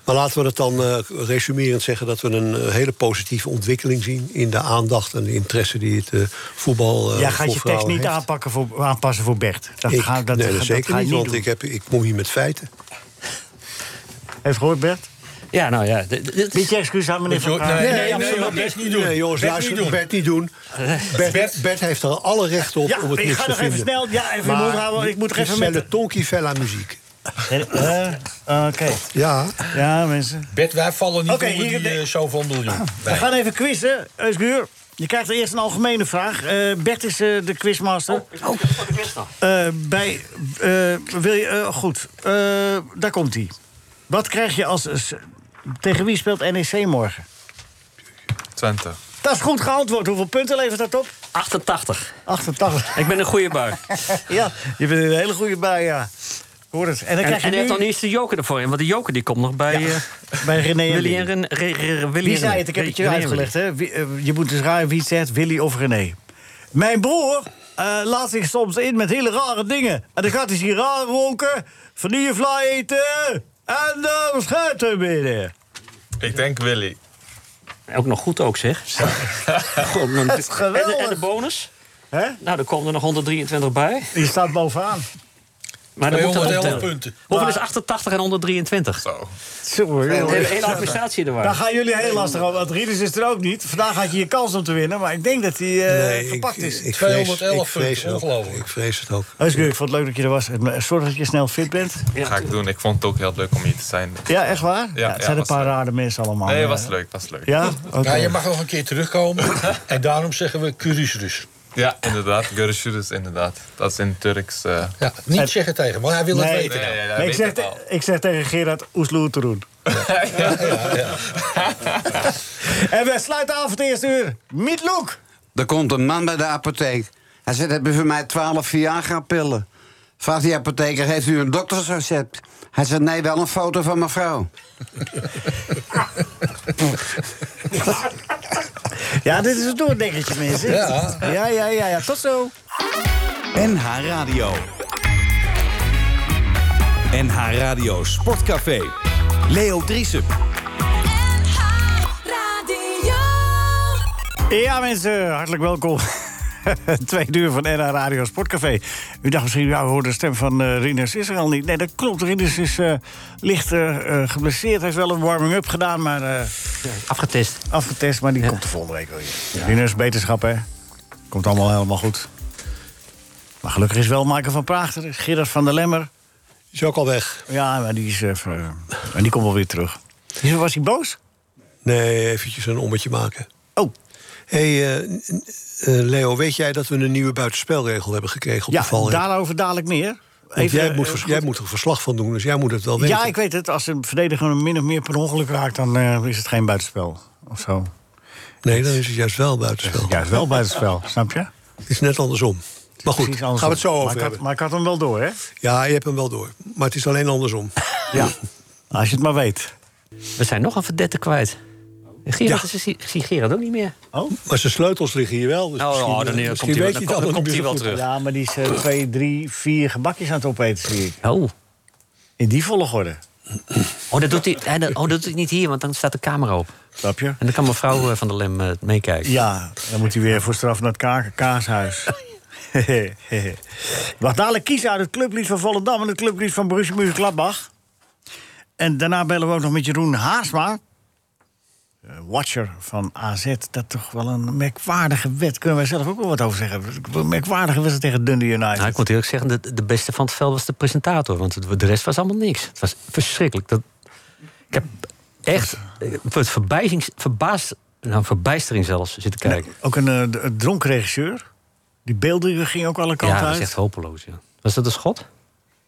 [SPEAKER 6] Maar laten we het dan eh, resumerend zeggen dat we een eh, hele positieve ontwikkeling zien in de aandacht en de interesse die het eh, voetbal. eh
[SPEAKER 3] Jij gaat
[SPEAKER 6] voor
[SPEAKER 3] je tekst
[SPEAKER 6] vrouwen
[SPEAKER 3] niet
[SPEAKER 6] heeft.
[SPEAKER 3] aanpakken voor, aanpassen voor Bert. Dat
[SPEAKER 6] Ik-
[SPEAKER 3] ga, dat,
[SPEAKER 6] nee,
[SPEAKER 3] dat
[SPEAKER 6] dat zeker
[SPEAKER 3] ga je
[SPEAKER 6] niet, want
[SPEAKER 3] doen.
[SPEAKER 6] ik, heb, ik kom hier met feiten.
[SPEAKER 3] Heeft gehoord, Bert?
[SPEAKER 4] Ja, nou ja. d- d- dit is-
[SPEAKER 3] Beetje excuus aan meneer Van Gaal.
[SPEAKER 5] absoluut Bert niet doen.
[SPEAKER 6] Nee, jongens,
[SPEAKER 5] Bert
[SPEAKER 6] luister,
[SPEAKER 5] niet doen.
[SPEAKER 6] Bert niet doen. Bert, Bert, heeft er alle recht op
[SPEAKER 3] Ja,
[SPEAKER 6] om het
[SPEAKER 3] ik
[SPEAKER 6] niks
[SPEAKER 3] ga
[SPEAKER 6] te
[SPEAKER 3] nog even
[SPEAKER 6] vinden.
[SPEAKER 3] snel- ja, even je
[SPEAKER 6] Ah,
[SPEAKER 3] mond houden, want ik moet er
[SPEAKER 6] dit
[SPEAKER 3] even
[SPEAKER 6] zijn
[SPEAKER 3] met-
[SPEAKER 6] de Tonky Vella muziek.
[SPEAKER 3] Eh, eh, Oké,
[SPEAKER 6] Ja,
[SPEAKER 3] ja mensen.
[SPEAKER 5] Bert, wij vallen niet
[SPEAKER 3] Oké,
[SPEAKER 5] over
[SPEAKER 3] hier-
[SPEAKER 5] die eh, zoveel miljoen.
[SPEAKER 3] We
[SPEAKER 5] Nee.
[SPEAKER 3] gaan even quizzen, Eusbuur. Je krijgt eerst een algemene vraag. Eh, Bert is eh, de quizmaster. Eh, bij, eh, wil je, eh, goed, Eh, daar komt hij. Wat krijg je als... als- tegen wie speelt NEC morgen?
[SPEAKER 7] Twente.
[SPEAKER 3] Dat is goed geantwoord. Hoeveel punten levert dat op?
[SPEAKER 4] 88.
[SPEAKER 3] 88.
[SPEAKER 4] Ik ben een goede bui.
[SPEAKER 3] ja, je bent in een hele goede bij, ja. Ik Hoor het. En dan
[SPEAKER 4] En, en
[SPEAKER 3] krijg je
[SPEAKER 4] hij heeft
[SPEAKER 3] nu
[SPEAKER 4] dan eerst de joker ervoor in. Want de joker die komt nog bij eh
[SPEAKER 3] bij René en
[SPEAKER 4] Willy
[SPEAKER 3] Willy.
[SPEAKER 4] en Ren- Re- Re- Re- Willy
[SPEAKER 3] Wie
[SPEAKER 4] en
[SPEAKER 3] zei
[SPEAKER 4] Ren-
[SPEAKER 3] het? Ik heb het je
[SPEAKER 4] Re- René en
[SPEAKER 3] uitgelegd, hè? Wie- eh, je moet dus raar wie het zegt, Willy of René. Mijn broer eh, laat zich soms in met hele rare dingen. En dan gaat hij zich raar roken, vanillevla eten en dan schuiten binnen.
[SPEAKER 7] Ik denk Willy.
[SPEAKER 4] Willy. Ook nog goed ook, zeg. Gewoon een-
[SPEAKER 3] Dat is geweldig.
[SPEAKER 4] En, de, en de bonus?
[SPEAKER 3] Hè?
[SPEAKER 4] Nou, er komen er nog 123 bij.
[SPEAKER 3] Die staat bovenaan.
[SPEAKER 4] Maar dan moet dat
[SPEAKER 5] 211
[SPEAKER 4] optellen.
[SPEAKER 5] punten.
[SPEAKER 4] Hoeveel is 88 en 123?
[SPEAKER 7] Zo.
[SPEAKER 4] De
[SPEAKER 3] Sorry.
[SPEAKER 4] hele, hele administratie er
[SPEAKER 3] Daar
[SPEAKER 4] waar.
[SPEAKER 3] gaan jullie heel lastig over. Want Rieders is er ook niet. Vandaag had je je kans om te winnen, maar ik denk dat hij eh,
[SPEAKER 6] nee, ik,
[SPEAKER 3] gepakt is.
[SPEAKER 6] ik vrees, ik
[SPEAKER 5] 211
[SPEAKER 6] vrees
[SPEAKER 5] punten,
[SPEAKER 6] het ook.
[SPEAKER 5] ongelooflijk.
[SPEAKER 6] Ik vrees het ook.
[SPEAKER 3] Huisgeur, ik vond het leuk dat je er was. En eh, Zorg dat je snel fit bent.
[SPEAKER 7] Ga ik doen. Ik vond het ook heel leuk om hier te zijn.
[SPEAKER 3] Ja, echt waar?
[SPEAKER 7] ja,
[SPEAKER 3] het zijn een
[SPEAKER 7] was
[SPEAKER 3] paar
[SPEAKER 7] leuk.
[SPEAKER 3] rare mensen allemaal.
[SPEAKER 7] Nee,
[SPEAKER 3] Eh,
[SPEAKER 7] was leuk. Was leuk.
[SPEAKER 3] Ja? Oké.
[SPEAKER 5] Ja, je mag nog een keer terugkomen. en daarom zeggen we dus. Curious Rus.
[SPEAKER 7] Ja, inderdaad. Görüşürüz, inderdaad. Dat is in Turks. eh,
[SPEAKER 5] Ja, niet zeggen tegen, want hij wil het
[SPEAKER 3] Nee,
[SPEAKER 5] weten.
[SPEAKER 7] nee, hij
[SPEAKER 3] nee, ik,
[SPEAKER 7] weet
[SPEAKER 3] zeg
[SPEAKER 7] het
[SPEAKER 3] te-
[SPEAKER 7] al.
[SPEAKER 3] ik zeg tegen Gerard Oesloer te doen. En we sluiten af het eerste uur. Mietloek!
[SPEAKER 9] Er komt een man bij de apotheek. Hij zegt, heb je voor mij 12 Viagra-pillen? Vraagt die apotheker, heeft u een doktersrecept? Hij zegt, nee, wel een foto van mijn vrouw.
[SPEAKER 3] Ja, dit is een doordekkertje, mensen.
[SPEAKER 5] Ja.
[SPEAKER 3] ja, ja, ja, ja. Tot zo.
[SPEAKER 2] NH Radio. NH Radio Sportcafé. Leo Driesen.
[SPEAKER 1] Radio.
[SPEAKER 3] Ja, mensen, hartelijk welkom. Twee uur van NH Radio Sportcafé. U dacht misschien, ja, we hoorden de stem van eh Rinus is er al niet. Nee, dat klopt. Rinus is eh, licht eh, eh, geblesseerd. Heeft wel een warming-up gedaan, maar eh,
[SPEAKER 4] Afgetest.
[SPEAKER 3] afgetest. Maar die komt de volgende week wel weer. Rinus, beterschap, hè? Komt allemaal helemaal goed. Maar gelukkig is wel Michael van Praag er. Gerard van der Lemmer.
[SPEAKER 6] Is ook al weg.
[SPEAKER 3] Ja, maar die is... eh, ver- en die komt wel weer terug. Dus Was hij boos?
[SPEAKER 6] Nee, eventjes een ommetje maken.
[SPEAKER 3] Oh,
[SPEAKER 6] Hé, hey, eh, n- eh, Leo, weet jij dat we een nieuwe buitenspelregel hebben gekregen op
[SPEAKER 3] ja,
[SPEAKER 6] de val?
[SPEAKER 3] daarover dadelijk meer. Even,
[SPEAKER 6] jij,
[SPEAKER 3] eh,
[SPEAKER 6] moet,
[SPEAKER 3] eh,
[SPEAKER 6] vers- jij moet er verslag van doen, dus jij moet het wel weten.
[SPEAKER 3] Ja, ik weet het. Als een verdediger hem min of meer per ongeluk raakt, dan eh, is het geen buitenspel. Of zo.
[SPEAKER 6] Nee, dan is het juist wel buitenspel.
[SPEAKER 3] Juist wel buitenspel, snap je?
[SPEAKER 6] Het is net andersom. Maar goed,
[SPEAKER 3] Precies
[SPEAKER 6] gaan
[SPEAKER 3] andersom.
[SPEAKER 6] we het zo over
[SPEAKER 3] maar ik, had,
[SPEAKER 6] hebben.
[SPEAKER 3] maar ik had hem wel door, hè?
[SPEAKER 6] Ja, je hebt hem wel door. Maar het is alleen andersom.
[SPEAKER 3] Ja. Nou, Als je het maar weet.
[SPEAKER 4] We zijn nog een verdette kwijt. Gerard,
[SPEAKER 6] Ja.
[SPEAKER 4] is- ik zie Gerard ook niet meer.
[SPEAKER 6] Maar zijn sleutels liggen hier wel. Dus
[SPEAKER 4] Oh,
[SPEAKER 6] misschien,
[SPEAKER 4] oh, dan,
[SPEAKER 6] eh,
[SPEAKER 4] eh,
[SPEAKER 6] misschien
[SPEAKER 4] komt hij wel-
[SPEAKER 6] weet
[SPEAKER 4] dan komt-
[SPEAKER 6] je het
[SPEAKER 4] dan
[SPEAKER 6] allemaal
[SPEAKER 4] komt
[SPEAKER 6] niet
[SPEAKER 4] hij
[SPEAKER 6] meer
[SPEAKER 4] wel
[SPEAKER 6] zo goed.
[SPEAKER 4] terug.
[SPEAKER 3] Ja, maar die is eh, twee, drie, vier gebakjes aan het opeten, zie ik.
[SPEAKER 4] Oh.
[SPEAKER 3] In die volgorde.
[SPEAKER 4] Oh, dat doet hij, hij- dat- oh, dat doet hij niet hier, want dan staat de camera op.
[SPEAKER 3] Snap je?
[SPEAKER 4] En dan kan mevrouw eh, van der Lem eh, meekijken.
[SPEAKER 3] Ja, dan moet hij weer voor straf naar het ka- kaashuis. Wat dadelijk kiezen uit het clublied van Volendam en het clublied van Borussia Mönchengladbach. En daarna bellen we ook nog met Jeroen Haasma. eh, Watcher van AZ, dat toch wel een merkwaardige wet. Kunnen wij zelf ook wel wat over zeggen? Een merkwaardige wedstrijd tegen Dundee United.
[SPEAKER 4] Nou, ik moet eerlijk zeggen, de, de beste van het veld was de presentator. Want het- de rest was allemaal niks. Het was verschrikkelijk. Dat, ik heb echt eh, het verbijzings, verbaasd, nou, verbijstering zelfs zitten kijken.
[SPEAKER 3] Ook een eh, d- een dronken regisseur. Die beelden gingen ook alle kanten
[SPEAKER 4] ja, dat
[SPEAKER 3] uit.
[SPEAKER 4] is echt hopeloos. Ja. Was dat een schot?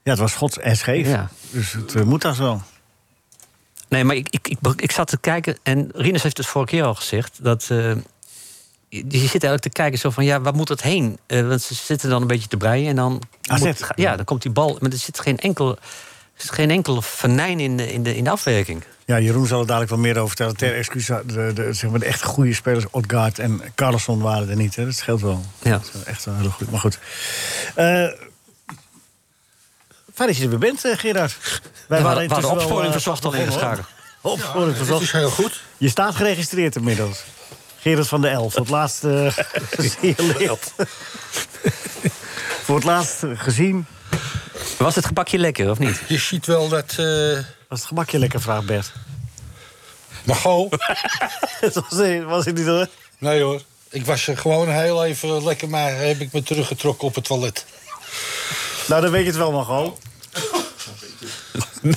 [SPEAKER 3] Ja, het was gods en scheef.
[SPEAKER 4] Ja.
[SPEAKER 3] Dus het eh, moet daar zo.
[SPEAKER 4] Nee, maar ik, ik, ik, ik zat te kijken en Rinus heeft het vorige keer al gezegd dat. eh, je je zit eigenlijk te kijken zo van ja, waar moet dat heen? Eh, want ze zitten dan een beetje te breien en dan.
[SPEAKER 3] AZ.
[SPEAKER 4] moet- ga- ja, dan komt die bal. Maar er zit geen enkel Er is geen enkel venijn in de, in de, in de afwerking.
[SPEAKER 3] Ja, Jeroen zal er dadelijk wel meer over vertellen. Ter excuus, eh, de, de, zeg maar de echt goede spelers, Odgaard en Carlson waren er niet. Hè? Dat scheelt wel.
[SPEAKER 4] Ja.
[SPEAKER 3] Dat is echt wel heel goed. Maar goed. Eh, fijn dat je er weer bent, eh, Gerard. Wij
[SPEAKER 4] we hadden- we hadden
[SPEAKER 3] intussen wel,
[SPEAKER 4] opsporing
[SPEAKER 3] eh,
[SPEAKER 4] verzocht al
[SPEAKER 3] begonnen, hoor.
[SPEAKER 4] ingeschakeld.
[SPEAKER 3] Opsporing
[SPEAKER 5] Dat
[SPEAKER 3] verzocht.
[SPEAKER 5] is heel goed.
[SPEAKER 3] Je staat geregistreerd inmiddels. Gerard van de Elf, voor het laatst eh, gesignaleerd. voor het laatst gezien.
[SPEAKER 4] Was het gebakje lekker of niet?
[SPEAKER 5] Je ziet wel dat... eh
[SPEAKER 3] Was het gebakje lekker, vraagt Bert.
[SPEAKER 5] Mago...
[SPEAKER 3] Het was, eh, was het niet hoor.
[SPEAKER 5] Nee hoor. Ik was eh, gewoon heel even lekker, maar heb ik me teruggetrokken op het toilet.
[SPEAKER 3] Nou, dan weet je het wel, Margot.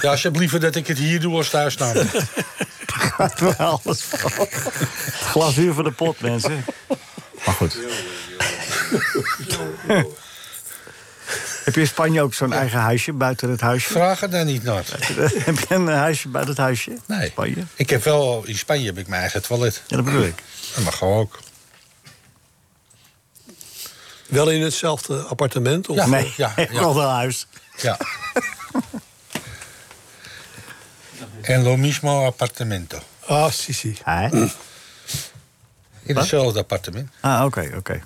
[SPEAKER 5] Ja, ze hebben liever dat ik het hier doe als thuis nou. namelijk.
[SPEAKER 3] Gaat wel alles van. Glazuur voor de pot, mensen. Maar goed. Heb je in Spanje ook zo'n eigen huisje buiten het huisje?
[SPEAKER 5] Vraag er daar niet naar.
[SPEAKER 3] Heb je een huisje buiten het huisje?
[SPEAKER 5] Nee.
[SPEAKER 3] Spanje?
[SPEAKER 5] Ik heb wel, in Spanje heb ik mijn eigen toilet.
[SPEAKER 3] Ja, dat bedoel ik.
[SPEAKER 5] Dat mag gewoon ook.
[SPEAKER 6] Wel in hetzelfde appartement? Of?
[SPEAKER 5] Ja.
[SPEAKER 3] Nee,
[SPEAKER 5] ja.
[SPEAKER 3] nog wel huis.
[SPEAKER 5] Ja. en lo mismo appartamento.
[SPEAKER 6] Ah, si, si.
[SPEAKER 3] Hè?
[SPEAKER 5] In hetzelfde appartement.
[SPEAKER 3] Ah, oké, oké.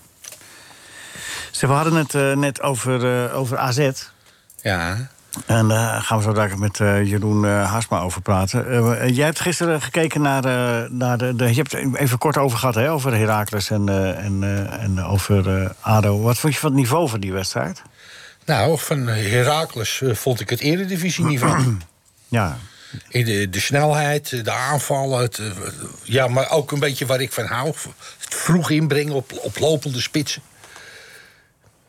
[SPEAKER 3] Zeg, We hadden het eh, net over, eh, over AZ.
[SPEAKER 5] Ja.
[SPEAKER 3] En daar gaan we zo dadelijk met eh, Jeroen eh Hasma over praten. Eh, jij hebt gisteren gekeken naar, eh, naar de, de... Je hebt het even kort over gehad, hè? Over Heracles en, eh, en, eh, en over eh, ADO. Wat vond je van het niveau van die wedstrijd?
[SPEAKER 5] Nou, van Heracles eh, vond ik het eredivisieniveau.
[SPEAKER 3] Ja,
[SPEAKER 5] In de, de snelheid, de aanvallen. Het, eh, ja, maar ook een beetje waar ik van hou. Het vroeg inbrengen op, op lopende spitsen.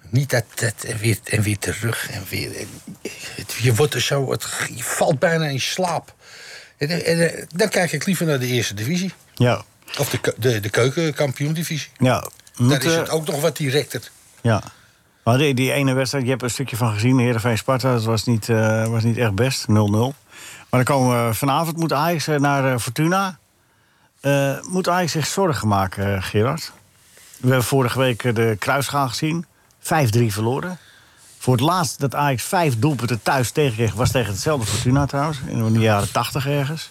[SPEAKER 5] Niet dat, dat en, weer, en weer terug en weer. en- het- je wordt er zo. Het, je valt bijna in slaap. En, en, eh, dan kijk ik liever naar de eerste divisie.
[SPEAKER 3] ja,
[SPEAKER 5] Of de, keu- de, de keukenkampioendivisie.
[SPEAKER 3] ja.
[SPEAKER 5] Daar
[SPEAKER 3] Moet,
[SPEAKER 5] is
[SPEAKER 3] eh,
[SPEAKER 5] het ook nog wat directer.
[SPEAKER 3] Ja. Maar die, die ene wedstrijd, je hebt er een stukje van gezien, Heerenveen Sparta, dat was niet, eh, was niet echt best, 0-0. Maar dan komen we vanavond, moet Ajax eh, naar eh, Fortuna. Eh, moet Ajax zich zorgen maken, eh, Gerard? We hebben vorige week eh, de Kruisgaan gezien, 5-3 verloren. Voor het laatst dat Ajax vijf doelpunten thuis tegenkreeg... was tegen hetzelfde Fortuna trouwens, in de jaren 80 ergens.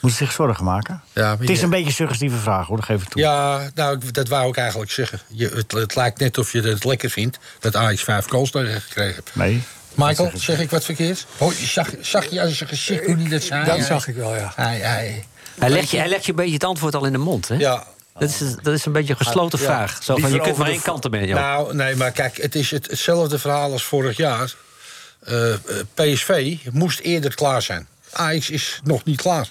[SPEAKER 3] Moet ze zich zorgen maken?
[SPEAKER 5] Ja, maar
[SPEAKER 3] het is
[SPEAKER 5] je-
[SPEAKER 3] een beetje een suggestieve vraag, hoor, dat geef ik toe.
[SPEAKER 5] Ja, nou, ik- dat wou ik eigenlijk zeggen. Je, het, het lijkt net of je het lekker vindt dat Ajax vijf goals tegen gekregen heeft.
[SPEAKER 3] Nee,
[SPEAKER 5] Michael, zeg ik wat verkeerd? Oh, je zag, zag je aan zijn gezicht toen hij dat zei?
[SPEAKER 6] Dat
[SPEAKER 5] Hij-
[SPEAKER 6] zag ik wel, ja.
[SPEAKER 5] Hij, hij,
[SPEAKER 4] Hij legt je, hij legt je een beetje het antwoord al in de mond, hè?
[SPEAKER 5] ja.
[SPEAKER 4] Dat is, dat is een beetje een gesloten
[SPEAKER 5] Ja.
[SPEAKER 4] vraag. Zo van, je
[SPEAKER 3] Liever
[SPEAKER 4] kunt
[SPEAKER 3] over
[SPEAKER 4] maar
[SPEAKER 3] de
[SPEAKER 4] één
[SPEAKER 3] vo-
[SPEAKER 4] kant ermee, joh.
[SPEAKER 5] Nou, nee, maar kijk, het is het, hetzelfde verhaal als vorig jaar. Eh, eh, PSV moest eerder klaar zijn. Ajax is nog niet klaar.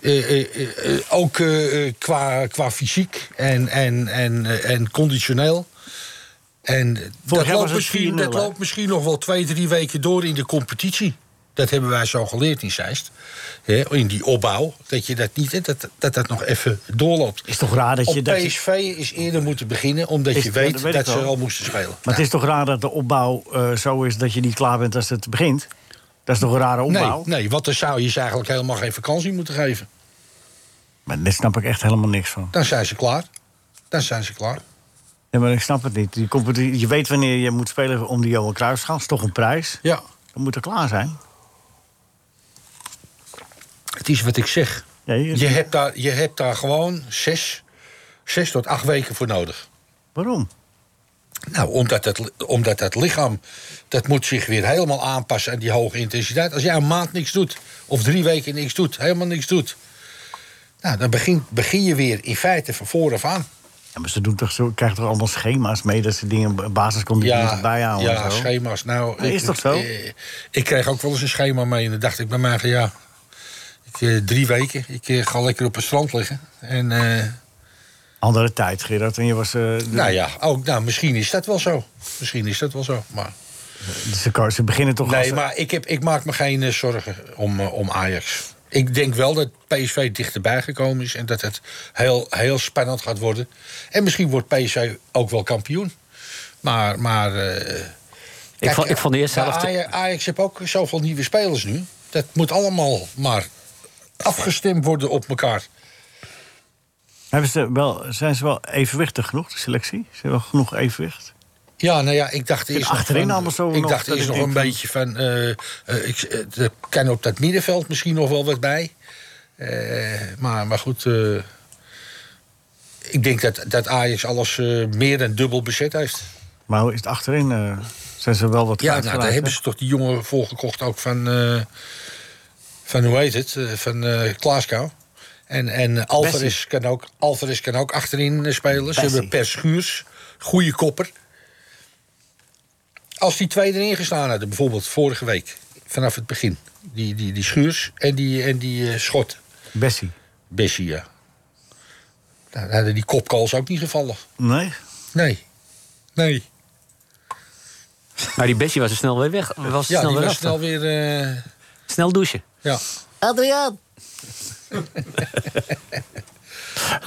[SPEAKER 5] Eh, eh, eh, eh, ook eh, eh, qua, qua fysiek en, en, en, eh, en conditioneel. En dat
[SPEAKER 3] jaar was
[SPEAKER 5] loopt,
[SPEAKER 3] het
[SPEAKER 5] misschien,
[SPEAKER 3] 4-0,
[SPEAKER 5] dat
[SPEAKER 3] hè?
[SPEAKER 5] loopt misschien nog wel twee, drie weken door in de competitie. Dat hebben wij zo geleerd in Zeist. Hè, in die opbouw. Dat je dat niet. Dat dat, dat nog even doorloopt.
[SPEAKER 3] Is toch raar dat je-
[SPEAKER 5] Op
[SPEAKER 3] dat je-
[SPEAKER 5] PSV is eerder moeten beginnen. Omdat
[SPEAKER 3] Is-
[SPEAKER 5] je
[SPEAKER 3] ja, dat
[SPEAKER 5] weet
[SPEAKER 3] weet
[SPEAKER 5] dat,
[SPEAKER 3] ik
[SPEAKER 5] ze
[SPEAKER 3] wel.
[SPEAKER 5] al moesten spelen.
[SPEAKER 3] Maar het is toch raar dat de opbouw eh, zo is dat je niet klaar bent als het begint? Dat is toch een rare
[SPEAKER 5] Nee,
[SPEAKER 3] opbouw?
[SPEAKER 5] nee, want dan zou je ze eigenlijk helemaal geen vakantie moeten geven.
[SPEAKER 3] Maar daar snap ik echt helemaal niks van.
[SPEAKER 5] Dan zijn ze klaar. Dan zijn ze klaar.
[SPEAKER 3] Ja, maar ik snap het niet. Die competitie- je weet wanneer je moet spelen om de Johan Cruijff Dat is toch een prijs.
[SPEAKER 5] Ja.
[SPEAKER 3] Dan moet er klaar zijn.
[SPEAKER 5] Het is wat ik zeg.
[SPEAKER 3] Ja, je-
[SPEAKER 5] Je hebt daar, je hebt daar gewoon zes, zes tot acht weken voor nodig.
[SPEAKER 3] Waarom?
[SPEAKER 5] Nou, omdat dat, li- omdat dat lichaam dat moet zich weer helemaal aanpassen aan die hoge intensiteit. Als jij een maand niks doet, of drie weken niks doet, helemaal niks doet. Nou, dan begin, begin je weer in feite van vooraf aan.
[SPEAKER 3] Ja, maar ze doen toch zo, krijgen toch allemaal schema's mee dat ze dingen basiscondities bijhouden
[SPEAKER 5] ja
[SPEAKER 3] en zo.
[SPEAKER 5] schema's. Nou,
[SPEAKER 3] Nee, is dat zo?
[SPEAKER 5] eh, ik kreeg ook wel eens een schema mee en dan dacht ik bij mij van ja, ik, eh, drie weken. Ik eh, ga lekker op het strand liggen. En eh,
[SPEAKER 3] Andere tijd, Gerard. En je was, eh, de-
[SPEAKER 5] nou ja, ook, nou, misschien is dat wel zo. Misschien is dat wel zo. Maar,
[SPEAKER 3] ze, ko- ze beginnen toch als-
[SPEAKER 5] nee, maar ik, heb, ik maak me geen eh, zorgen om, eh, om Ajax. Ik denk wel dat PSV dichterbij gekomen is en dat het heel, heel spannend gaat worden. En misschien wordt PSV ook wel kampioen. Maar, maar eh,
[SPEAKER 4] ik,
[SPEAKER 5] Kijk, nou,
[SPEAKER 4] vond, ik vond de eerste
[SPEAKER 5] maar
[SPEAKER 4] helft...
[SPEAKER 5] Ajax, Ajax heeft ook zoveel nieuwe spelers nu. Dat moet allemaal maar afgestemd worden op elkaar.
[SPEAKER 3] Hebben ze wel, zijn ze wel evenwichtig genoeg, de selectie? Zijn wel genoeg evenwicht?
[SPEAKER 5] Ja, nou ja, ik dacht eerst nog
[SPEAKER 3] achterin
[SPEAKER 5] van-
[SPEAKER 3] allemaal zo
[SPEAKER 5] Ik
[SPEAKER 3] nog
[SPEAKER 5] dacht
[SPEAKER 3] dat
[SPEAKER 5] eerst
[SPEAKER 3] ik
[SPEAKER 5] nog een
[SPEAKER 3] denk
[SPEAKER 5] beetje van... eh, eh, ik, eh, er kan op dat middenveld misschien nog wel wat bij. Eh, maar, maar goed... eh, ik denk dat, dat Ajax alles eh, meer dan dubbel bezet heeft.
[SPEAKER 3] Maar hoe is het achterin? eh, zijn ze wel wat
[SPEAKER 5] Ja,
[SPEAKER 3] kwijt
[SPEAKER 5] nou, daar
[SPEAKER 3] geraakt,
[SPEAKER 5] hebben
[SPEAKER 3] hè?
[SPEAKER 5] ze toch die jongen voor gekocht ook van... eh, van hoe heet het? Eh, van eh Klaaskau. En, en Alvarez, kan ook, Alvarez kan ook achterin eh, spelen. Ze
[SPEAKER 3] Bessie.
[SPEAKER 5] hebben Per Schuurs, goede kopper. Als die twee erin gestaan hadden, bijvoorbeeld vorige week... vanaf het begin, die, die, die Schuurs en die, en die eh, Schot,
[SPEAKER 3] Bessie.
[SPEAKER 5] Bessie, ja. Nou, Dan hadden die kopkals ook niet gevallen.
[SPEAKER 3] Nee?
[SPEAKER 5] Nee. Nee.
[SPEAKER 4] Maar die Bessie was er snel weer weg. Was er
[SPEAKER 5] Ja,
[SPEAKER 4] snel
[SPEAKER 5] die
[SPEAKER 4] weer
[SPEAKER 5] was
[SPEAKER 4] af.
[SPEAKER 5] snel weer... eh,
[SPEAKER 4] Snel douchen.
[SPEAKER 5] ja.
[SPEAKER 3] Adriaan!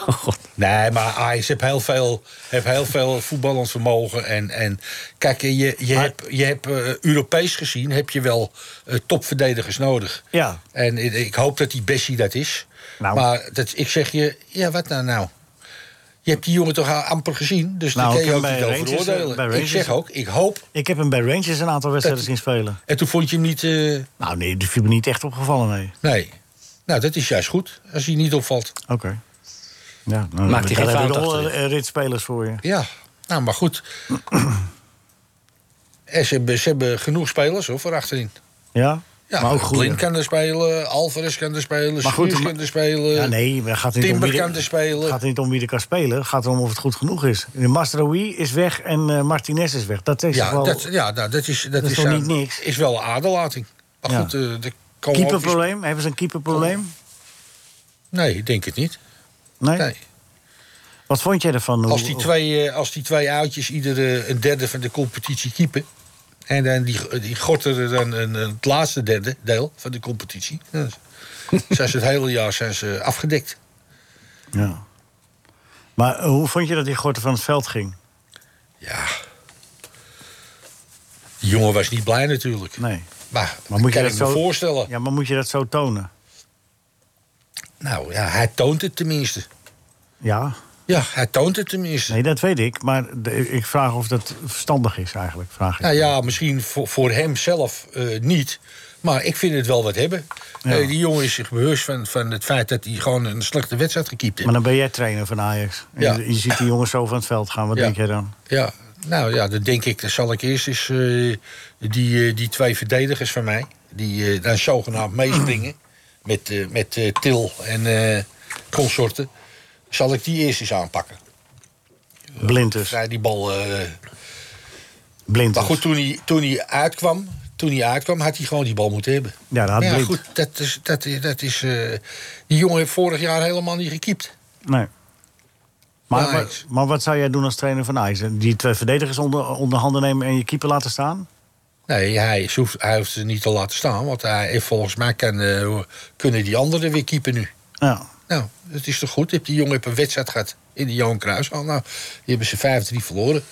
[SPEAKER 3] Oh,
[SPEAKER 5] Nee, maar Ajax heeft heel veel, heeft heel veel voetballend vermogen. En, en kijk, je, je hebt, je hebt eh, Europees gezien heb je wel eh, topverdedigers nodig.
[SPEAKER 3] Ja.
[SPEAKER 5] En ik ik hoop dat die Bessie dat is.
[SPEAKER 3] Nou.
[SPEAKER 5] Maar dat, ik zeg je, ja, wat nou nou? Je hebt die jongen toch al amper gezien, dus
[SPEAKER 3] Nou,
[SPEAKER 5] daar
[SPEAKER 3] ik
[SPEAKER 5] kun je
[SPEAKER 3] heb
[SPEAKER 5] ook
[SPEAKER 3] hem
[SPEAKER 5] niet
[SPEAKER 3] bij
[SPEAKER 5] over
[SPEAKER 3] Rangers, eh, bij
[SPEAKER 5] oordelen. Ik
[SPEAKER 3] Rangers-
[SPEAKER 5] zeg ook, ik hoop.
[SPEAKER 3] Ik heb hem bij Rangers een aantal wedstrijden zien spelen.
[SPEAKER 5] En toen vond je hem niet... eh,
[SPEAKER 3] Nou nee, die viel me niet echt opgevallen, nee.
[SPEAKER 5] nee. Nou, dat is juist goed, als hij niet opvalt.
[SPEAKER 3] Oké. Ja, nou,
[SPEAKER 4] Maakt hij
[SPEAKER 3] dan
[SPEAKER 4] geen
[SPEAKER 3] heb je
[SPEAKER 4] fout
[SPEAKER 3] al
[SPEAKER 4] achterin?
[SPEAKER 3] een rit spelers voor je.
[SPEAKER 5] Ja, nou, maar goed. En ze, hebben, ze hebben genoeg spelers hoor, voor achterin.
[SPEAKER 3] Ja?
[SPEAKER 5] Ja,
[SPEAKER 3] maar ook goed.
[SPEAKER 5] Blind kan er spelen, Alvarez kan er spelen,
[SPEAKER 3] Maar goed,
[SPEAKER 5] Schuurs
[SPEAKER 3] maar-
[SPEAKER 5] kan er spelen.
[SPEAKER 3] Ja, nee, maar het gaat niet om
[SPEAKER 5] Timber
[SPEAKER 3] wie de-
[SPEAKER 5] kan er spelen.
[SPEAKER 3] Het gaat niet om wie er kan spelen. Het gaat erom of het goed genoeg is. De Mastroui is weg en eh, Martinez is weg. Dat is
[SPEAKER 5] ja,
[SPEAKER 3] wel
[SPEAKER 5] dat, ja nou, dat is, dat
[SPEAKER 3] is
[SPEAKER 5] is,
[SPEAKER 3] toch
[SPEAKER 5] aan-
[SPEAKER 3] niet niks?
[SPEAKER 5] is wel een aderlating. Maar
[SPEAKER 3] Ja.
[SPEAKER 5] goed, eh, de komen ook eens-
[SPEAKER 3] keeperprobleem. Hebben ze een keeperprobleem?
[SPEAKER 5] Nee, ik denk het niet.
[SPEAKER 3] Nee? Oh,
[SPEAKER 5] Nee.
[SPEAKER 3] Wat vond jij ervan? Hoe-
[SPEAKER 5] Als, die twee, eh, als die twee oudjes ieder eh, een derde van de competitie keepen... en dan die, die gorteren dan een, een- het laatste derde deel van de competitie... dan zijn ze het hele jaar zijn ze afgedekt.
[SPEAKER 3] Ja. Maar eh, hoe vond je dat die Gorten van het veld ging?
[SPEAKER 5] Ja. Die jongen was niet blij natuurlijk.
[SPEAKER 3] Nee.
[SPEAKER 5] Maar,
[SPEAKER 3] Maar moet je
[SPEAKER 5] kan
[SPEAKER 3] dat
[SPEAKER 5] ik
[SPEAKER 3] zo-
[SPEAKER 5] me voorstellen.
[SPEAKER 3] Ja, maar moet je dat zo tonen?
[SPEAKER 5] Nou ja, hij toont het tenminste.
[SPEAKER 3] Ja,
[SPEAKER 5] Ja, hij toont het tenminste.
[SPEAKER 3] nee, dat weet ik. Maar de- ik vraag of dat verstandig is eigenlijk. Vraag ik.
[SPEAKER 5] Nou ja, misschien voor, voor hem zelf eh, niet. Maar ik vind het wel wat hebben.
[SPEAKER 3] Ja.
[SPEAKER 5] Eh, die jongen is zich bewust van, van het feit dat hij gewoon een slechte wedstrijd gekiept heeft.
[SPEAKER 3] Maar dan ben jij trainer van Ajax. En
[SPEAKER 5] Ja.
[SPEAKER 3] je, je ziet die jongens zo van het veld gaan. Wat
[SPEAKER 5] Ja.
[SPEAKER 3] denk jij dan?
[SPEAKER 5] Ja, nou ja, dan denk ik, dan zal ik eerst eens eh, die, eh, die twee verdedigers van mij, die eh, dan zogenaamd meespringen met, eh, met eh, Til en eh, consorten, zal ik die eerst eens aanpakken.
[SPEAKER 3] Blind dus.
[SPEAKER 5] Vrij die bal. eh,
[SPEAKER 3] Blind
[SPEAKER 5] maar
[SPEAKER 3] dus.
[SPEAKER 5] goed, toen hij, toen hij uitkwam. Toen hij uitkwam, had hij gewoon die bal moeten hebben.
[SPEAKER 3] Ja, dat had
[SPEAKER 5] Maar ja,
[SPEAKER 3] Nou, Blind.
[SPEAKER 5] goed, dat is, dat, is- dat is, eh, die jongen heeft vorig jaar helemaal niet gekiept.
[SPEAKER 3] Nee. Maar,
[SPEAKER 5] Maar
[SPEAKER 3] maar,
[SPEAKER 5] Ajax.
[SPEAKER 3] maar wat zou jij doen als trainer van Ajax? Die twee verdedigers onder, onder handen nemen en je keeper laten staan?
[SPEAKER 5] Nee, hij, is- hoeft, hij hoeft ze niet te laten staan. Want hij, heeft- volgens mij kan, eh, kunnen die anderen weer keepen nu.
[SPEAKER 3] Ja.
[SPEAKER 5] Nou, dat is toch goed? Je hebt die jongen op een wedstrijd gehad in de Johan Cruijffschaal. Nou, die hebben ze 5-3 verloren.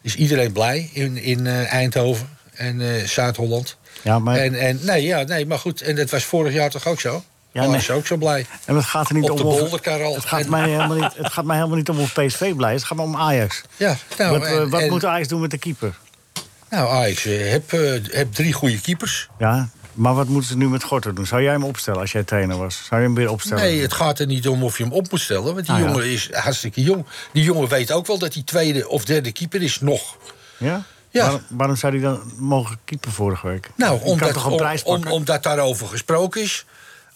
[SPEAKER 5] Is iedereen blij in, in eh, Eindhoven en eh, Zuid-Holland.
[SPEAKER 3] Ja, maar
[SPEAKER 5] En, en, nee, ja, nee, maar goed. En dat was vorig jaar toch ook zo?
[SPEAKER 3] Ja,
[SPEAKER 5] Ja,
[SPEAKER 3] nee.
[SPEAKER 5] was ook zo blij.
[SPEAKER 3] en het gaat er niet
[SPEAKER 5] op de
[SPEAKER 3] om. of-
[SPEAKER 5] bolderkarrel.
[SPEAKER 3] het, gaat
[SPEAKER 5] En-
[SPEAKER 3] mij helemaal niet, het gaat mij helemaal niet om of PSV blij is. Het gaat me om Ajax.
[SPEAKER 5] Ja, nou,
[SPEAKER 3] wat
[SPEAKER 5] en-
[SPEAKER 3] eh, wat
[SPEAKER 5] en-
[SPEAKER 3] moet Ajax doen met de keeper?
[SPEAKER 5] Nou, Ajax, eh, heb, eh, heb drie goede keepers.
[SPEAKER 3] Ja, maar wat moeten ze nu met Gorter doen? Zou jij hem opstellen als jij trainer was? Zou je hem weer opstellen?
[SPEAKER 5] Nee,
[SPEAKER 6] eh,
[SPEAKER 5] het gaat er niet om of je hem op moet stellen. Want die
[SPEAKER 3] Ah, ja.
[SPEAKER 5] jongen is hartstikke jong. Die jongen weet ook wel dat hij tweede of derde keeper is nog.
[SPEAKER 3] Ja?
[SPEAKER 5] Ja.
[SPEAKER 3] Waarom, waarom zou hij dan mogen keeper vorige week?
[SPEAKER 5] Nou,
[SPEAKER 3] Je kan
[SPEAKER 5] omdat,
[SPEAKER 3] toch een
[SPEAKER 5] om-
[SPEAKER 3] prijs
[SPEAKER 5] om-
[SPEAKER 3] pakken?
[SPEAKER 5] omdat daarover gesproken is.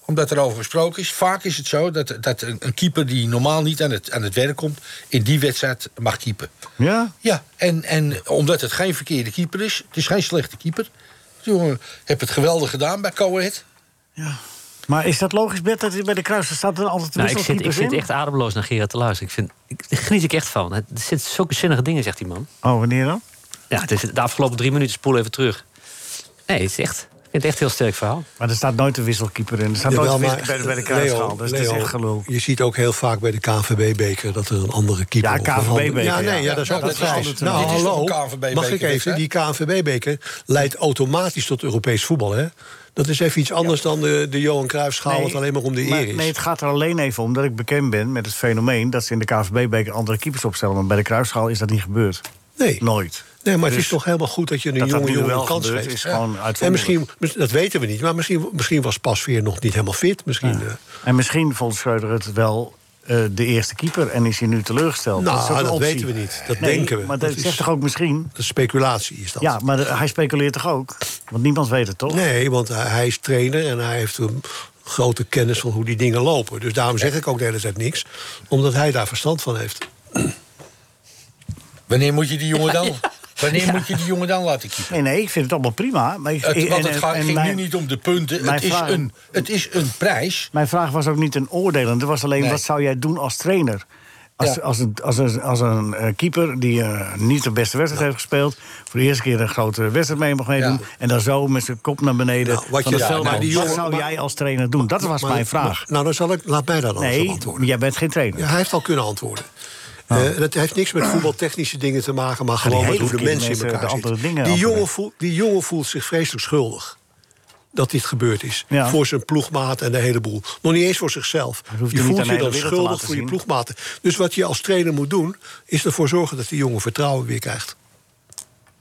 [SPEAKER 5] Omdat erover gesproken is. Vaak is het zo dat, dat een, een keeper die normaal niet aan het, aan het werk komt... in die wedstrijd mag keepen.
[SPEAKER 3] Ja?
[SPEAKER 5] Ja, en, en omdat het geen verkeerde keeper is... het is geen slechte keeper. Die jongen heeft het geweldig gedaan bij Coët.
[SPEAKER 3] Maar is dat logisch, Bert, dat hij bij de kruisers staat er altijd
[SPEAKER 4] Nou, ik zit, ik
[SPEAKER 3] wisselkeepers
[SPEAKER 4] zit
[SPEAKER 3] in?
[SPEAKER 4] echt ademloos naar Gerard te luisteren. Ik vind, ik, daar geniet ik echt van. Het- Er zitten zulke zinnige dingen, zegt die man.
[SPEAKER 3] Oh, wanneer dan?
[SPEAKER 4] Ja, het is de afgelopen drie minuten spoel even terug. Nee, het is echt, ik vind het echt een heel sterk verhaal.
[SPEAKER 3] Maar er staat nooit een wisselkeeper in. Er staat
[SPEAKER 6] Jawel,
[SPEAKER 3] nooit een
[SPEAKER 6] maar-
[SPEAKER 3] wisselkeeper bij de, bij de
[SPEAKER 6] Leo,
[SPEAKER 3] kruisschaal. Dus dat is
[SPEAKER 6] Leo,
[SPEAKER 3] echt gelul.
[SPEAKER 6] Je ziet ook heel vaak bij de KNVB-beker dat er een andere keeper...
[SPEAKER 3] Ja,
[SPEAKER 6] op een andere-
[SPEAKER 3] KNVB-beker,
[SPEAKER 6] Ja,
[SPEAKER 3] ja.
[SPEAKER 6] nee, ja, dat is
[SPEAKER 3] Ja,
[SPEAKER 6] ook
[SPEAKER 3] dat
[SPEAKER 6] een
[SPEAKER 3] is
[SPEAKER 6] prijs.
[SPEAKER 3] altijd een-
[SPEAKER 6] Nou,
[SPEAKER 5] Dit is toch
[SPEAKER 6] hallo,
[SPEAKER 5] een KNVB-beker,
[SPEAKER 6] mag ik even?
[SPEAKER 5] hè?
[SPEAKER 6] Die KNVB-beker leidt automatisch tot Europees voetbal, hè? Dat is even iets anders dan de, de Johan Cruijffschaal...
[SPEAKER 3] Nee,
[SPEAKER 6] wat alleen maar om de
[SPEAKER 3] maar-
[SPEAKER 6] eer is.
[SPEAKER 3] Nee, het gaat er alleen even om dat ik bekend ben met het fenomeen... dat ze in de KVB-beker andere keepers opstellen. Maar bij de kruisschaal is dat niet gebeurd.
[SPEAKER 6] Nee.
[SPEAKER 3] Nooit.
[SPEAKER 6] Nee, maar het
[SPEAKER 3] Dus
[SPEAKER 6] is toch helemaal goed dat je een
[SPEAKER 3] dat dat
[SPEAKER 6] jonge
[SPEAKER 3] nu
[SPEAKER 6] jongen
[SPEAKER 3] wel
[SPEAKER 6] een kans
[SPEAKER 3] gebeurt,
[SPEAKER 6] geeft.
[SPEAKER 3] is
[SPEAKER 6] Ja.
[SPEAKER 3] gewoon
[SPEAKER 6] en
[SPEAKER 3] uitzonderlijk.
[SPEAKER 6] misschien, mis- dat weten we niet, maar misschien, misschien was Pasveer nog niet helemaal fit. Misschien, eh,
[SPEAKER 3] En misschien vond Schreuder het wel eh, de eerste keeper en is hij nu teleurgesteld.
[SPEAKER 6] Nou,
[SPEAKER 3] ook een
[SPEAKER 6] dat
[SPEAKER 3] optie.
[SPEAKER 6] weten we niet. Dat
[SPEAKER 3] Nee,
[SPEAKER 6] denken we.
[SPEAKER 3] Maar dat,
[SPEAKER 6] Dat is-
[SPEAKER 3] zegt toch ook misschien?
[SPEAKER 6] dat is speculatie is dat.
[SPEAKER 3] Ja, maar de- hij speculeert toch ook? Want niemand weet het toch?
[SPEAKER 6] Nee, want hij- hij is trainer en hij heeft een grote kennis van hoe die dingen lopen. Dus daarom zeg ik ook de hele tijd niks, omdat hij daar verstand van heeft.
[SPEAKER 5] Wanneer moet je die jongen dan? Wanneer moet je die jongen dan laten kiezen?
[SPEAKER 3] Nee, nee, ik vind het allemaal prima. Maar ik,
[SPEAKER 5] Het,
[SPEAKER 3] en-
[SPEAKER 5] want
[SPEAKER 3] en-
[SPEAKER 5] het gaat,
[SPEAKER 3] en
[SPEAKER 5] ging
[SPEAKER 3] mijn,
[SPEAKER 5] nu niet om de punten.
[SPEAKER 3] mijn
[SPEAKER 5] Het is,
[SPEAKER 3] vraag-
[SPEAKER 5] een, het is een prijs.
[SPEAKER 3] mijn vraag was ook niet een oordelend. Het was alleen,
[SPEAKER 5] Nee.
[SPEAKER 3] wat zou jij doen als trainer? Als,
[SPEAKER 5] Ja.
[SPEAKER 3] als, een, als, een, als een eh, keeper die eh, niet de beste wedstrijd heeft gespeeld... voor de eerste keer een grote wedstrijd mee mag meedoen...
[SPEAKER 5] Ja.
[SPEAKER 3] en dan zo met zijn kop naar beneden
[SPEAKER 6] Nou, wat
[SPEAKER 3] van
[SPEAKER 6] je-
[SPEAKER 3] het
[SPEAKER 6] ja,
[SPEAKER 3] veld
[SPEAKER 6] maar
[SPEAKER 3] af.
[SPEAKER 6] die
[SPEAKER 3] Wat
[SPEAKER 6] jongen-
[SPEAKER 3] zou
[SPEAKER 6] maar-
[SPEAKER 3] jij als trainer doen? Dat was
[SPEAKER 6] Maar-
[SPEAKER 3] mijn vraag.
[SPEAKER 6] maar- nou, dan zal ik, laat mij daar dan eens op
[SPEAKER 3] Nee,
[SPEAKER 6] antwoorden.
[SPEAKER 3] jij bent geen trainer.
[SPEAKER 6] Ja, hij heeft al kunnen antwoorden. Eh, dat heeft niks met voetbaltechnische dingen te maken, maar gewoon
[SPEAKER 3] Ah. hele
[SPEAKER 6] met hoe de
[SPEAKER 3] verkeerde
[SPEAKER 6] mensen in
[SPEAKER 3] mensen
[SPEAKER 6] elkaar
[SPEAKER 3] de andere
[SPEAKER 6] zitten.
[SPEAKER 3] dingen
[SPEAKER 6] die,
[SPEAKER 3] antwoorden.
[SPEAKER 6] jongen voelt, die jongen voelt zich vreselijk schuldig dat dit gebeurd is.
[SPEAKER 3] Ja.
[SPEAKER 6] Voor zijn ploegmaat en de hele boel. Nog niet eens voor zichzelf.
[SPEAKER 3] hoeft
[SPEAKER 6] Je
[SPEAKER 3] hem niet aan
[SPEAKER 6] voelt
[SPEAKER 3] de
[SPEAKER 6] je
[SPEAKER 3] hele
[SPEAKER 6] dan
[SPEAKER 3] wereld te
[SPEAKER 6] schuldig
[SPEAKER 3] laten
[SPEAKER 6] voor je
[SPEAKER 3] zien.
[SPEAKER 6] ploegmaten. Dus wat je als trainer moet doen, is ervoor zorgen dat die jongen vertrouwen weer krijgt.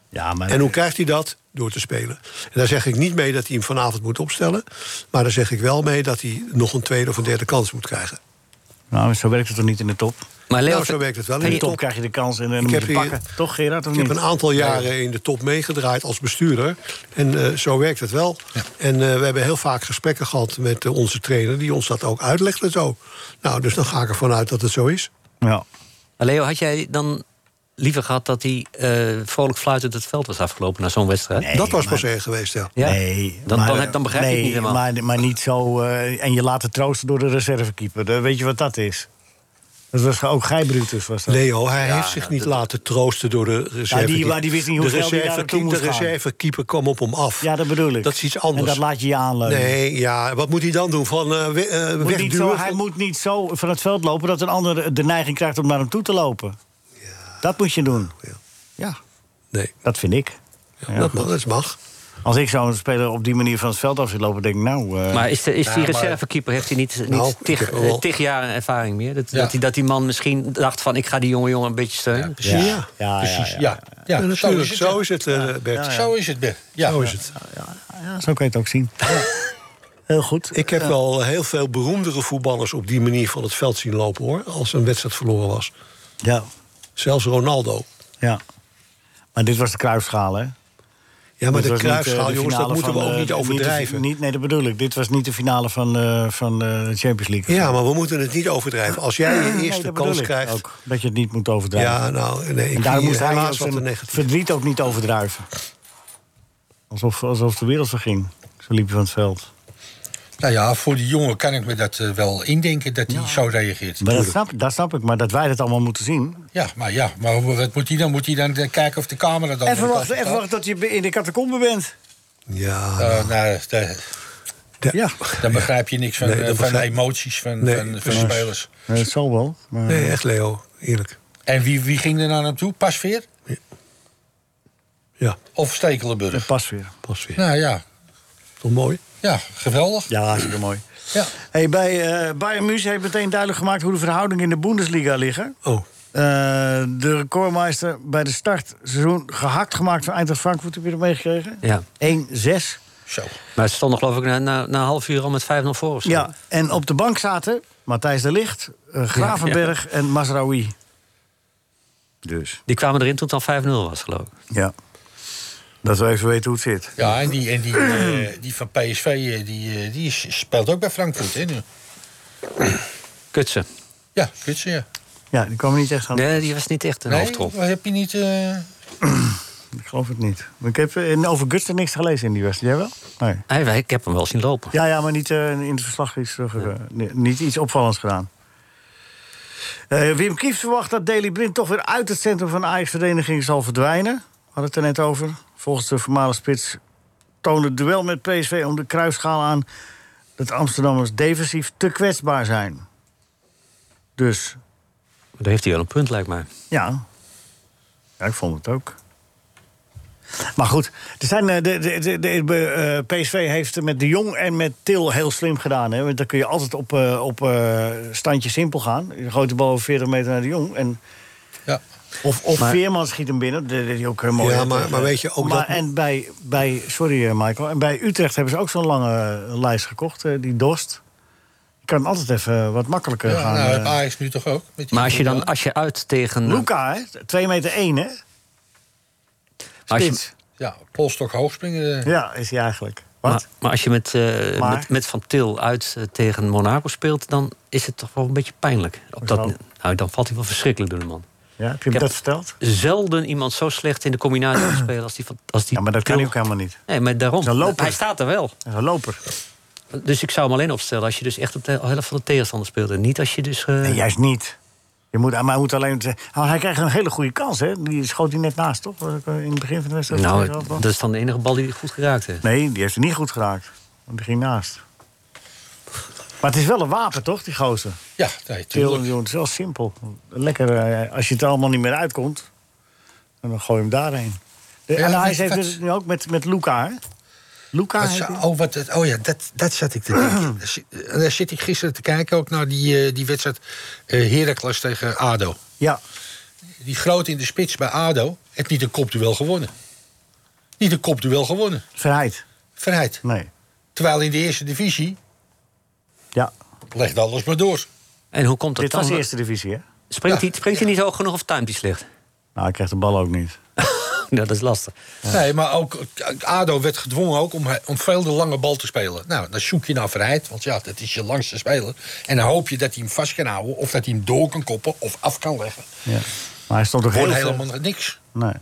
[SPEAKER 3] Ja, maar
[SPEAKER 6] En hoe krijgt hij dat? Door te spelen. En daar zeg ik niet mee dat hij hem vanavond moet opstellen. Maar daar zeg ik wel mee dat hij nog een tweede of een derde kans moet krijgen.
[SPEAKER 3] nou, zo werkt het toch niet in de top?
[SPEAKER 4] Maar Leo,
[SPEAKER 6] Nou, zo werkt het wel in
[SPEAKER 3] In
[SPEAKER 6] de
[SPEAKER 3] de top
[SPEAKER 6] top.
[SPEAKER 3] krijg je de kans en dan
[SPEAKER 6] Ik
[SPEAKER 3] moet je
[SPEAKER 6] heb
[SPEAKER 3] hem
[SPEAKER 6] hier-
[SPEAKER 3] pakken. Toch, Gerard, of
[SPEAKER 6] Ik heb
[SPEAKER 3] niet?
[SPEAKER 6] een aantal jaren in de top meegedraaid als bestuurder. En eh, zo werkt het wel. En eh, we hebben heel vaak gesprekken gehad met eh, onze trainer... die ons dat ook uitlegde zo. Nou, dus dan ga ik ervan uit dat het zo is.
[SPEAKER 3] Ja.
[SPEAKER 4] maar Leo, had jij dan liever gehad dat hij eh, vrolijk fluitend het veld was afgelopen na zo'n wedstrijd?
[SPEAKER 3] Nee,
[SPEAKER 6] dat was
[SPEAKER 3] maar-
[SPEAKER 6] pas erg geweest, ja.
[SPEAKER 4] Ja?
[SPEAKER 3] Nee,
[SPEAKER 4] Dan,
[SPEAKER 3] maar,
[SPEAKER 4] dan, heb- dan begrijp ik
[SPEAKER 3] nee,
[SPEAKER 4] het niet helemaal.
[SPEAKER 3] Maar, maar niet zo. eh, en je laten troosten door de reservekeeper. Dan weet je wat dat is? Dat was ook Gij Brutus. Was dat.
[SPEAKER 6] Leo, hij heeft zich niet laten troosten door de reserve.
[SPEAKER 3] maar die wist niet hoe
[SPEAKER 6] de
[SPEAKER 3] snel die daar
[SPEAKER 6] reserve-
[SPEAKER 3] naartoe
[SPEAKER 6] De
[SPEAKER 3] moest gaan.
[SPEAKER 6] reservekeeper kwam op hem af.
[SPEAKER 3] Ja, dat bedoel ik.
[SPEAKER 6] Dat is iets anders.
[SPEAKER 3] En dat laat je je aanleunen.
[SPEAKER 6] Nee, ja, wat moet hij dan doen? Van eh we- eh,
[SPEAKER 3] Moet niet
[SPEAKER 6] wegduwen?
[SPEAKER 3] zo, hij moet niet zo van het veld lopen dat een ander de neiging krijgt om naar hem toe te lopen. Dat moet je doen.
[SPEAKER 6] Ja.
[SPEAKER 3] Ja,
[SPEAKER 6] Nee,
[SPEAKER 3] dat vind ik. Ja.
[SPEAKER 6] dat mag. Dat mag.
[SPEAKER 3] Als ik zo'n speler op die manier van het veld af zit lopen, denk ik nou. eh,
[SPEAKER 4] Maar is, de, is die
[SPEAKER 5] Ja, maar-
[SPEAKER 4] reservekeeper, heeft hij niet, niet
[SPEAKER 6] Nou, ik
[SPEAKER 4] tig,
[SPEAKER 6] heb wel-
[SPEAKER 4] eh, tig jaar ervaring meer? Dat,
[SPEAKER 5] Ja.
[SPEAKER 4] dat, die, dat die man misschien dacht van, ik ga die jonge jongen een beetje steunen?
[SPEAKER 5] Precies. Ja,
[SPEAKER 3] ja,
[SPEAKER 5] precies. Ja,
[SPEAKER 3] ja,
[SPEAKER 5] ja.
[SPEAKER 6] Ja,
[SPEAKER 5] zo
[SPEAKER 6] natuurlijk.
[SPEAKER 5] is het.
[SPEAKER 6] Zo is het, eh, Bert.
[SPEAKER 5] Zo is het, Bert. Ja.
[SPEAKER 6] Zo is het.
[SPEAKER 3] ja, zo kan je het ook zien. Heel goed.
[SPEAKER 6] Ik eh, heb wel heel veel beroemdere voetballers op die manier van het veld zien lopen hoor. Als een wedstrijd verloren was.
[SPEAKER 3] Ja,
[SPEAKER 6] Zelfs Ronaldo.
[SPEAKER 3] ja. Maar dit was de kruisschaal, hè?
[SPEAKER 6] Ja, maar
[SPEAKER 3] Dit
[SPEAKER 6] de
[SPEAKER 3] was niet, eh,
[SPEAKER 6] kruisschaal,
[SPEAKER 3] de
[SPEAKER 6] jongens, dat
[SPEAKER 3] finale
[SPEAKER 6] moeten we
[SPEAKER 3] van,
[SPEAKER 6] ook
[SPEAKER 3] eh,
[SPEAKER 6] niet overdrijven.
[SPEAKER 3] de- Niet, nee, dat bedoel ik. Dit was niet de finale van, eh, van eh, de Champions League.
[SPEAKER 6] Ja, maar we moeten het niet overdrijven. Als jij je
[SPEAKER 3] Nee,
[SPEAKER 6] eerste
[SPEAKER 3] dat bedoel
[SPEAKER 6] kans
[SPEAKER 3] ik
[SPEAKER 6] krijgt.
[SPEAKER 3] ook, dat je het niet moet overdrijven.
[SPEAKER 6] Ja, nou, nee,
[SPEAKER 3] en
[SPEAKER 6] ik
[SPEAKER 3] daar
[SPEAKER 6] zie
[SPEAKER 3] moest hij ook
[SPEAKER 6] helaas wat te
[SPEAKER 3] zijn
[SPEAKER 6] negatief.
[SPEAKER 3] verdriet ook niet overdrijven. Alsof, alsof de wereld verging. Zo liep je van het veld.
[SPEAKER 5] Nou ja, voor die jongen kan ik me dat eh, wel indenken dat hij zo reageert.
[SPEAKER 3] Maar dat snap, dat snap ik, maar dat wij dat allemaal moeten zien.
[SPEAKER 5] Ja, maar ja, maar wat moet hij dan? Moet hij dan eh, kijken of de camera dan...
[SPEAKER 3] Even wachten, even wachten tot je in de catacombe bent.
[SPEAKER 6] Ja,
[SPEAKER 5] Eh, nou, daar-
[SPEAKER 6] de-
[SPEAKER 3] Ja.
[SPEAKER 5] dan begrijp je niks van,
[SPEAKER 6] Nee,
[SPEAKER 5] eh,
[SPEAKER 6] dat
[SPEAKER 5] van
[SPEAKER 6] begrijp-
[SPEAKER 5] emoties van,
[SPEAKER 6] Nee,
[SPEAKER 5] van, van
[SPEAKER 6] precies.
[SPEAKER 5] spelers.
[SPEAKER 3] Nee, dat zal wel. Maar...
[SPEAKER 6] Nee, echt Leo, eerlijk.
[SPEAKER 5] En wie, wie ging er nou naartoe? Pasveer
[SPEAKER 6] Ja,
[SPEAKER 5] of Stekelenburg?
[SPEAKER 3] Pas weer.
[SPEAKER 6] pas weer.
[SPEAKER 5] Nou ja,
[SPEAKER 6] Toch mooi?
[SPEAKER 5] ja geweldig.
[SPEAKER 3] Ja, hartstikke mooi.
[SPEAKER 5] Ja.
[SPEAKER 3] Hey, bij eh Bayern München heeft meteen duidelijk gemaakt hoe de verhoudingen in de Bundesliga liggen.
[SPEAKER 6] Oh,
[SPEAKER 3] Eh, de recordmeister bij de start seizoen gehakt gemaakt van Eintracht Frankfurt. Heb je dat meegekregen?
[SPEAKER 4] Ja.
[SPEAKER 3] 1-6.
[SPEAKER 5] Zo.
[SPEAKER 4] Maar ze stonden geloof ik na, na, na een half uur al met 5-0 voor of zo.
[SPEAKER 3] Ja, en op de bank zaten Matthijs de Ligt, eh, Gravenberg en Masraoui. Dus.
[SPEAKER 4] Die kwamen erin toen het al 5-0 was geloof ik.
[SPEAKER 3] Ja. Dat we even weten hoe het zit.
[SPEAKER 5] Ja, en die, en die, eh, die van PSV eh, die, eh, die is- speelt ook bij Frankfurt. Hè, nu.
[SPEAKER 4] Kutsen.
[SPEAKER 5] Ja, kutsen, ja.
[SPEAKER 3] Ja, die kwam er niet echt aan.
[SPEAKER 4] Nee, die was niet echt een hoofdrol.
[SPEAKER 5] Nee, heb je niet... eh,
[SPEAKER 3] Ik geloof het niet. Maar Ik heb eh, over Guster niks gelezen in die wedstrijd. Jij wel? Nee.
[SPEAKER 4] Hij, ik heb hem wel zien lopen.
[SPEAKER 3] Ja, ja maar niet eh, in het verslag is er, eh, ni- niet iets opvallends gedaan. Eh, Wim Kieft verwacht dat Daley Blind toch weer uit het centrum van de Ajax-vereniging zal verdwijnen. We hadden het er net over. Volgens de voormalige spits toonde het duel met PSV om de kruisschaal aan... dat Amsterdammers defensief te kwetsbaar zijn. Dus,
[SPEAKER 4] Daar heeft hij wel een punt lijkt mij.
[SPEAKER 3] ja. Ja, ik vond het ook. Maar goed, er zijn, eh, de, de, de, de- de, eh, PSV heeft met De Jong en met Til heel slim gedaan. Hè? Want dan kun je altijd op, eh, op eh, standje simpel gaan. Je gooit de bal over 40 meter naar De Jong. En
[SPEAKER 5] ja.
[SPEAKER 3] Of, of
[SPEAKER 4] Maar-
[SPEAKER 3] Veerman schiet hem binnen, dat deed hij ook heel mooi. eh,
[SPEAKER 6] Ja, maar- maar weet je ook dat-
[SPEAKER 3] En bij, bij, sorry eh, Michael, en bij Utrecht hebben ze ook zo'n lange eh, lijst gekocht, eh, die Dost. Je kan altijd even wat makkelijker
[SPEAKER 5] Ja,
[SPEAKER 3] gaan.
[SPEAKER 5] nou,
[SPEAKER 3] eh.
[SPEAKER 5] heeft Ajax nu toch ook? Met die
[SPEAKER 4] Maar als je dan
[SPEAKER 5] voetbal?
[SPEAKER 4] als je uit tegen.
[SPEAKER 3] Luca, hè? 2 meter 1, hè?
[SPEAKER 4] als je-
[SPEAKER 3] Spits.
[SPEAKER 5] Ja, polstok hoog springen. eh,
[SPEAKER 3] Ja, is hij eigenlijk. Wat?
[SPEAKER 4] maar, maar als je met, eh,
[SPEAKER 3] Maar?
[SPEAKER 4] met, met Van Til uit eh, tegen Monaco speelt, dan is het toch wel een beetje pijnlijk. Op dat,
[SPEAKER 3] Hoezo?
[SPEAKER 4] nou, dan valt hij wel verschrikkelijk door de man.
[SPEAKER 3] ja, heb je hem
[SPEAKER 4] Ik heb-
[SPEAKER 3] dat verteld?
[SPEAKER 4] Zelden iemand zo slecht in de combinatie kan spelen als die van. Als die
[SPEAKER 3] Ja, maar dat kan hij
[SPEAKER 4] Til.
[SPEAKER 3] ook helemaal niet.
[SPEAKER 4] Nee, maar daarom.
[SPEAKER 3] Zo'n loper.
[SPEAKER 4] Hij staat er wel.
[SPEAKER 3] Hij is een loper.
[SPEAKER 4] Dus ik zou hem alleen opstellen als je dus echt op de helft van de tegenstander speelt. En niet als je dus. eh,
[SPEAKER 3] Nee, juist niet. Je moet, maar hij moet alleen. Maar hij krijgt een hele goede kans, hè? Die schoot hij net naast, toch? Was ik, eh, In het begin van de wedstrijd.
[SPEAKER 4] nou,
[SPEAKER 3] Weet je wel?
[SPEAKER 4] dat is dan de enige bal die hij goed geraakt heeft.
[SPEAKER 3] Nee, die heeft hij niet goed geraakt. Want die ging naast. Maar het is wel een wapen, toch, die gozer?
[SPEAKER 5] Ja, nee,
[SPEAKER 3] Til,
[SPEAKER 5] tuurlijk.
[SPEAKER 3] joh, het is wel simpel. Lekker, eh, als je het allemaal niet meer uitkomt, dan gooi je hem daarheen. De,
[SPEAKER 5] Ja,
[SPEAKER 3] en hij
[SPEAKER 5] wat-
[SPEAKER 3] heeft
[SPEAKER 5] wat-
[SPEAKER 3] het nu ook met, met Luca, hè? Luca
[SPEAKER 5] Wat
[SPEAKER 3] heet
[SPEAKER 5] zou-
[SPEAKER 3] hij?
[SPEAKER 5] oh, wat, het- oh ja, dat, dat zat ik te denken. Daar zit- eh, Daar zit ik gisteren te kijken ook naar die, eh, die wedstrijd eh Heracles tegen ADO.
[SPEAKER 3] Ja,
[SPEAKER 5] Die groot in de spits bij ADO heeft niet een kopduel gewonnen. Niet een kopduel gewonnen.
[SPEAKER 3] Verheid.
[SPEAKER 5] Verheid.
[SPEAKER 3] Nee.
[SPEAKER 5] Terwijl in de eerste divisie
[SPEAKER 3] Ja,
[SPEAKER 5] legt alles maar door.
[SPEAKER 4] En hoe komt dat
[SPEAKER 3] dit
[SPEAKER 4] dan?
[SPEAKER 3] was de eerste divisie, hè?
[SPEAKER 4] Springt, hij, springt hij niet hoog genoeg of timed hij slecht?
[SPEAKER 3] Nou, hij krijgt de bal ook niet.
[SPEAKER 4] Nou, dat is lastig.
[SPEAKER 5] Nee, maar ook eh, ADO werd gedwongen ook om, om veel de lange bal te spelen. Nou, dan zoek je naar Verheid, want ja, dat is je langste speler. En dan hoop je dat hij hem vast kan houden... of dat hij hem door kan koppen of af kan leggen.
[SPEAKER 3] Ja. Maar hij stond ook heel
[SPEAKER 5] Wordt
[SPEAKER 3] ver-
[SPEAKER 5] helemaal niks.
[SPEAKER 3] Nee.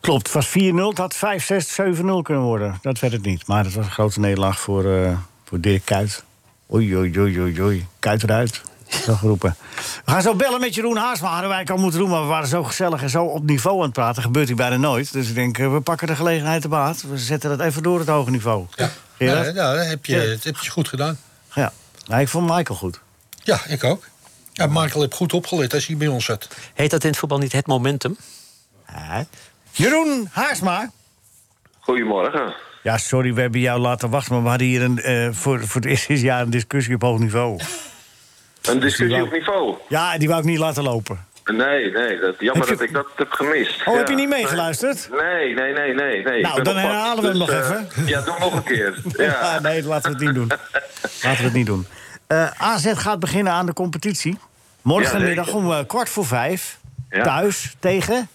[SPEAKER 3] Klopt, het was 4-0. Het had 5-6, 7-0 kunnen worden. Dat werd het niet. Maar het was een grote nederlaag voor, eh, voor Dirk Kuyt. Oei, oei, oei, oei, oei. Kuyt eruit. Zo geroepen. We gaan zo bellen met Jeroen Haasma. Hadden wij al moeten doen, maar we waren zo gezellig en zo op niveau aan het praten. Gebeurt hier bijna nooit. Dus ik denk, eh, we pakken de gelegenheid te baat. We zetten dat even door het hoge niveau.
[SPEAKER 5] Ja,
[SPEAKER 3] Zie je
[SPEAKER 5] nou,
[SPEAKER 3] dat?
[SPEAKER 5] nou, dat heb je,
[SPEAKER 3] Ja.
[SPEAKER 5] dat heb je goed gedaan.
[SPEAKER 3] Ja. Nou, ik vond Michael goed.
[SPEAKER 5] Ja, ik ook. Ja, Michael heeft goed opgelet als hij bij ons zat.
[SPEAKER 4] Heet dat in het voetbal niet het momentum?
[SPEAKER 3] Jeroen Haarsma.
[SPEAKER 8] Goedemorgen.
[SPEAKER 3] Ja, sorry, we hebben jou laten wachten. Maar we hadden hier een, eh, voor, voor het eerste jaar een discussie op hoog niveau.
[SPEAKER 8] Een discussie
[SPEAKER 3] wel-
[SPEAKER 8] op niveau.
[SPEAKER 3] Ja, die wou ik niet laten lopen.
[SPEAKER 8] Nee, nee. Dat, jammer
[SPEAKER 3] Heb je-
[SPEAKER 8] dat ik dat heb gemist.
[SPEAKER 3] Oh,
[SPEAKER 8] Ja.
[SPEAKER 3] heb je niet meegeluisterd?
[SPEAKER 8] Nee, nee, nee, nee. nee.
[SPEAKER 3] Nou,
[SPEAKER 8] Ik ben
[SPEAKER 3] dan
[SPEAKER 8] op pad.
[SPEAKER 3] herhalen we hem nog
[SPEAKER 8] eh,
[SPEAKER 3] even.
[SPEAKER 8] Ja, doe nog een keer.
[SPEAKER 3] Ja,
[SPEAKER 8] Ja.
[SPEAKER 3] Ah, nee, laten we het niet doen. Laten we het niet doen. Eh, AZ gaat beginnen aan de competitie. Morgenmiddag
[SPEAKER 8] Ja,
[SPEAKER 3] om eh, kwart voor vijf.
[SPEAKER 8] Ja.
[SPEAKER 3] Thuis tegen.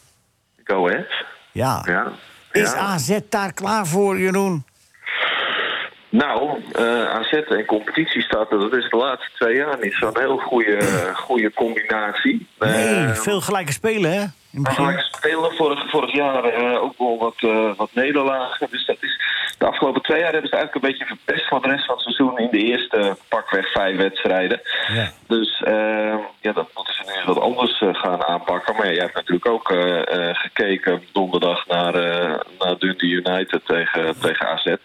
[SPEAKER 8] Go ahead.
[SPEAKER 3] Ja.
[SPEAKER 8] Ja.
[SPEAKER 3] Is
[SPEAKER 8] Ja.
[SPEAKER 3] AZ daar klaar voor, Jeroen?
[SPEAKER 8] Nou, eh, AZ en competitie staat er, dat is de laatste twee jaar niet zo'n heel goede, eh, goede combinatie.
[SPEAKER 3] Nee,
[SPEAKER 8] Eh,
[SPEAKER 3] veel gelijke spelen, hè? In het
[SPEAKER 8] Maar
[SPEAKER 3] begin.
[SPEAKER 8] gelijk spelen vorig, vorig jaar eh, ook wel wat, eh, wat nederlagen. Dus dat is, de afgelopen twee jaar hebben ze het eigenlijk een beetje verpest van de rest van het seizoen in de eerste eh, pakweg vijf wedstrijden.
[SPEAKER 3] Ja.
[SPEAKER 8] Dus eh, ja, dat moeten ze nu eens wat anders eh, gaan aanpakken. Maar ja, jij hebt natuurlijk ook eh, eh, gekeken donderdag naar, eh naar Dundee United tegen, tegen AZ.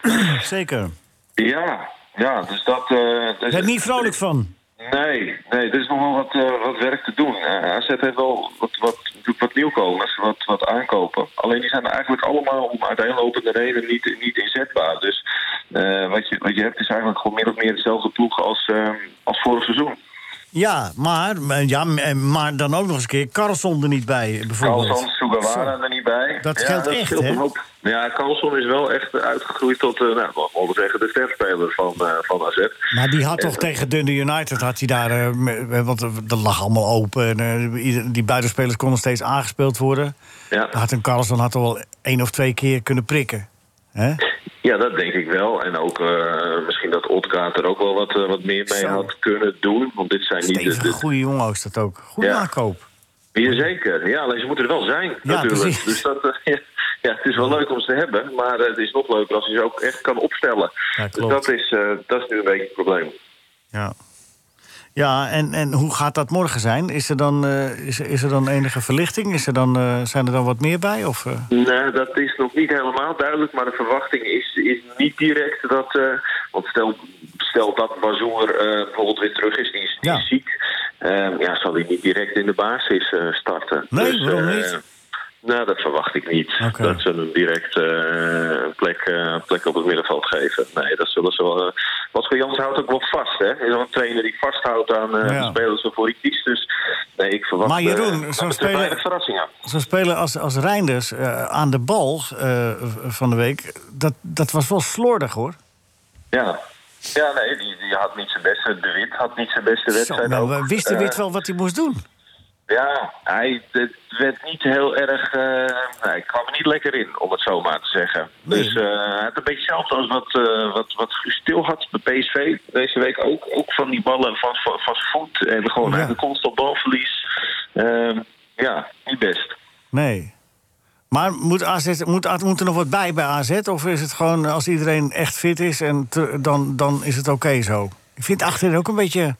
[SPEAKER 3] Zeker.
[SPEAKER 8] Ja, ja, dus dat... eh
[SPEAKER 3] Ik
[SPEAKER 8] dus,
[SPEAKER 3] ben er niet vrolijk van.
[SPEAKER 8] Nee, nee, er is nog wel wat, eh, wat werk te doen. Eh, AZ heeft wel wat, wat, wat nieuwkomers, wat, wat aankopen. Alleen die zijn eigenlijk allemaal om uiteenlopende reden niet, niet inzetbaar. Dus eh, wat, je, wat je hebt is eigenlijk gewoon meer of meer dezelfde ploeg als, eh, als vorig seizoen.
[SPEAKER 3] Ja, maar, maar- ja, eh, maar dan ook nog eens een keer Carlson er niet bij, bijvoorbeeld.
[SPEAKER 8] Carlson, Sugawara er niet bij.
[SPEAKER 3] Dat scheelt echt, hè?
[SPEAKER 8] een hoop. Ja, Carlson is wel echt uitgegroeid tot, eh nou, mag wel zeggen, de sterspeler van, eh, van Eh, AZ.
[SPEAKER 3] Maar die had toch tegen Dundee United, had hij daar, eh, me- want er er lag allemaal open. En, eh, ieder- die buitenspelers konden steeds aangespeeld worden.
[SPEAKER 8] Ja.
[SPEAKER 3] Had een Carlson had toch wel één of twee keer kunnen prikken. hè?
[SPEAKER 8] Ja, dat denk ik wel. En ook eh, misschien dat Otkaart er ook wel wat, eh, wat meer mee
[SPEAKER 3] Zo.
[SPEAKER 8] had kunnen doen. Want dit zijn niet de...
[SPEAKER 3] Stevige,
[SPEAKER 8] de
[SPEAKER 3] goede jongen is dat ook. Goede
[SPEAKER 8] Ja.
[SPEAKER 3] aankoop.
[SPEAKER 8] ja, zeker. Ja, alleen ze moeten er wel zijn, natuurlijk.
[SPEAKER 3] precies.
[SPEAKER 8] Dus dat, eh, ja, ja, het is wel leuk om ze te hebben. Maar eh, het is nog leuker als je ze ook echt kan opstellen.
[SPEAKER 3] Ja,
[SPEAKER 8] dus
[SPEAKER 3] klopt.
[SPEAKER 8] dat is, eh, dat is nu een beetje het probleem.
[SPEAKER 3] Ja, ja en, en hoe gaat dat morgen zijn? Is er dan, eh, is, is er dan enige verlichting? Is er dan, eh, zijn er dan wat meer bij? Of, eh?
[SPEAKER 8] Nou, dat is nog niet helemaal duidelijk, maar de verwachting is, is niet direct dat. eh, want stel, stel dat Bazoer eh, bijvoorbeeld weer terug is, die is, die
[SPEAKER 3] Ja.
[SPEAKER 8] is ziek. eh, ja, zal hij niet direct in de basis eh, starten.
[SPEAKER 3] Nee,
[SPEAKER 8] Dus,
[SPEAKER 3] waarom
[SPEAKER 8] eh,
[SPEAKER 3] niet?
[SPEAKER 8] nou, dat verwacht ik niet.
[SPEAKER 3] Oké.
[SPEAKER 8] Dat ze hem direct eh, een plek, eh, een plek op het middenveld geven. Nee, dat zullen ze wel, eh, Bosco Jans houdt ook wel vast, hè? Hij is wel een trainer die vasthoudt aan eh,
[SPEAKER 3] Ja.
[SPEAKER 8] de spelers waarvoor hij kiest. Dus nee, ik verwacht...
[SPEAKER 3] Maar Jeroen,
[SPEAKER 8] eh,
[SPEAKER 3] zo'n
[SPEAKER 8] er
[SPEAKER 3] speler-
[SPEAKER 8] weinig verrassing aan.
[SPEAKER 3] Zo'n speler als, als Reinders eh, aan de bal eh, van de week, dat, dat was wel slordig hoor.
[SPEAKER 8] Ja. Ja, nee, die, die had niet zijn beste. De Wit had niet zijn beste
[SPEAKER 3] Zo,
[SPEAKER 8] wedstrijd.
[SPEAKER 3] nou,
[SPEAKER 8] ook.
[SPEAKER 3] wist hij
[SPEAKER 8] Eh,
[SPEAKER 3] wit wel wat hij moest doen?
[SPEAKER 8] Ja, hij het werd niet heel erg. eh hij kwam er niet lekker in, om het zo maar te zeggen. Dus eh, hij had een beetje hetzelfde als wat, eh wat, wat Guus Til had bij PSV deze week ook. Ook van die ballen van, van, van zijn voet. En gewoon
[SPEAKER 3] Ja.
[SPEAKER 8] eigenlijk constant balverlies. Ehm, ja, niet best.
[SPEAKER 3] Nee. Maar moet, AZ, moet, moet er nog wat bij bij AZ? Of is het gewoon als iedereen echt fit is, en te- dan, dan is het oké zo? Ik vind achterin ook een beetje...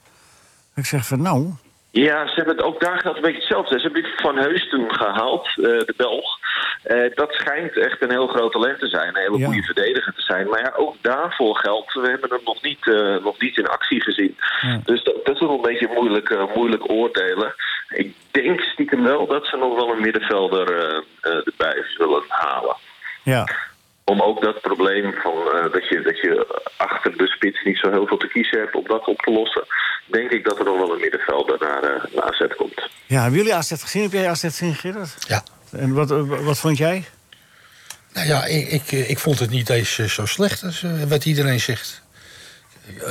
[SPEAKER 3] Ik zeg van nou...
[SPEAKER 8] Ja, ze hebben het ook daar geldt een beetje hetzelfde. Ze hebben dit Van Heusden gehaald, eh, de Belg. Eh, dat schijnt echt een heel groot talent te zijn. Een hele
[SPEAKER 3] Ja.
[SPEAKER 8] goede verdediger te zijn. Maar ja, ook daarvoor geldt, we hebben hem nog niet, eh, nog niet in actie gezien. Dus dat, dat is nog een beetje moeilijk, eh, moeilijk oordelen. Ik denk stiekem wel dat ze nog wel een middenvelder eh, eh, erbij zullen halen.
[SPEAKER 3] Ja,
[SPEAKER 8] Om ook dat probleem van, eh, dat, je, dat je achter de spits niet zo heel veel te kiezen hebt, om dat op te lossen. Denk ik dat er nog wel een middenvelder naar, eh naar AZ komt.
[SPEAKER 3] ja hebben jullie AZ gezien? Heb jij AZ gezien, Gerard?
[SPEAKER 5] Ja.
[SPEAKER 3] En wat, eh, wat vond jij?
[SPEAKER 5] Nou ja, ik, ik, ik vond het niet eens eh, zo slecht als eh, wat iedereen zegt.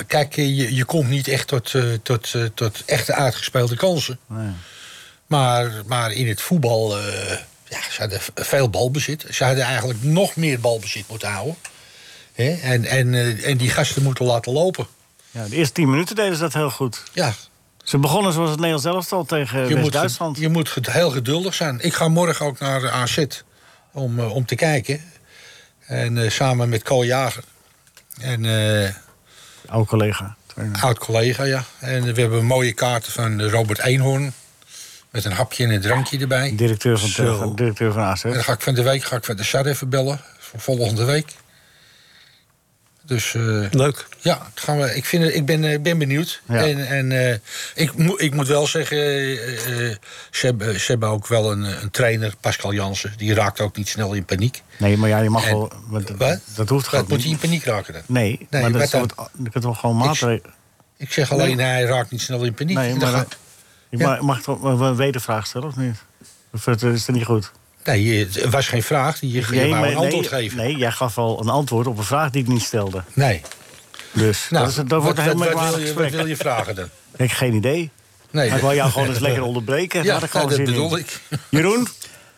[SPEAKER 5] Kijk, eh, je, je komt niet echt tot, eh, tot, eh, tot echte uitgespeelde kansen. Maar, maar in het voetbal, eh ja, ze hadden v- veel balbezit. Ze hadden eigenlijk nog meer balbezit moeten houden. Hè? En, en, eh, en die gasten moeten laten lopen.
[SPEAKER 3] Ja, de eerste tien minuten deden ze dat heel goed.
[SPEAKER 5] Ja,
[SPEAKER 3] Ze begonnen zoals het Nederlands elftal tegen
[SPEAKER 5] je moet,
[SPEAKER 3] West-Duitsland.
[SPEAKER 5] je moet ged- heel geduldig zijn. Ik ga morgen ook naar eh, AZ om, eh, om te kijken. En eh, samen met Ko Jager. En... eh,
[SPEAKER 3] Oude collega.
[SPEAKER 5] Oud collega, ja. En eh, we hebben mooie kaarten van eh, Robert Eenhoorn. Met een hapje en een drankje erbij.
[SPEAKER 3] Directeur van,
[SPEAKER 5] Zo.
[SPEAKER 3] van- directeur van AZ.
[SPEAKER 5] En dan ga ik van de week ga ik van de SAR even bellen. Voor volgende week. Dus eh,
[SPEAKER 6] Leuk.
[SPEAKER 5] ja, dat gaan we, ik, vind, het- ik, ben, eh, ik ben benieuwd.
[SPEAKER 3] Ja.
[SPEAKER 5] En, en eh, ik, moet ik moet wel zeggen, eh, eh, ze, hebben, ze hebben ook wel een, eh, een trainer, Pascal Jansen. Die raakt ook niet snel in paniek.
[SPEAKER 3] Nee, maar ja, je mag
[SPEAKER 5] En-
[SPEAKER 3] wel... maar dat-
[SPEAKER 5] Wat?
[SPEAKER 3] Dat hoeft gewoon
[SPEAKER 5] Wat moet hij in
[SPEAKER 3] niet.
[SPEAKER 5] paniek raken dan?
[SPEAKER 3] Nee, maar dat
[SPEAKER 5] wat
[SPEAKER 3] is toch
[SPEAKER 5] dan?
[SPEAKER 3] wat- je kunt wel gewoon maatregelen...
[SPEAKER 5] Ik zeg alleen, hij raakt niet snel in paniek.
[SPEAKER 3] Nee,
[SPEAKER 5] En dan
[SPEAKER 3] maar
[SPEAKER 5] ga-
[SPEAKER 3] dan- Je
[SPEAKER 5] Ja.
[SPEAKER 3] ma- mag toch wel een wedervraag stellen, of niet? Of het is het niet goed?
[SPEAKER 5] Nee, het was geen vraag. Je, je wou
[SPEAKER 3] maar-
[SPEAKER 5] een antwoord
[SPEAKER 3] nee,
[SPEAKER 5] geven.
[SPEAKER 3] nee, jij gaf al een antwoord op een vraag die ik niet stelde.
[SPEAKER 5] Nee.
[SPEAKER 3] Dus
[SPEAKER 5] Nou,
[SPEAKER 3] dat, is, dat wordt een
[SPEAKER 5] wat-
[SPEAKER 3] heel
[SPEAKER 5] wat- wat,
[SPEAKER 3] merkwaardig
[SPEAKER 5] wil je, wat
[SPEAKER 3] gesprek.
[SPEAKER 5] wil je vragen dan?
[SPEAKER 3] Ik heb geen idee.
[SPEAKER 5] Nee.
[SPEAKER 3] Maar ik wil jou gewoon eens lekker onderbreken. Daar
[SPEAKER 5] Ja,
[SPEAKER 3] had ik gewoon
[SPEAKER 5] nou, dat
[SPEAKER 3] zin in.
[SPEAKER 5] bedoel ik.
[SPEAKER 3] Jeroen,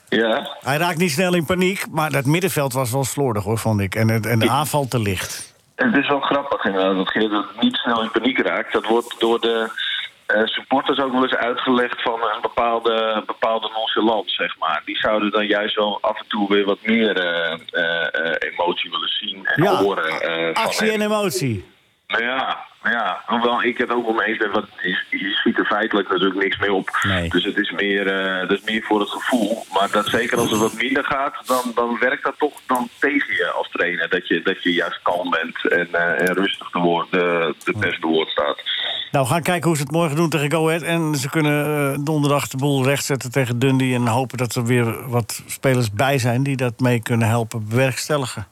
[SPEAKER 8] Ja,
[SPEAKER 3] hij raakt niet snel in paniek, maar dat middenveld was wel slordig hoor, vond ik. En, het- en de aanval te licht.
[SPEAKER 8] het is wel grappig inderdaad dat Geert niet snel in paniek raakt. Dat wordt door de eh, supporters ook wel eens uitgelegd van een bepaalde, bepaalde nonchalance, zeg maar. Die zouden dan juist wel af en toe weer wat meer eh, eh, eh, emotie willen zien en
[SPEAKER 3] Ja,
[SPEAKER 8] horen. eh, van
[SPEAKER 3] Actie
[SPEAKER 8] hem.
[SPEAKER 3] en emotie.
[SPEAKER 8] Nou ja, nou ja, hoewel ik het ook wel mee eens ben, want je, je schiet er feitelijk natuurlijk niks mee op.
[SPEAKER 3] Nee.
[SPEAKER 8] Dus het is meer, eh, dat is meer voor het gevoel. Maar dat, zeker als het wat minder gaat, dan, dan werkt dat toch dan tegen je als trainer. Dat je, dat je juist kalm bent en, eh, en rustig te woord, de, de pers te woord staat.
[SPEAKER 3] Nou, we gaan kijken hoe ze het morgen doen tegen Go Ahead. En ze kunnen eh, donderdag de boel rechtzetten tegen Dundee... en hopen dat er weer wat spelers bij zijn... die dat mee kunnen helpen bewerkstelligen.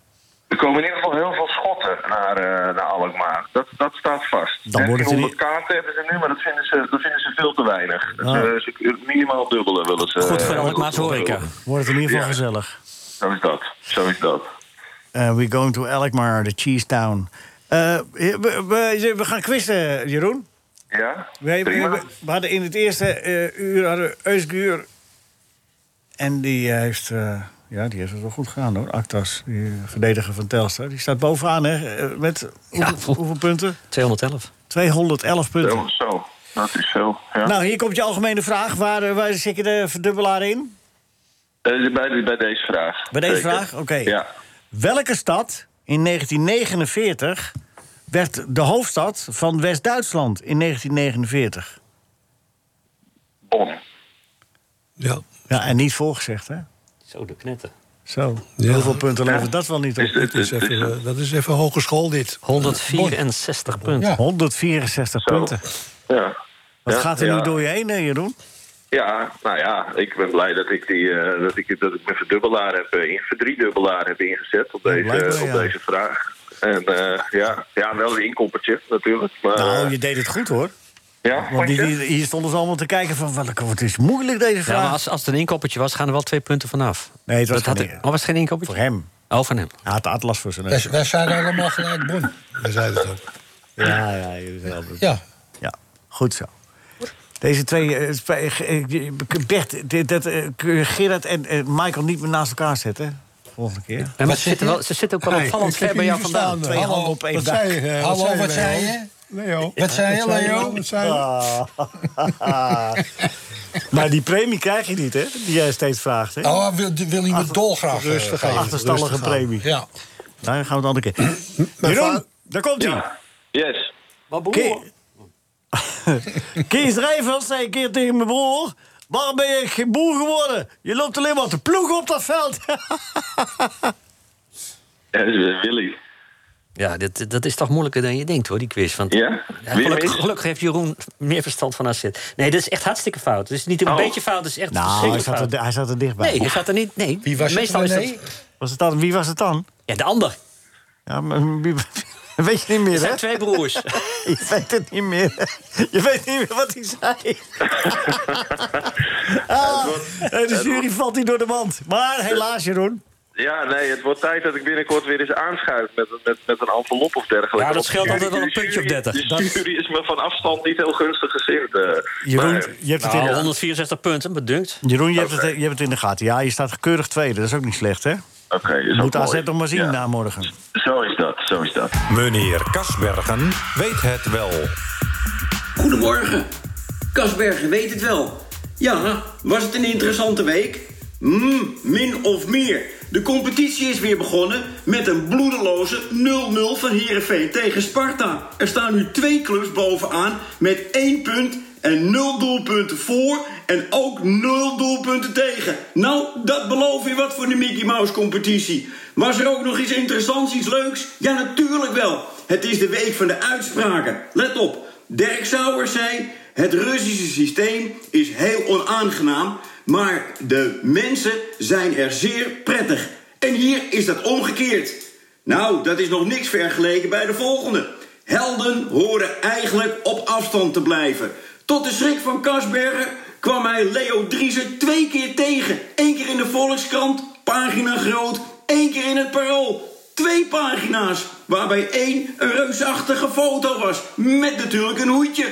[SPEAKER 8] Er komen in ieder geval heel veel schotten naar, eh, naar Alkmaar. Dat, dat staat vast.
[SPEAKER 3] Dan wordt het er niet-
[SPEAKER 8] 1300 kaarten hebben ze nu, maar dat vinden ze, dat vinden ze veel te weinig.
[SPEAKER 3] Ah.
[SPEAKER 8] Eh, ze, minimaal dubbele willen ze.
[SPEAKER 4] Goed voor
[SPEAKER 8] eh,
[SPEAKER 4] Alkmaar's
[SPEAKER 8] willen ze-
[SPEAKER 4] horeca.
[SPEAKER 3] Wordt het in ieder geval
[SPEAKER 8] Ja.
[SPEAKER 3] gezellig.
[SPEAKER 8] Zo is dat. Zo is dat.
[SPEAKER 3] Eh, we're going to Alkmaar, the cheese town. Eh, we, we, we gaan quizzen, Jeroen.
[SPEAKER 8] Ja?
[SPEAKER 3] We,
[SPEAKER 8] prima.
[SPEAKER 3] we, we hadden in het eerste eh, uur hadden we Eusguur. En die heeft, eh, ja, die heeft het wel goed gedaan hoor. Actas, die verdediger van Telstar. Die staat bovenaan hè, eh, met hoeveel, hoeveel punten?
[SPEAKER 4] 211.
[SPEAKER 3] 211 punten.
[SPEAKER 8] Zo, zo. Dat is zo. Ja.
[SPEAKER 3] Nou, hier komt je algemene vraag. Waar, eh, waar zit je de verdubbelaar in?
[SPEAKER 8] Eh, bij, bij deze vraag.
[SPEAKER 3] Bij deze
[SPEAKER 8] Zeker.
[SPEAKER 3] vraag? Oké.
[SPEAKER 8] Ja.
[SPEAKER 3] Welke stad in 1949 werd de hoofdstad van West-Duitsland in 1949?
[SPEAKER 8] Bon.
[SPEAKER 6] Ja.
[SPEAKER 3] Ja, en niet voorgezegd, hè?
[SPEAKER 4] Zo, de knetten.
[SPEAKER 3] Zo.
[SPEAKER 6] Ja.
[SPEAKER 3] Heel veel punten levert dat wel niet op.
[SPEAKER 8] Is dit,
[SPEAKER 6] Dat is
[SPEAKER 8] is- is-
[SPEAKER 6] even, eh, dat is even hogeschool dit.
[SPEAKER 4] 164 punten.
[SPEAKER 5] Ja.
[SPEAKER 3] 164
[SPEAKER 8] Zo.
[SPEAKER 3] punten.
[SPEAKER 8] ja.
[SPEAKER 3] Wat
[SPEAKER 8] Ja,
[SPEAKER 3] gaat er
[SPEAKER 8] ja.
[SPEAKER 3] nu door je heen, hè, Jeroen?
[SPEAKER 8] Ja, nou ja, ik ben blij dat ik, die, eh, dat ik, dat ik mijn verdubbelaar heb, eh, in, verdriedubbelaar heb ingezet op deze,
[SPEAKER 3] blijkbaar,
[SPEAKER 8] op
[SPEAKER 3] ja.
[SPEAKER 8] deze vraag. En eh, ja, ja, wel een inkoppertje natuurlijk. Maar,
[SPEAKER 3] Nou,
[SPEAKER 8] eh,
[SPEAKER 3] je deed het goed hoor.
[SPEAKER 8] ja,
[SPEAKER 3] Want die-
[SPEAKER 8] vond je?
[SPEAKER 3] die- hier stonden ze allemaal te kijken van, welke, het is moeilijk deze
[SPEAKER 4] Ja, maar
[SPEAKER 3] vraag.
[SPEAKER 4] als, als het een inkoppertje was, gaan er wel twee punten vanaf.
[SPEAKER 3] Nee, het was
[SPEAKER 4] dat had
[SPEAKER 3] geen-
[SPEAKER 4] ik- oh, was het geen
[SPEAKER 3] Voor
[SPEAKER 4] inkoppertje?
[SPEAKER 3] hem.
[SPEAKER 4] Oh, van hem.
[SPEAKER 3] Hij had de atlas voor zijn
[SPEAKER 5] Wij,
[SPEAKER 3] neus.
[SPEAKER 5] wij zeiden allemaal gelijk, bon. Wij zeiden het ook.
[SPEAKER 3] Ja, ja, jullie zijn altijd-
[SPEAKER 5] Ja,
[SPEAKER 3] Ja, goed zo. Deze twee, eh, sp- eh, eh, Bert, dit- dat, eh, kun je Gerard en eh, Michael niet meer naast elkaar zetten. Volgende keer.
[SPEAKER 4] Ja,
[SPEAKER 5] Wat
[SPEAKER 4] maar ze,
[SPEAKER 5] zeg
[SPEAKER 4] zitten
[SPEAKER 5] je?
[SPEAKER 4] wel, ze zitten ook wel
[SPEAKER 6] Hey,
[SPEAKER 4] opvallend
[SPEAKER 6] ik
[SPEAKER 4] ver
[SPEAKER 6] heb
[SPEAKER 4] bij
[SPEAKER 6] je
[SPEAKER 4] jou
[SPEAKER 6] niet
[SPEAKER 4] vandaan.
[SPEAKER 6] verstaan.
[SPEAKER 3] Twee
[SPEAKER 5] hallo,
[SPEAKER 3] handen op één
[SPEAKER 6] Wat
[SPEAKER 3] dak.
[SPEAKER 6] zei je?
[SPEAKER 5] Hallo, Eh, wat zei je?
[SPEAKER 6] Leo.
[SPEAKER 5] Wat zei je, Leo?
[SPEAKER 6] Wat zei je?
[SPEAKER 3] Ah. maar die premie krijg je niet, hè? Die jij steeds vraagt, hè?
[SPEAKER 5] Oh, wil, wil hij
[SPEAKER 3] Ah,
[SPEAKER 5] me dolgraag eh,
[SPEAKER 6] Rustig
[SPEAKER 5] geven.
[SPEAKER 6] aan.
[SPEAKER 3] Achterstallige
[SPEAKER 6] rustig aan.
[SPEAKER 3] premie.
[SPEAKER 5] Ja.
[SPEAKER 3] Daar gaan we het andere keer. Jeroen,
[SPEAKER 6] vader-
[SPEAKER 3] daar komt hij.
[SPEAKER 8] Yes.
[SPEAKER 3] Keer... Kees Drijvers zei een keer tegen mijn broer... waarom ben je geen boer geworden? Je loopt alleen maar te ploegen op dat veld.
[SPEAKER 8] Ja, dat is eh, Willy.
[SPEAKER 4] Ja, dat, dat is toch moeilijker dan je denkt, hoor, die quiz. Want
[SPEAKER 8] Ja? Wie
[SPEAKER 4] gelukkig,
[SPEAKER 8] weet?
[SPEAKER 4] gelukkig heeft Jeroen meer verstand van AZ. Nee, dat is echt hartstikke fout. Het is niet een
[SPEAKER 8] Oh.
[SPEAKER 4] beetje fout, het is echt
[SPEAKER 3] nou, hij
[SPEAKER 4] zeker
[SPEAKER 3] zat,
[SPEAKER 4] fout.
[SPEAKER 3] er, hij zat er dichtbij.
[SPEAKER 4] Nee, hij zat er niet. Nee,
[SPEAKER 5] Wie was
[SPEAKER 4] meestal
[SPEAKER 5] het?
[SPEAKER 3] nou
[SPEAKER 4] is
[SPEAKER 5] Nee?
[SPEAKER 4] dat...
[SPEAKER 3] Was het dan, wie was het dan?
[SPEAKER 4] Ja, de ander.
[SPEAKER 3] Ja, maar, wie- weet je niet meer,
[SPEAKER 4] Er
[SPEAKER 3] hè?
[SPEAKER 4] zijn twee broers.
[SPEAKER 3] Je weet het niet meer. Je weet niet meer wat hij zei. Ah, de jury valt hier door de mand. Maar helaas, Jeroen.
[SPEAKER 8] Ja, nee, het wordt tijd dat ik binnenkort weer eens aanschuif met, met, met een envelop of dergelijke.
[SPEAKER 4] Ja, dat
[SPEAKER 8] Want
[SPEAKER 4] scheelt
[SPEAKER 8] de
[SPEAKER 4] altijd wel een
[SPEAKER 8] jury-
[SPEAKER 4] puntje of 30.
[SPEAKER 8] De jury, is me van afstand niet heel gunstig gezind. eh.
[SPEAKER 3] Jeroen,
[SPEAKER 8] Maar,
[SPEAKER 3] je hebt het in
[SPEAKER 4] Nou,
[SPEAKER 3] de,
[SPEAKER 4] 164 punten, bedunkt.
[SPEAKER 3] Jeroen, je hebt, het, je hebt het in de gaten. Ja, je staat keurig tweede. Dat is ook niet slecht, hè?
[SPEAKER 8] Oké, is ook
[SPEAKER 3] Moet AZ
[SPEAKER 8] mooi.
[SPEAKER 3] nog maar zien
[SPEAKER 8] Ja,
[SPEAKER 3] na morgen.
[SPEAKER 8] Zo is dat, zo is dat.
[SPEAKER 10] Meneer Kasbergen weet het wel.
[SPEAKER 7] Goedemorgen. Kasbergen weet het wel. Ja, was het een interessante week? Mm, min of meer. De competitie is weer begonnen met een bloedeloze 0-0 van Herenveen tegen Sparta. Er staan nu twee clubs bovenaan met één punt en nul doelpunten voor en ook nul doelpunten tegen. Nou, dat beloof je wat voor de Mickey Mouse competitie. Was er ook nog iets interessants, iets leuks? Ja, natuurlijk wel. Het is de week van de uitspraken. Let op. Dirk Sauer zei: Het Russische systeem is heel onaangenaam, maar de mensen zijn er zeer prettig. En hier is dat omgekeerd. Nou, dat is nog niks vergeleken bij de volgende. Helden horen eigenlijk op afstand te blijven. Tot de schrik van Kasberger kwam hij Leo Driessen twee keer tegen. Eén keer in de Volkskrant, pagina groot, één keer in het Parool. Twee pagina's, waarbij één een reusachtige foto was. Met natuurlijk een hoedje.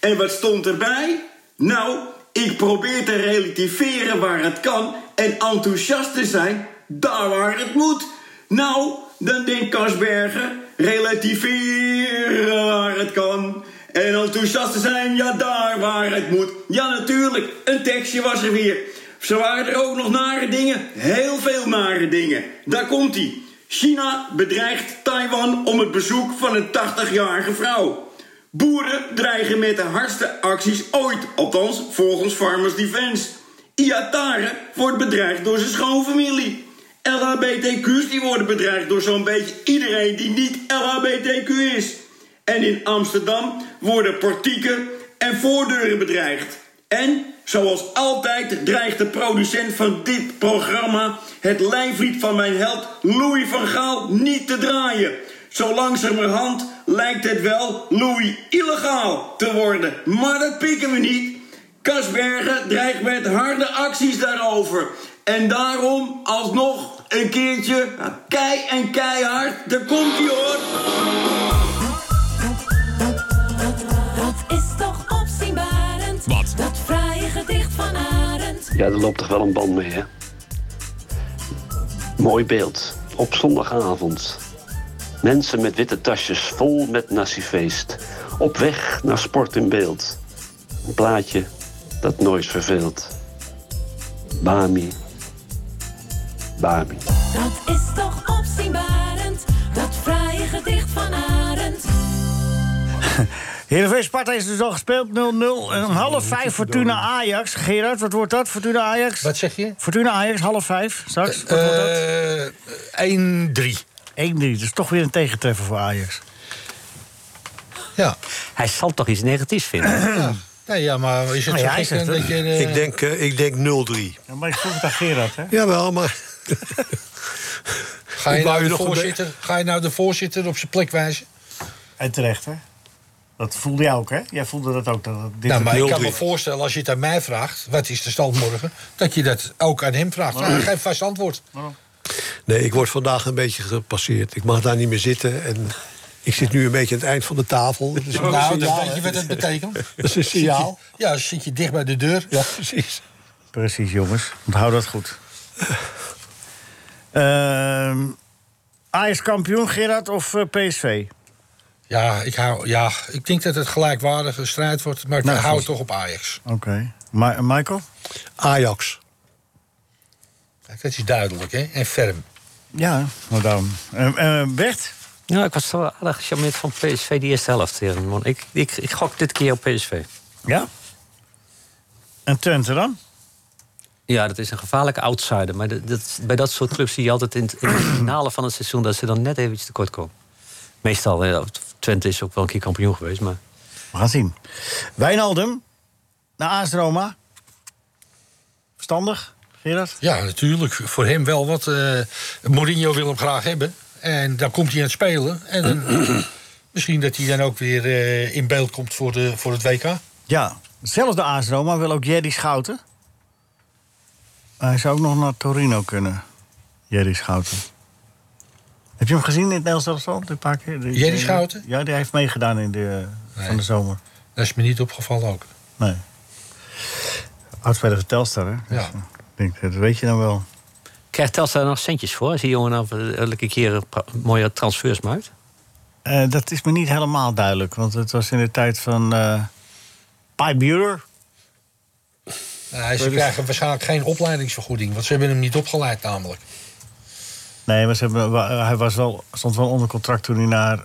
[SPEAKER 7] En wat stond erbij? Nou, ik probeer te relativeren waar het kan en enthousiast te zijn daar waar het moet. Nou, dan denkt Kasberger, relativeren waar het kan. En enthousiast te zijn, ja, daar waar het moet. Ja, natuurlijk, een tekstje was er weer. Ze waren er ook nog nare dingen, heel veel nare dingen. Daar komt ie. China bedreigt Taiwan om het bezoek van een 80-jarige vrouw. Boeren dreigen met de hardste acties ooit, althans volgens Farmers Defense. Iatare wordt bedreigd door zijn schoonfamilie. LHBTQ's die worden bedreigd door zo'n beetje iedereen die niet LHBTQ is. En in Amsterdam worden portieken en voordeuren bedreigd. En, zoals altijd, dreigt de producent van dit programma het lijflied van mijn held Louis van Gaal niet te draaien. Zo langzamerhand lijkt het wel Louis illegaal te worden. Maar dat pikken we niet. Kasbergen dreigt met harde acties daarover. En daarom alsnog een keertje kei en keihard. Daar komt ie hoor.
[SPEAKER 1] Dat is toch opzienbarend.
[SPEAKER 10] Wat?
[SPEAKER 1] Dat fraaie gedicht van Arend.
[SPEAKER 11] Ja, er loopt toch wel een band mee, hè? Mooi beeld. Op zondagavond. Mensen met witte tasjes vol met nazi-feest. Op weg naar sport in beeld. Een plaatje dat nooit verveelt. Bami. Bami.
[SPEAKER 1] Dat is toch opzienbarend. Dat fraaie gedicht van Arend.
[SPEAKER 3] Heerenveen Sparta is dus al gespeeld 0-0. En om half vijf Fortuna Ajax. Gerard, wat wordt dat? Fortuna Ajax?
[SPEAKER 5] Wat zeg je? Eh,
[SPEAKER 3] Fortuna Ajax, half vijf straks. Wat wordt dat?
[SPEAKER 5] 1-3.
[SPEAKER 3] 1-3. Dat is toch weer een tegentreffer voor Ajax.
[SPEAKER 5] Ja.
[SPEAKER 4] Hij zal toch iets negatiefs vinden.
[SPEAKER 5] Nee, ja, maar is het
[SPEAKER 3] Nou ja,
[SPEAKER 5] zo
[SPEAKER 3] hij
[SPEAKER 5] gek
[SPEAKER 3] zegt
[SPEAKER 5] dan
[SPEAKER 3] het.
[SPEAKER 5] dat je... eh,
[SPEAKER 6] Ik denk, eh, ik denk 0-3.
[SPEAKER 3] Ja, maar ik vroeg het aan Gerard, hè?
[SPEAKER 6] Jawel, maar
[SPEAKER 5] Ga je,
[SPEAKER 6] Ik wou
[SPEAKER 5] nou de,
[SPEAKER 6] nog een
[SPEAKER 5] voorzitter, ga je nou de voorzitter op zijn plek wijzen?
[SPEAKER 3] En terecht, hè? Dat voelde jij ook, hè? Jij voelde dat ook. Dat, dat dit
[SPEAKER 5] nou, maar ik kan me
[SPEAKER 3] 0-3.
[SPEAKER 5] voorstellen, als je het aan mij vraagt... wat is de stand morgen, dat je dat ook aan hem vraagt. Nou, hij geeft vast antwoord.
[SPEAKER 6] Nee, ik word vandaag een beetje gepasseerd. Ik mag daar niet meer zitten. En ik zit nu een beetje aan het eind van de tafel. Dat is ook een
[SPEAKER 5] nou,
[SPEAKER 6] signaal,
[SPEAKER 5] dan weet je
[SPEAKER 6] hè?
[SPEAKER 5] wat dat betekent.
[SPEAKER 6] Dat is een signaal.
[SPEAKER 5] Ja, dan zit je dicht bij de deur.
[SPEAKER 6] Ja, precies.
[SPEAKER 3] Precies, jongens. Onthoud dat goed. Ehm Ajax kampioen, Gerard, of eh, PSV?
[SPEAKER 5] Ja, ik, hou, ja, ik denk dat het gelijkwaardige strijd wordt. Maar ik
[SPEAKER 3] Nou,
[SPEAKER 5] hou
[SPEAKER 3] goed.
[SPEAKER 5] het toch op Ajax.
[SPEAKER 3] Oké. Ma- Michael?
[SPEAKER 6] Ajax.
[SPEAKER 5] Kijk, dat is duidelijk, hè? En ferm.
[SPEAKER 3] Ja, madame. Eh, eh, Bert?
[SPEAKER 4] Ja, ik was wel aardig gecharmeerd van PSV die eerste helft. heren, man. Ik, ik, ik gok dit keer op PSV.
[SPEAKER 3] Ja? En Twente dan?
[SPEAKER 4] Ja, dat is een gevaarlijke outsider. Maar dat, dat- bij dat soort clubs zie je altijd in het, in het finale van het seizoen... dat ze dan net even iets tekort komen. Meestal, hè, Twente is ook wel een keer kampioen geweest. Maar
[SPEAKER 3] We gaan zien. Wijnaldum? Naar AS Roma? Verstandig, Gerard?
[SPEAKER 5] Ja, natuurlijk. Voor hem wel wat. eh, Mourinho wil hem graag hebben. En dan komt hij aan het spelen. En dan- misschien dat hij dan ook weer eh, in beeld komt voor, de, voor het WK.
[SPEAKER 3] Ja. Zelfs de AS Roma wil ook Jerry Schouten. Hij zou ook nog naar Torino kunnen. Jerry Schouten. Heb je hem gezien in het Nederlands elftal? Een paar keer? Die-
[SPEAKER 5] Jerry Schouten?
[SPEAKER 3] Ja, die heeft meegedaan in de, eh,
[SPEAKER 5] Nee.
[SPEAKER 3] van de zomer.
[SPEAKER 5] Dat is me niet opgevallen ook.
[SPEAKER 3] Nee. Oudspeler van Telstar, hè? Dus, eh,
[SPEAKER 5] Ja.
[SPEAKER 3] Ik denk, dat weet je dan wel.
[SPEAKER 4] krijgt Telstra er nog centjes voor? Als die jongen nou elke keer een pra- mooie transfers maakt?
[SPEAKER 3] Eh, dat is me niet helemaal duidelijk, want het was in de tijd van eh Pipe Bueller.
[SPEAKER 5] Nou, ze krijgen waarschijnlijk geen opleidingsvergoeding. Want ze hebben hem niet opgeleid namelijk.
[SPEAKER 3] Nee, maar ze hebben, wa- eh, hij was wel, stond wel onder contract toen hij naar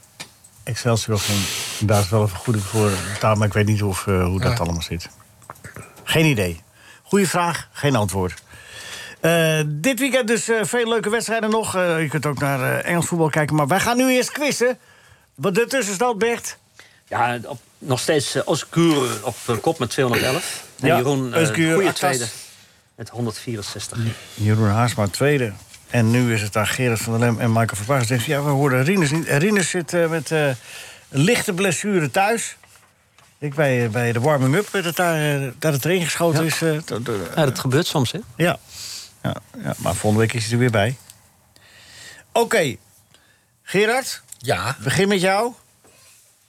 [SPEAKER 3] Excelsior ging. Daar is wel een vergoeding voor betaald, maar ik weet niet of, eh, hoe dat
[SPEAKER 5] Ja.
[SPEAKER 3] allemaal zit. Geen idee. Goeie vraag, geen antwoord. Eh, dit weekend dus eh, veel leuke wedstrijden nog. Eh, je kunt ook naar eh, Engels voetbal kijken, maar wij gaan nu eerst quizzen. Wat de tussenstand, Bert?
[SPEAKER 4] Ja, op, nog steeds eh, Osgur op eh, kop met 211. En
[SPEAKER 3] Ja,
[SPEAKER 4] Jeroen, eh
[SPEAKER 3] Özgür
[SPEAKER 4] goede
[SPEAKER 3] Akas.
[SPEAKER 4] tweede met 164.
[SPEAKER 3] Jeroen Haasma tweede. En nu is het aan Gerard van der Lem en Michael Verpaas. Denkt, ja, we hoorden Rinus niet. En Rinus zit eh, met eh, lichte blessure thuis. Ik bij, eh, bij de warming-up eh, dat, daar, eh, dat het erin geschoten is. eh, dat- dat-
[SPEAKER 4] Ja, dat gebeurt soms, hè?
[SPEAKER 3] ja. Ja, ja, maar volgende week is hij er weer bij. Oké, Gerard,
[SPEAKER 5] Ja,
[SPEAKER 3] begin met jou.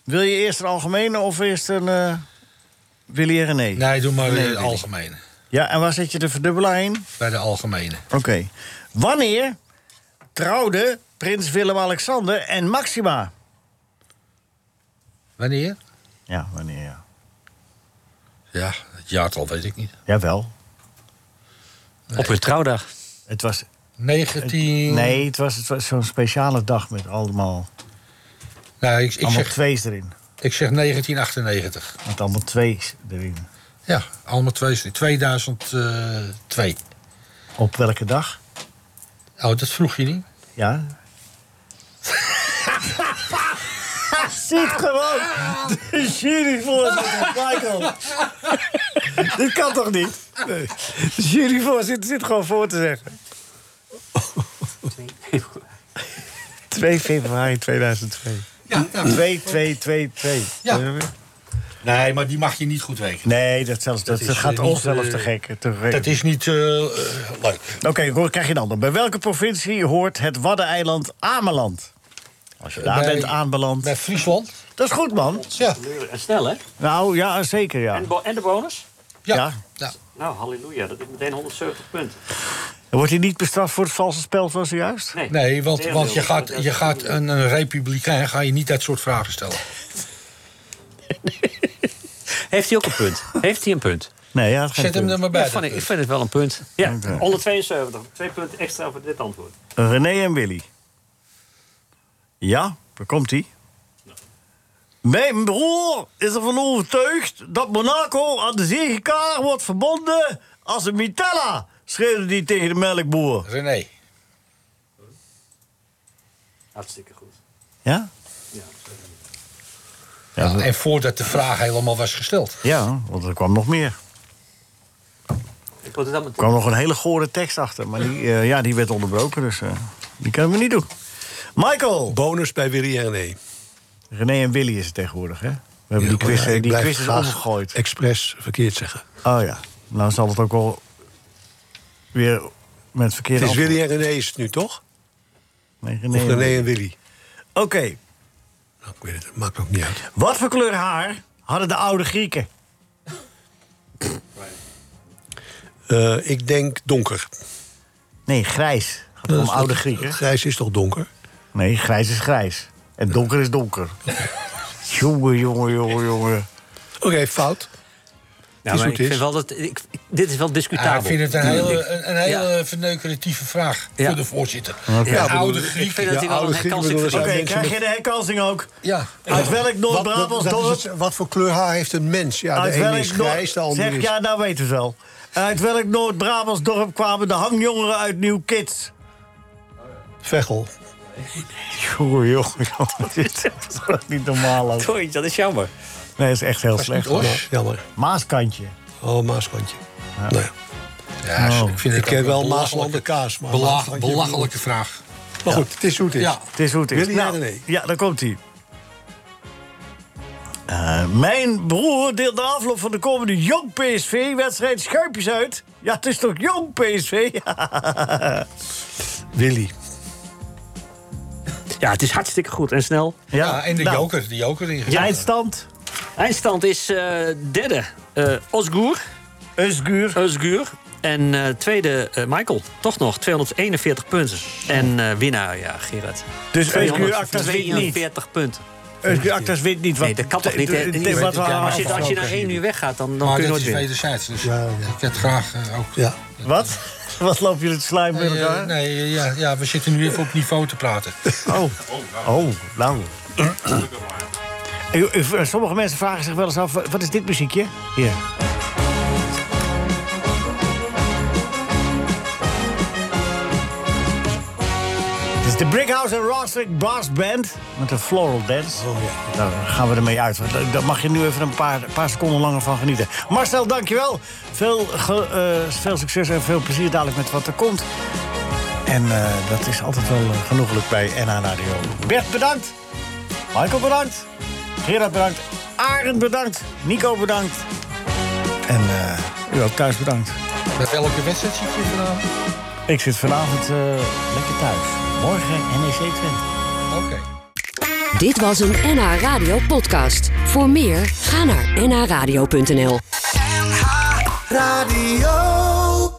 [SPEAKER 3] Wil je eerst een algemene of eerst een eh Willy en René?
[SPEAKER 5] nee, doe maar
[SPEAKER 3] Nee,
[SPEAKER 5] eh,
[SPEAKER 3] weet ik.
[SPEAKER 5] algemene.
[SPEAKER 3] Ja, en waar zet je de verdubbelaar in?
[SPEAKER 5] Bij de algemene.
[SPEAKER 3] Oké. Wanneer trouwden prins Willem-Alexander en Maxima?
[SPEAKER 5] Wanneer?
[SPEAKER 3] Ja, wanneer ja.
[SPEAKER 5] Ja, het jaartal weet ik niet.
[SPEAKER 3] Jawel.
[SPEAKER 4] Op hun trouwdag.
[SPEAKER 3] Het was,
[SPEAKER 5] 19...
[SPEAKER 3] nee, het was, het was zo'n speciale dag met allemaal,
[SPEAKER 5] Nou, ik, ik,
[SPEAKER 3] allemaal
[SPEAKER 5] zeg,
[SPEAKER 3] twee's erin.
[SPEAKER 5] ik zeg 1998.
[SPEAKER 3] Met allemaal twee's erin.
[SPEAKER 5] Ja, allemaal twee, eh, 2002.
[SPEAKER 3] Op welke dag?
[SPEAKER 5] Oh, dat vroeg je niet?
[SPEAKER 3] Ja. Zit gewoon de juryvoorzitter, Michael. Dit kan toch niet? Nee. De juryvoorzitter zit gewoon voor te zeggen. 2 februari 2002.
[SPEAKER 5] Ja,
[SPEAKER 3] 2, 2, 2, 2.
[SPEAKER 5] Ja. Nee, maar die mag je niet goed rekenen.
[SPEAKER 3] Nee, dat, zelfs, dat,
[SPEAKER 5] Dat
[SPEAKER 3] dat
[SPEAKER 5] is,
[SPEAKER 3] gaat
[SPEAKER 5] eh, niet,
[SPEAKER 3] ons zelfs
[SPEAKER 5] eh,
[SPEAKER 3] te gek. Te gek.
[SPEAKER 5] Dat is niet eh, eh, leuk.
[SPEAKER 3] Oké, hoor, krijg je een ander. Bij welke provincie hoort het Waddeneiland Ameland? Als je daar
[SPEAKER 5] Bij-
[SPEAKER 3] bent aanbeland.
[SPEAKER 5] Bij Friesland?
[SPEAKER 3] Dat is goed, man.
[SPEAKER 5] Ja.
[SPEAKER 4] En snel, hè?
[SPEAKER 3] Nou, ja, zeker, ja.
[SPEAKER 4] En, bo- en de bonus?
[SPEAKER 5] Ja.
[SPEAKER 3] Ja.
[SPEAKER 5] ja.
[SPEAKER 4] Nou, halleluja, dat is meteen 170 punten.
[SPEAKER 3] Dan wordt hij niet bestraft voor het valse spel zoals zojuist?
[SPEAKER 5] Nee, want,
[SPEAKER 4] Tegendeel,
[SPEAKER 5] want je gaat,
[SPEAKER 4] dat is
[SPEAKER 5] je gaat een, een republikein ga je niet dat soort vragen stellen.
[SPEAKER 4] Heeft hij ook een punt? Heeft hij een punt?
[SPEAKER 3] Nee, ja, dat
[SPEAKER 5] Zet hem er maar bij.
[SPEAKER 4] Ja, van,
[SPEAKER 5] dat eh,
[SPEAKER 4] ik,
[SPEAKER 5] punt.
[SPEAKER 4] ik vind het wel een punt. Ja,
[SPEAKER 3] Oké.
[SPEAKER 4] 172. Twee punten extra voor dit antwoord.
[SPEAKER 3] René en Willy. Ja, daar komt hij. Mijn broer is ervan overtuigd dat Monaco aan de zegenkaar wordt verbonden als een Mitella, schreeuwde hij tegen de melkboer.
[SPEAKER 5] René.
[SPEAKER 4] Hartstikke goed.
[SPEAKER 3] Ja? Ja,
[SPEAKER 5] En voordat de vraag helemaal was gesteld.
[SPEAKER 3] ja, want er kwam nog meer.
[SPEAKER 4] Ik word het dan
[SPEAKER 3] Er kwam nog een hele gore tekst achter, maar die, eh, ja, die werd onderbroken. Dus, eh, Die kunnen we niet doen. Michael!
[SPEAKER 6] Bonus bij Willy E. en René.
[SPEAKER 3] René en Willy is het tegenwoordig, hè? We hebben die quiz,
[SPEAKER 6] maar ik
[SPEAKER 3] die
[SPEAKER 6] blijf
[SPEAKER 3] quiz is
[SPEAKER 6] graag
[SPEAKER 3] omgegooid.
[SPEAKER 6] expres verkeerd zeggen.
[SPEAKER 3] Oh ja, nou zal het ook wel weer met het verkeerde
[SPEAKER 6] Het is
[SPEAKER 3] antwoord.
[SPEAKER 6] Willy en René is het nu, toch?
[SPEAKER 3] Nee, René
[SPEAKER 6] Of
[SPEAKER 3] en
[SPEAKER 6] René
[SPEAKER 3] Willy.
[SPEAKER 6] en Willy.
[SPEAKER 3] Oké,
[SPEAKER 6] Nou, ik weet het, maakt ook niet uit.
[SPEAKER 3] wat voor kleur haar hadden de oude Grieken?
[SPEAKER 6] Eh, ik denk donker.
[SPEAKER 3] Nee, grijs. Gaat om oude Grieken?
[SPEAKER 6] Grijs is toch donker?
[SPEAKER 3] Nee, grijs is grijs. En donker is donker. jongen, jongen, jongen, jongen.
[SPEAKER 6] Oké, fout.
[SPEAKER 4] Nou, maar
[SPEAKER 6] hoe
[SPEAKER 4] ik
[SPEAKER 6] het
[SPEAKER 4] vind
[SPEAKER 6] is.
[SPEAKER 4] wel dat. Ik, dit is wel discutabel.
[SPEAKER 5] Ja, ik vind het een hele, een, een
[SPEAKER 4] Ja.
[SPEAKER 5] hele verneukeratieve vraag
[SPEAKER 4] Ja.
[SPEAKER 5] voor de voorzitter.
[SPEAKER 4] Ja,
[SPEAKER 5] De oude
[SPEAKER 4] ik
[SPEAKER 5] Grieken.
[SPEAKER 4] vind dat hij wel
[SPEAKER 6] oude
[SPEAKER 4] een
[SPEAKER 6] Grieken
[SPEAKER 4] herkansing
[SPEAKER 6] bedoelen
[SPEAKER 4] verdient.
[SPEAKER 6] ze
[SPEAKER 3] Oké,
[SPEAKER 6] Zijn mensen
[SPEAKER 3] krijg je
[SPEAKER 6] met-
[SPEAKER 3] de herkansing ook?
[SPEAKER 5] Ja.
[SPEAKER 3] Uit welk Noord-Brabants
[SPEAKER 6] dat is
[SPEAKER 3] dorp?
[SPEAKER 6] het- wat voor kleur haar heeft een mens? Ja,
[SPEAKER 3] Uit
[SPEAKER 6] de ene
[SPEAKER 3] welk
[SPEAKER 6] is grijs, de
[SPEAKER 3] Noord-
[SPEAKER 6] andere
[SPEAKER 3] Zeg,
[SPEAKER 6] is...
[SPEAKER 3] ja, nou weten we het wel. Uit welk Noord-Brabants dorp kwamen de hangjongeren uit Nieuw-Kids?
[SPEAKER 6] Vechel.
[SPEAKER 3] Jongen, jongen, jongen, dit is gewoon niet normaal. ook.
[SPEAKER 4] Sorry, dat is jammer.
[SPEAKER 3] Nee, dat is echt heel
[SPEAKER 6] Dat is niet
[SPEAKER 3] slecht.
[SPEAKER 6] Os. Jammer.
[SPEAKER 3] Maaskantje.
[SPEAKER 6] Oh, Maaskantje. Nou ja.
[SPEAKER 5] Ja,
[SPEAKER 3] Oh.
[SPEAKER 5] ik vind
[SPEAKER 6] Ik
[SPEAKER 5] het
[SPEAKER 6] ken
[SPEAKER 5] ook
[SPEAKER 6] wel
[SPEAKER 5] een
[SPEAKER 6] Maaslander
[SPEAKER 5] belachelijke,
[SPEAKER 6] kaas. Maar
[SPEAKER 5] belag-
[SPEAKER 6] Maaskantje-
[SPEAKER 5] belachelijke vraag.
[SPEAKER 6] Maar goed, het is hoe het is.
[SPEAKER 5] Ja.
[SPEAKER 3] Het is hoe het is.
[SPEAKER 6] Wil je ja
[SPEAKER 3] Nou,
[SPEAKER 6] of nee?
[SPEAKER 3] Ja, daar komt hij. Eh, mijn broer deelt de afloop van de komende Jong PSV-wedstrijd schuipjes uit. Ja, het is toch Jong PSV?
[SPEAKER 6] Willy.
[SPEAKER 4] Ja, het is hartstikke goed en snel.
[SPEAKER 5] Ja, en Ah, de
[SPEAKER 3] nou,
[SPEAKER 5] joker. De joker ingezet.
[SPEAKER 3] Eindstand,
[SPEAKER 4] Eindstand is eh, derde. eh Osgur.
[SPEAKER 3] Usguur.
[SPEAKER 4] Özgür. En eh, tweede eh, Michael. Toch nog, 241 punten. En eh, winnaar, ja, Gerard.
[SPEAKER 3] Dus Usguur Actas wint niet.
[SPEAKER 4] 242 punten.
[SPEAKER 3] Usguur Actas wint niet. want-
[SPEAKER 4] Nee, dat kan toch niet, hè?
[SPEAKER 3] Dit- dit- wat we
[SPEAKER 5] Ja, maar
[SPEAKER 4] Als je,
[SPEAKER 3] hadden
[SPEAKER 4] als je na
[SPEAKER 5] afgesproken.
[SPEAKER 4] één uur weggaat, dan, dan
[SPEAKER 5] Maar
[SPEAKER 4] kun
[SPEAKER 5] dit
[SPEAKER 4] je nooit
[SPEAKER 5] is
[SPEAKER 4] winnen.
[SPEAKER 5] wederzijds. Dus
[SPEAKER 6] Ja, ja.
[SPEAKER 5] ik had graag eh, ook...
[SPEAKER 6] Ja.
[SPEAKER 3] afgesproken. Wat? Wat lopen jullie te slijmen met
[SPEAKER 5] Eh,
[SPEAKER 3] elkaar?
[SPEAKER 5] nee, eh, ja, ja, we zitten nu even op niveau te praten.
[SPEAKER 3] Oh, oh, lang. Sommige mensen vragen zich wel eens af, wat is dit muziekje? Hier. Het is de Brickhouse and Rostrick Brass Band met de Floral Dance. Daar gaan we ermee uit. want Daar mag je nu even een paar, paar seconden langer van genieten. Marcel, dankjewel. Veel, ge- eh, veel succes en veel plezier dadelijk met wat er komt. En eh, dat is altijd wel eh, genoeglijk bij NH Radio. Bert, bedankt. Michael, bedankt. Gerard, bedankt. Arend, bedankt. Nico, bedankt. En eh, u ook thuis, bedankt.
[SPEAKER 5] Met welke wedstrijd zit je vandaan?
[SPEAKER 3] Ik zit vanavond eh, lekker thuis. Morgen NEC Twente.
[SPEAKER 5] Oké.
[SPEAKER 1] Dit was een NH Radio podcast. Voor meer, ga naar nhradio.nl.
[SPEAKER 2] Radio.